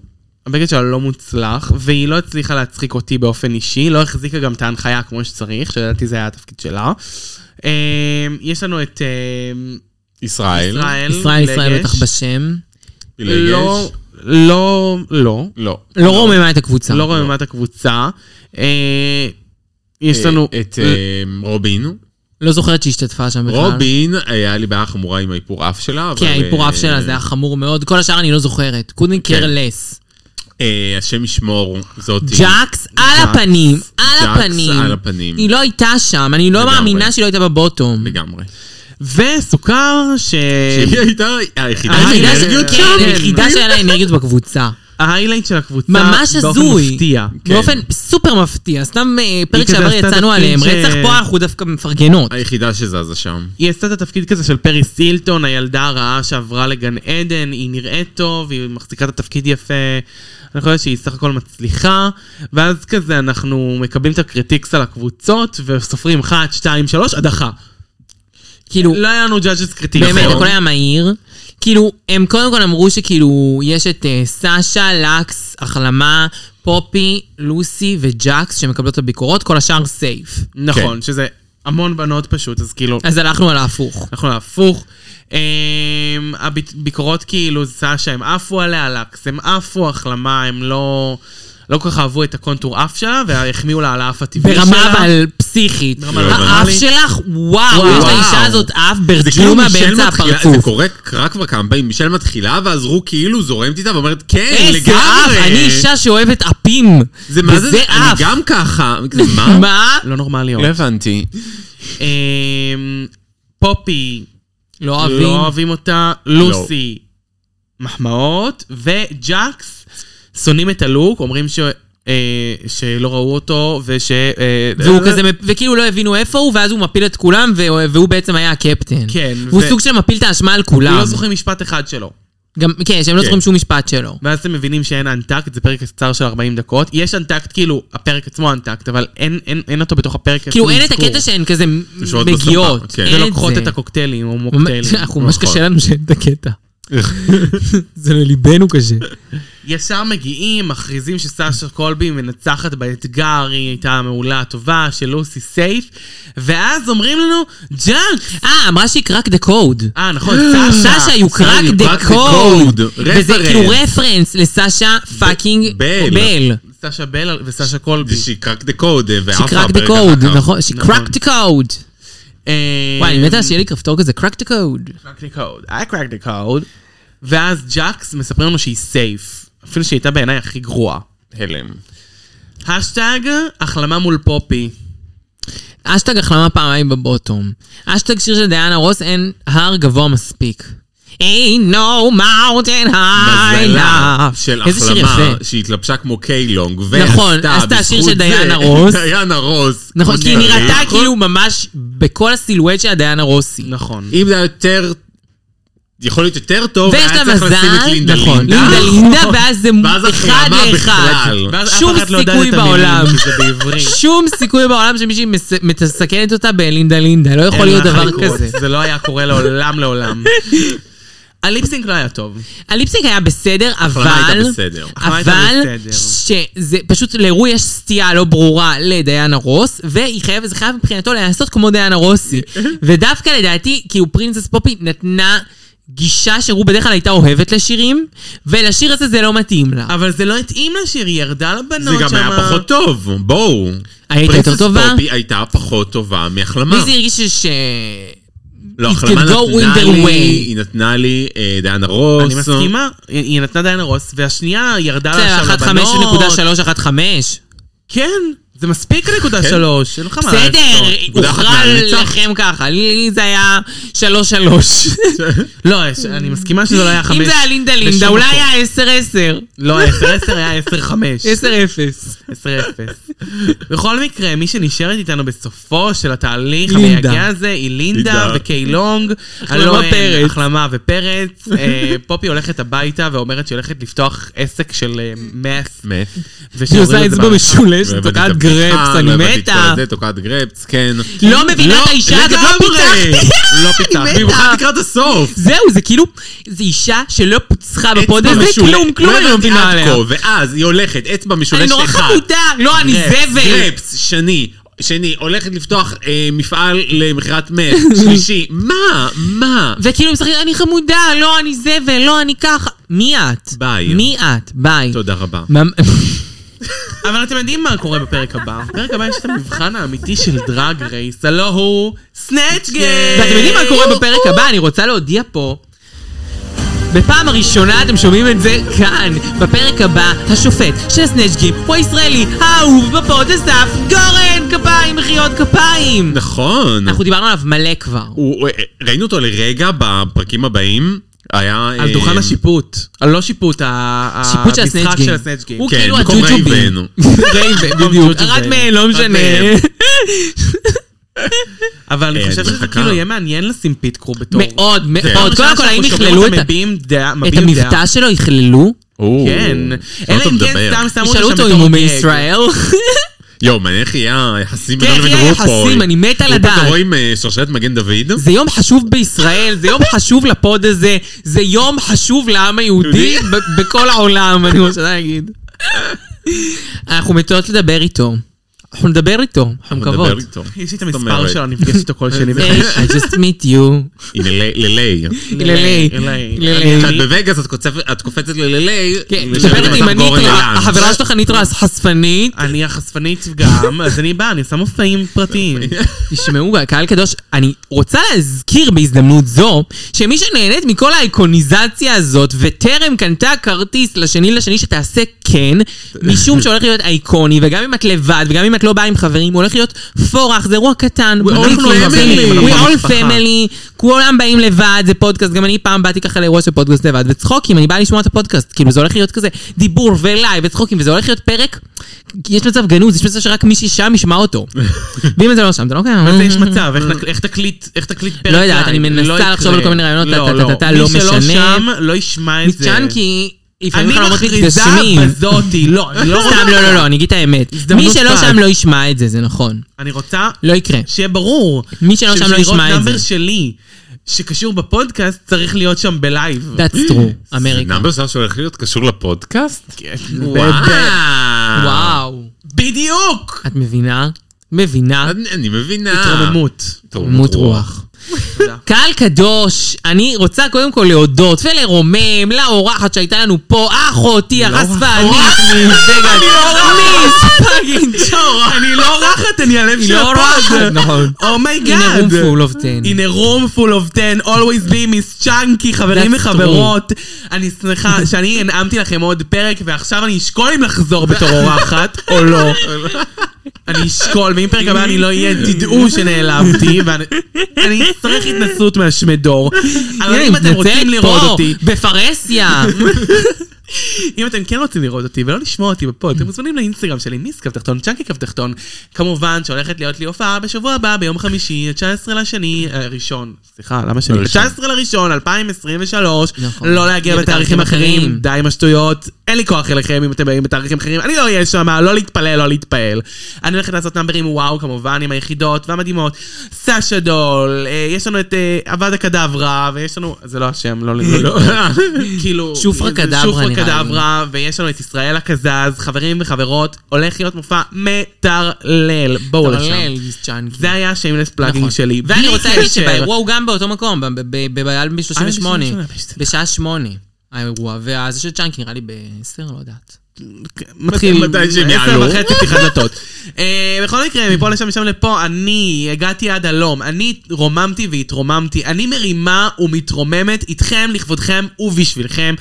Speaker 3: הבגד שלה לא מוצלח, והיא לא הצליחה להצחיק אותי באופן אישי, לא החזיקה גם את ההנחיה כמו שצריך, שלדעתי זה היה התפקיד שלה. אה, יש לנו את אה,
Speaker 4: ישראל.
Speaker 3: ישראל.
Speaker 2: ישראל ישראל
Speaker 3: לגש.
Speaker 2: בטח בשם.
Speaker 4: פילגש.
Speaker 3: לא, לא, לא.
Speaker 4: לא.
Speaker 2: לא רוממה את הקבוצה.
Speaker 3: לא רוממת הקבוצה. אה, יש
Speaker 4: אה,
Speaker 3: לנו...
Speaker 4: את אה, רובין.
Speaker 2: לא זוכרת שהשתתפה שם בכלל.
Speaker 4: רובין, היה לי בעיה חמורה עם האיפור אף שלה. אבל,
Speaker 2: כן, האיפור
Speaker 4: אה,
Speaker 2: אף שלה זה היה חמור מאוד. כל השאר אני לא זוכרת. קודן קרלס.
Speaker 4: אה, השם ישמור, זאתי.
Speaker 2: ג'קס על הפנים. על
Speaker 4: ג'קס
Speaker 2: הפנים.
Speaker 4: על הפנים.
Speaker 2: היא לא הייתה שם, אני לא
Speaker 4: לגמרי.
Speaker 2: מאמינה שהיא לא הייתה בבוטום.
Speaker 4: לגמרי.
Speaker 3: וסוכר, ש...
Speaker 4: שהיא הייתה היחידה
Speaker 2: אה. היחידה
Speaker 3: אה,
Speaker 2: ש-
Speaker 4: שהאנרגיות
Speaker 2: כן,
Speaker 4: שם.
Speaker 2: היחידה שהיה לה אנרגיות בקבוצה.
Speaker 3: ההיילייט של הקבוצה
Speaker 2: ממש
Speaker 3: באופן
Speaker 2: הזוי.
Speaker 3: מפתיע.
Speaker 2: באופן סופר מפתיע. סתם אה, פרק
Speaker 3: כזה
Speaker 2: שעבר
Speaker 3: עשתה
Speaker 2: יצאנו
Speaker 3: תפקיד
Speaker 2: עליהם.
Speaker 3: ש-
Speaker 2: רצח פה אנחנו דווקא מפרגנות.
Speaker 4: היחידה שזזה שם.
Speaker 3: היא עשתה את התפקיד כזה של פרי סילטון, הילדה הרעה שעברה לגן עדן, היא נראית טוב, היא מחזיקה את התפקיד יפה, אני חושבת שהיא סך הכל מצליחה, ואז כזה אנחנו מקבלים את הקריטיקס על הקבוצות, וסופרים 1, 2, 3, הדחה.
Speaker 2: כאילו,
Speaker 3: לא היה לנו judges קריטיקס.
Speaker 2: באמת,
Speaker 4: נכון.
Speaker 2: הכל היה מהיר. כאילו, הם קודם כל אמרו שכאילו, יש את אה, סשה, לקס, החלמה, פופי, לוסי וג'קס שמקבלות את הביקורות, כל השאר סייף.
Speaker 3: נכון,
Speaker 4: כן.
Speaker 3: שזה המון בנות פשוט, אז כאילו,
Speaker 2: אז הלכנו על ההפוך.
Speaker 3: אנחנו הפוך. אמ, הביקורות כאילו, סשה, הם עפו עליה, לקס, הם עפו, החלמה, הם לא... לא כל כך אהבו את הקונטור אף שלה, והחמיאו לה על האף הטבעי שלה.
Speaker 2: ברמה אבל פסיכית.
Speaker 3: ברמה
Speaker 4: לא
Speaker 2: האף
Speaker 3: נורמלית.
Speaker 2: שלך, וואו, יש לאישה הזאת אף
Speaker 4: זה כאילו
Speaker 2: ברג'ומה
Speaker 4: מישל
Speaker 2: באמצע
Speaker 4: מתחילה, זה
Speaker 2: הפרצוף.
Speaker 4: קורה רק כבר כמה פעמים, מישל מתחילה, ואז רו כאילו זורמת איתה ואומרת, כן,
Speaker 2: איזה אה, אף,
Speaker 4: לגמרי.
Speaker 2: אני אישה שאוהבת אפים.
Speaker 4: זה מה זה,
Speaker 2: וזה
Speaker 4: אני
Speaker 2: אף.
Speaker 4: גם ככה. זה מה?
Speaker 2: מה?
Speaker 3: לא נורמליות.
Speaker 4: לא הבנתי.
Speaker 3: אמ, פופי,
Speaker 2: לא
Speaker 3: לא
Speaker 2: אוהבים. לא.
Speaker 3: אוהבים אותה, לוסי, מחמאות, וג'קס, שונאים את הלוק, אומרים ש... אה, שלא ראו אותו, וש... אה,
Speaker 2: והוא
Speaker 3: אה,
Speaker 2: כזה, וכאילו לא הבינו איפה הוא, ואז הוא מפיל את כולם, והוא- והוא בעצם היה הקפטן.
Speaker 3: כן,
Speaker 2: והוא
Speaker 3: ו-
Speaker 2: סוג שמפיל את האשמה על כולם.
Speaker 3: לא זוכרים משפט אחד שלו.
Speaker 2: גם, כן, שהם לא
Speaker 4: כן.
Speaker 2: זוכרים שום משפט שלו.
Speaker 3: ואז אתם מבינים שאין אנטקט, זה פרק קצר של 40 דקות. יש אנטקט, כאילו, הפרק עצמו אנטקט, אבל אין- אין אין אותו בתוך הפרק.
Speaker 2: כאילו,
Speaker 3: עצמו
Speaker 2: אין את
Speaker 3: אזכור.
Speaker 2: הקטע שהן כזה
Speaker 4: יושבות בספה,
Speaker 2: מגיעות.
Speaker 4: כן.
Speaker 2: אין
Speaker 3: ולוקחות
Speaker 2: זה.
Speaker 3: את הקוקטיילים, או
Speaker 2: ממש-
Speaker 3: מוקטיילים.
Speaker 2: אנחנו, ממש
Speaker 4: נכון.
Speaker 2: קשה לנו שאין את הקטע. זה לליבנו קשה.
Speaker 3: ישר מגיעים, מכריזים שסשה קולבי מנצחת באתגר, היא הייתה מעולה, טובה, שלוסי סייף, ואז אומרים לנו, ג'אנק!
Speaker 2: אה, אמרה שהיא קראק דה קוד.
Speaker 3: אה, נכון, סשה.
Speaker 2: סשה, you crack
Speaker 4: you crack
Speaker 2: the
Speaker 4: the
Speaker 2: code.
Speaker 4: code.
Speaker 2: וזה
Speaker 4: רפרנס.
Speaker 2: כאילו רפרנס לסשה פאקינג
Speaker 4: בל.
Speaker 2: בל.
Speaker 3: סשה בל וסשה קולבי.
Speaker 4: זה שיקרק דה קוד,
Speaker 2: She
Speaker 4: ואף
Speaker 2: cracked the code, נכון? She cracked the code.
Speaker 3: אה,
Speaker 2: וואי, אני מתה שיהיה לי כפתור כזה, crack the code.
Speaker 3: crack the code. I cracked the code. ואז ג'אקס מספרים לנו שהיא סייף. אפילו שהיא הייתה בעיניי הכי גרועה.
Speaker 4: הלם.
Speaker 3: השטג, החלמה מול פופי.
Speaker 2: אשטג החלמה פעמיים בבוטום. אשטג שיר של דיאנה רוס, אין הר גבוה מספיק. Ain't no mountain high
Speaker 4: מזלה
Speaker 2: enough.
Speaker 4: של
Speaker 2: איזה שיר
Speaker 4: החלמה
Speaker 2: יפה.
Speaker 4: שהתלבשה כמו קיילונג,
Speaker 2: נכון, עשתה שיר של דיינה רוס.
Speaker 4: דיינה רוס. אוקיי.
Speaker 2: נכון,
Speaker 4: כמו
Speaker 2: כי היא
Speaker 4: שצריך.
Speaker 2: נראתה כאילו ממש בכל הסילואט של דיאנה רוסי.
Speaker 3: נכון.
Speaker 4: אם זה היה יותר... יכול להיות יותר טוב,
Speaker 2: כאילו- ויש לה
Speaker 4: היה צריך לשים את
Speaker 2: מזל,
Speaker 4: לינדה
Speaker 2: נכון,
Speaker 4: לינדה.
Speaker 2: לינדה לינדה, ואז זה
Speaker 4: ואז
Speaker 2: אחד
Speaker 4: החלמה
Speaker 2: לאחד.
Speaker 4: בכלל.
Speaker 3: ואז אף
Speaker 2: שום
Speaker 3: אחד לא יודעת
Speaker 2: סיכוי
Speaker 3: את המילים,
Speaker 2: בעולם.
Speaker 3: כי זה בעברית.
Speaker 2: שום סיכוי בעולם שמישהי מס- מסכנת אותה בלינדה לינדה, לא יכול להיות
Speaker 3: אין מה
Speaker 2: דבר
Speaker 3: לקרות.
Speaker 2: כזה.
Speaker 3: זה לא היה קורה לעולם לעולם. הליפסינק לא היה טוב.
Speaker 2: הליפסינג היה בסדר, אבל...
Speaker 4: הייתה בסדר.
Speaker 3: החלמה הייתה
Speaker 2: אבל
Speaker 3: בסדר.
Speaker 2: שזה פשוט, לרו יש סטייה לא ברורה לדיינה רוס, והיא חייבת, זה חייב מבחינתו להיעשות כמו דיינה רוסי. ודווקא לדעתי, כאילו פרינסס פופי נתנה גישה שרו בדרך כלל הייתה אוהבת לשירים, ולשיר הזה זה לא מתאים לה.
Speaker 3: אבל זה לא התאים לשיר, היא ירדה לבנות
Speaker 4: זה
Speaker 3: שמה.
Speaker 4: גם היה פחות טוב, בואו.
Speaker 2: היית
Speaker 4: פרינסס
Speaker 2: יותר טובה?
Speaker 4: פופי הייתה פחות טובה מהחלמה.
Speaker 2: לי זה הרגיש ש...
Speaker 4: לא,
Speaker 2: It
Speaker 4: החלמה
Speaker 2: could go
Speaker 4: נתנה
Speaker 2: either way.
Speaker 4: לי, היא נתנה לי אה, דיאנה רוס.
Speaker 3: אני מסכימה, היא היא נתנה דיינה רוס, והשנייה ירדה לה
Speaker 2: בסדר,
Speaker 3: עכשיו
Speaker 2: אחת חמש,
Speaker 3: לבנות.
Speaker 2: נקודה שלוש, אחת חמש.
Speaker 3: כן, זה מספיק נקודה
Speaker 4: כן.
Speaker 3: שלוש, אין לך מה לעשות.
Speaker 2: בסדר,
Speaker 4: נקודה אחת
Speaker 2: הוכרע
Speaker 4: מהנצח.
Speaker 2: לכם ככה, לי זה היה שלוש שלוש.
Speaker 3: לא, יש- אני מסכימה שזה לא היה חמש.
Speaker 2: אם זה היה לינדה לינדה,
Speaker 3: בשום
Speaker 2: אולי
Speaker 3: מקום.
Speaker 2: היה עשר עשר.
Speaker 3: לא, עשר עשר היה עשר חמש.
Speaker 2: עשר אפס.
Speaker 3: עשר אפס. בכל מקרה, מי שנשארת איתנו בסופו של התהליך
Speaker 2: לינדה.
Speaker 3: המייגע הזה, היא לינדה
Speaker 4: לינדה.
Speaker 3: וקיילונג.
Speaker 2: החלמה
Speaker 3: הלא הן
Speaker 2: פרץ.
Speaker 3: החלמה ופרץ. אה, פופי הולכת הביתה ואומרת שהיא הולכת לפתוח עסק של אה, מס.
Speaker 4: באמת.
Speaker 3: ושהורידו את זה מהרחוב.
Speaker 4: והבאתי את
Speaker 3: אה,
Speaker 2: גרפס,
Speaker 3: לא,
Speaker 2: אני מתה.
Speaker 4: תוקעת גרפס, כן.
Speaker 2: לא מבינה את האישה הזאת, לא
Speaker 4: לגמרי.
Speaker 2: פיצחתי.
Speaker 4: לא
Speaker 2: אני
Speaker 4: פיצחת,
Speaker 2: מתה.
Speaker 4: במיוחד לקראת הסוף.
Speaker 2: זהו, זה כאילו, זה אישה שלא פוצחה בפוד
Speaker 4: אצבע
Speaker 2: הזה,
Speaker 4: משולשת.
Speaker 2: כלום, כלום אני לא
Speaker 4: הבנתי
Speaker 2: מבינה
Speaker 4: עד
Speaker 2: עליה.
Speaker 4: כה, ואז היא הולכת, אצבע
Speaker 2: אני
Speaker 4: משולשת
Speaker 2: נורא
Speaker 4: אחת.
Speaker 2: חמודה, לא, אני זבל.
Speaker 4: גרפס, שני. שני, הולכת לפתוח אה, מפעל למכירת מלט, שלישי, מה? מה?
Speaker 2: וכאילו היא משחקת, אני חמודה, לא, אני זבל, לא, אני ככה. מי את?
Speaker 4: ביי.
Speaker 2: מי את? ביי.
Speaker 4: תודה רבה.
Speaker 2: ממ-
Speaker 3: אבל אתם יודעים מה קורה בפרק הבא. בפרק הבא יש את המבחן האמיתי של דרג רייס, הלא הוא סנאצ' גיים.
Speaker 2: ואתם יודעים מה קורה בפרק הבא? אני רוצה להודיע פה. בפעם הראשונה אתם שומעים את זה כאן. בפרק הבא, השופט של הסנאצ'גים הוא הישראלי האהוב בפוד אסף גורן! כפיים, מחיאות כפיים!
Speaker 4: נכון.
Speaker 2: אנחנו דיברנו עליו מלא כבר.
Speaker 4: הוא- הוא- ראינו אותו לרגע בפרקים הבאים, היה...
Speaker 3: על
Speaker 4: אה,
Speaker 3: דוכן השיפוט. הלא שיפוט, ה-
Speaker 2: שיפוט של
Speaker 3: המשחק
Speaker 2: הסנאצ'
Speaker 3: של
Speaker 2: גיים.
Speaker 3: הסנאצ' גיים. כן.
Speaker 2: הוא
Speaker 4: כן,
Speaker 2: כאילו
Speaker 4: במקום
Speaker 2: הג'וג'ובי.
Speaker 4: רייבן.
Speaker 3: רייבן,
Speaker 2: בדיוק, אחד מהן, לא משנה.
Speaker 3: מהם. אבל אני
Speaker 4: אה,
Speaker 3: חושב
Speaker 4: אני
Speaker 3: שזה
Speaker 4: מחכה.
Speaker 3: כאילו יהיה מעניין לשים פיט קרו בתור.
Speaker 2: מאוד,
Speaker 3: פעם
Speaker 2: מאוד.
Speaker 3: ראשונה
Speaker 2: קודם כל, האם
Speaker 3: שאנחנו שומעים
Speaker 2: יכללו את
Speaker 3: אותם
Speaker 2: ה-
Speaker 3: מביעים דעה?
Speaker 2: את
Speaker 3: מביעים דעה.
Speaker 2: המבטא שלו? יכללו?
Speaker 4: או,
Speaker 3: כן.
Speaker 4: מה
Speaker 3: אלא
Speaker 4: אתה
Speaker 3: אם
Speaker 4: מדבר?
Speaker 3: כן סתם שמו
Speaker 2: ישאלו
Speaker 3: אותו
Speaker 2: אותו
Speaker 3: שם
Speaker 2: אם הוא
Speaker 3: בתור גג.
Speaker 2: מישראל?
Speaker 4: יואו, מעניין איך יהיה היחסים
Speaker 2: כן,
Speaker 4: בינו
Speaker 2: איך
Speaker 4: לבין
Speaker 2: יהיה
Speaker 4: רופול.
Speaker 2: היחסים? אני מתה לדעת.
Speaker 4: אתה רואה עם אה, שרשרת מגן דוד?
Speaker 2: זה יום חשוב בישראל, זה יום חשוב לפוד הזה, זה יום חשוב לעם היהודי
Speaker 4: יהודי?
Speaker 2: ב- בכל העולם, אני רוצה להגיד. אנחנו מתות לדבר איתו. אנחנו נדבר איתו, אנחנו
Speaker 4: אנחנו
Speaker 2: מקוות.
Speaker 4: נדבר איתו.
Speaker 3: יש לי את
Speaker 4: זאת
Speaker 3: המספר
Speaker 4: אומרת,
Speaker 3: שלו, אני נפגש איתו כל שני
Speaker 2: היי,
Speaker 3: וחמישי.
Speaker 2: אה, I just meet you.
Speaker 4: הנה, ל- ללי.
Speaker 2: ללי.
Speaker 3: אליי.
Speaker 2: ללי.
Speaker 4: כשאת בווגאס את קוצפת- את קופצת ללילי.
Speaker 2: כן,
Speaker 4: לשבת
Speaker 2: מדברת עם
Speaker 4: עם גורן
Speaker 2: הניטרה,
Speaker 4: אילן.
Speaker 2: החברה שלך הניטרה חשפנית.
Speaker 3: אני החשפנית גם, אז אני באה, אני עושה מופעים פרטיים.
Speaker 2: תשמעו, קהל קדוש, אני רוצה להזכיר בהזדמנות זו, שמי שנהנית מכל האיקוניזציה הזאת, וטרם קנתה כרטיס לשני לשני שתעשה כן, משום שהולך להיות אייקוני, וגם אם את לבד, וגם אם את לא באה עם חברים, הוא הולך להיות פורח, זה אירוע קטן. We
Speaker 3: all family.
Speaker 2: We
Speaker 3: אנחנו
Speaker 2: all
Speaker 3: משפחה.
Speaker 2: family. כולם באים לבד, זה פודקאסט, גם אני פעם באתי ככה לאירוע של פודקאסט לבד, וצחוקים, אני באה לשמוע את הפודקאסט, כאילו זה הולך להיות כזה דיבור ולייב וצחוקים, וזה הולך להיות פרק, יש מצב גנוז, יש מצב שרק מישהי שם ישמע אותו. ואם זה לא שם, זה לא קיים.
Speaker 3: אז יש מצב, איך תק- איך תקליט, איך תקליט פרק
Speaker 2: לא יודעת, אני
Speaker 3: לייב?
Speaker 2: מנסה
Speaker 3: לא יקרה.
Speaker 2: לחשוב על כל מיני רעיונות,
Speaker 3: לא,
Speaker 2: טה-טה-טה-טה, לא
Speaker 3: מי שלא
Speaker 2: משנה.
Speaker 3: שם, לא ישמע את
Speaker 2: מיס
Speaker 3: זה.
Speaker 2: צ'אנקי, Mm-hmm. לפעמים
Speaker 3: אני
Speaker 2: חלומות
Speaker 3: מכריזה
Speaker 2: מתגשמים.
Speaker 3: בזאתי, לא, אני לא רוצה...
Speaker 2: סתם, לא, לא, לא, אני אגיד את האמת.
Speaker 3: הזדמנות
Speaker 2: מי שלא
Speaker 3: פז.
Speaker 2: שם לא ישמע את זה, זה נכון.
Speaker 3: אני רוצה
Speaker 2: לא יקרה.
Speaker 3: שיהיה ברור.
Speaker 2: מי שלא שם לא
Speaker 3: שבשביל
Speaker 2: ישמע
Speaker 3: לראות
Speaker 2: את זה.
Speaker 3: נאמבר שלי, שקשור בפודקאסט, צריך להיות שם בלייב.
Speaker 2: That's true, אמריקה.
Speaker 4: נאמבר שלך שהולך להיות קשור לפודקאסט? וואו.
Speaker 2: וואו.
Speaker 3: בדיוק!
Speaker 2: את מבינה?
Speaker 3: אה,
Speaker 2: מבינה?
Speaker 4: אני אני מבינה.
Speaker 2: אה.
Speaker 3: התרוממות.
Speaker 2: מות רוח. קהל קדוש, אני רוצה קודם כל להודות ולרומם לאורחת שהייתה לנו פה,
Speaker 3: לא
Speaker 2: אחותי החשפנית, מיס פאגינג צ'ורה.
Speaker 3: אני לא אורחת, אני הלב
Speaker 2: היא
Speaker 3: של
Speaker 2: לא אורחת,
Speaker 3: הפוד. Oh
Speaker 2: נכון.
Speaker 3: אומייגאד.
Speaker 2: הנה רום פול אוף טן.
Speaker 3: In a room full of 10, always be miss צ'אנקי, חברים
Speaker 2: That's
Speaker 3: וחברות. אני שמחה שאני הנעמתי לכם עוד פרק, ועכשיו אני אשקול אם לחזור בתור אורחת, או לא. אני אשקול, ואם פרק הבא אני לא אהיה, תדעו שנעלבתי, ואני אני אצטרך התנסות מהשמי דור. אבל אם אתם רוצים לראות אותי,
Speaker 2: בפרהסיה.
Speaker 3: אם אתם כן רוצים לראות אותי ולא לשמוע אותי בפוד, אתם מוזמנים לאינסטגרם שלי, מיס קו תחתון, צ'אנקי קו תחתון. כמובן שהולכת להיות לי הופעה בשבוע הבא, ביום חמישי, ה-19 לשני, אה, ראשון, סליחה, למה שני?
Speaker 4: הראשון.
Speaker 3: ה-19 לראשון, 2023,
Speaker 2: לא נכון.
Speaker 3: לא להגיע
Speaker 2: יהיה
Speaker 3: בתאריכים
Speaker 2: בתאריכים
Speaker 3: אחרים,
Speaker 2: אחרים.
Speaker 3: די עם השטויות, אין לי כוח אליכם אם אתם באים בתאריכים אחרים, אני לא אהיה שם, לא להתפלל, לא להתפעל. אני הולכת לעשות נאמברים וואו, כמובן, עם היחידות והמדהימות, סאשה דול, אה, יש לנו את אה, עבדה קדברה, ויש לנו, זה לא השם, לא... לא- לא- כאילו...
Speaker 2: שופרה
Speaker 3: זה-
Speaker 2: קדברה, נראה לי.
Speaker 3: שופרה קדברה, ויש לנו את ישראל הקזז, חברים וחברות, הולך להיות מופע מטרלל. בואו לשם. זה היה שיימלס פלאגינג שלי.
Speaker 2: נכון. ואני
Speaker 3: בלי
Speaker 2: רוצה להגיד
Speaker 3: קשר.
Speaker 2: שבאירוע הוא גם באותו מקום, ב- ב- ב- ב- ב-38,
Speaker 3: אה, ב-
Speaker 2: בשעה שמונה האירוע, ואז של צ'אנקי נראה לי ב-10, לא יודעת.
Speaker 3: מתחיל
Speaker 4: מתי שהם
Speaker 3: עשר
Speaker 4: יעלו.
Speaker 3: וחצי פתיחת דלתות. אה, בכל מקרה, מפה לשם, משם לפה, אני הגעתי עד הלום. אני רוממתי והתרוממתי. אני מרימה ומתרוממת איתכם, לכבודכם ובשבילכם.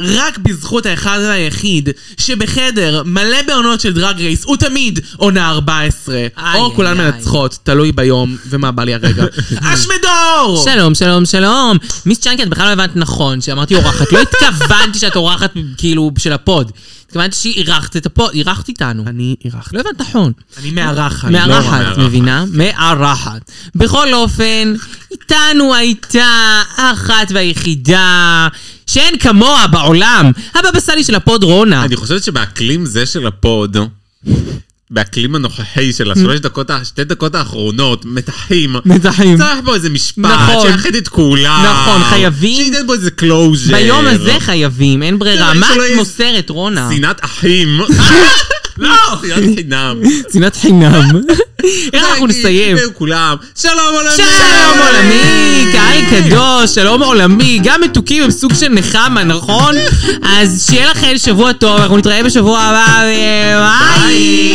Speaker 3: רק בזכות האחד והיחיד שבחדר מלא בעונות של דרג רייס הוא תמיד עונה 14
Speaker 2: איי,
Speaker 3: או
Speaker 2: איי,
Speaker 3: כולן
Speaker 2: איי.
Speaker 3: מנצחות, תלוי ביום ומה בא לי הרגע. אשמדור!
Speaker 2: שלום, שלום, שלום. מיס צ'אנקי, את בכלל לא הבנת נכון, שאמרתי אורחת. לא התכוונתי שאת אורחת, כאילו, של הפוד. התכוונתי שאירחת את הפוד, אירחת איתנו.
Speaker 3: אני אירחתי.
Speaker 2: לא הבנת נכון.
Speaker 3: אני לא מארחת.
Speaker 2: מארחת,
Speaker 4: מארחת.
Speaker 2: את מבינה? מארחת. בכל אופן, איתנו הייתה האחת והיחידה שאין כמוה בעולם, הבבא סאלי של הפוד רונה.
Speaker 4: אני חושבת שבאקלים זה של הפוד, באקלים הנוכחי של השלוש דקות, ה- שתי דקות האחרונות, מתחים.
Speaker 2: מתחים.
Speaker 4: צריך פה איזה משפט,
Speaker 2: נכון.
Speaker 4: שיאחד את כולם.
Speaker 2: נכון, חייבים.
Speaker 4: שייתן פה איזה קלוז'ר.
Speaker 2: ביום הזה חייבים, אין ברירה.
Speaker 4: כן,
Speaker 2: מה
Speaker 4: לא. שלא
Speaker 2: את
Speaker 4: יהיה-
Speaker 2: מוסרת, רונה?
Speaker 4: שנאת אחים. לא, שנאת חינם.
Speaker 2: שנאת חינם. איך אנחנו
Speaker 4: להגיד,
Speaker 2: נסיים?
Speaker 4: זהו, כולם. שלום עולמי.
Speaker 2: שלום עולמי, קהל קדוש, שלום עולמי, גם מתוקים הם סוג של נחמה, נכון? אז שיהיה לכם שבוע טוב, אנחנו נתראה בשבוע הבא, ביי!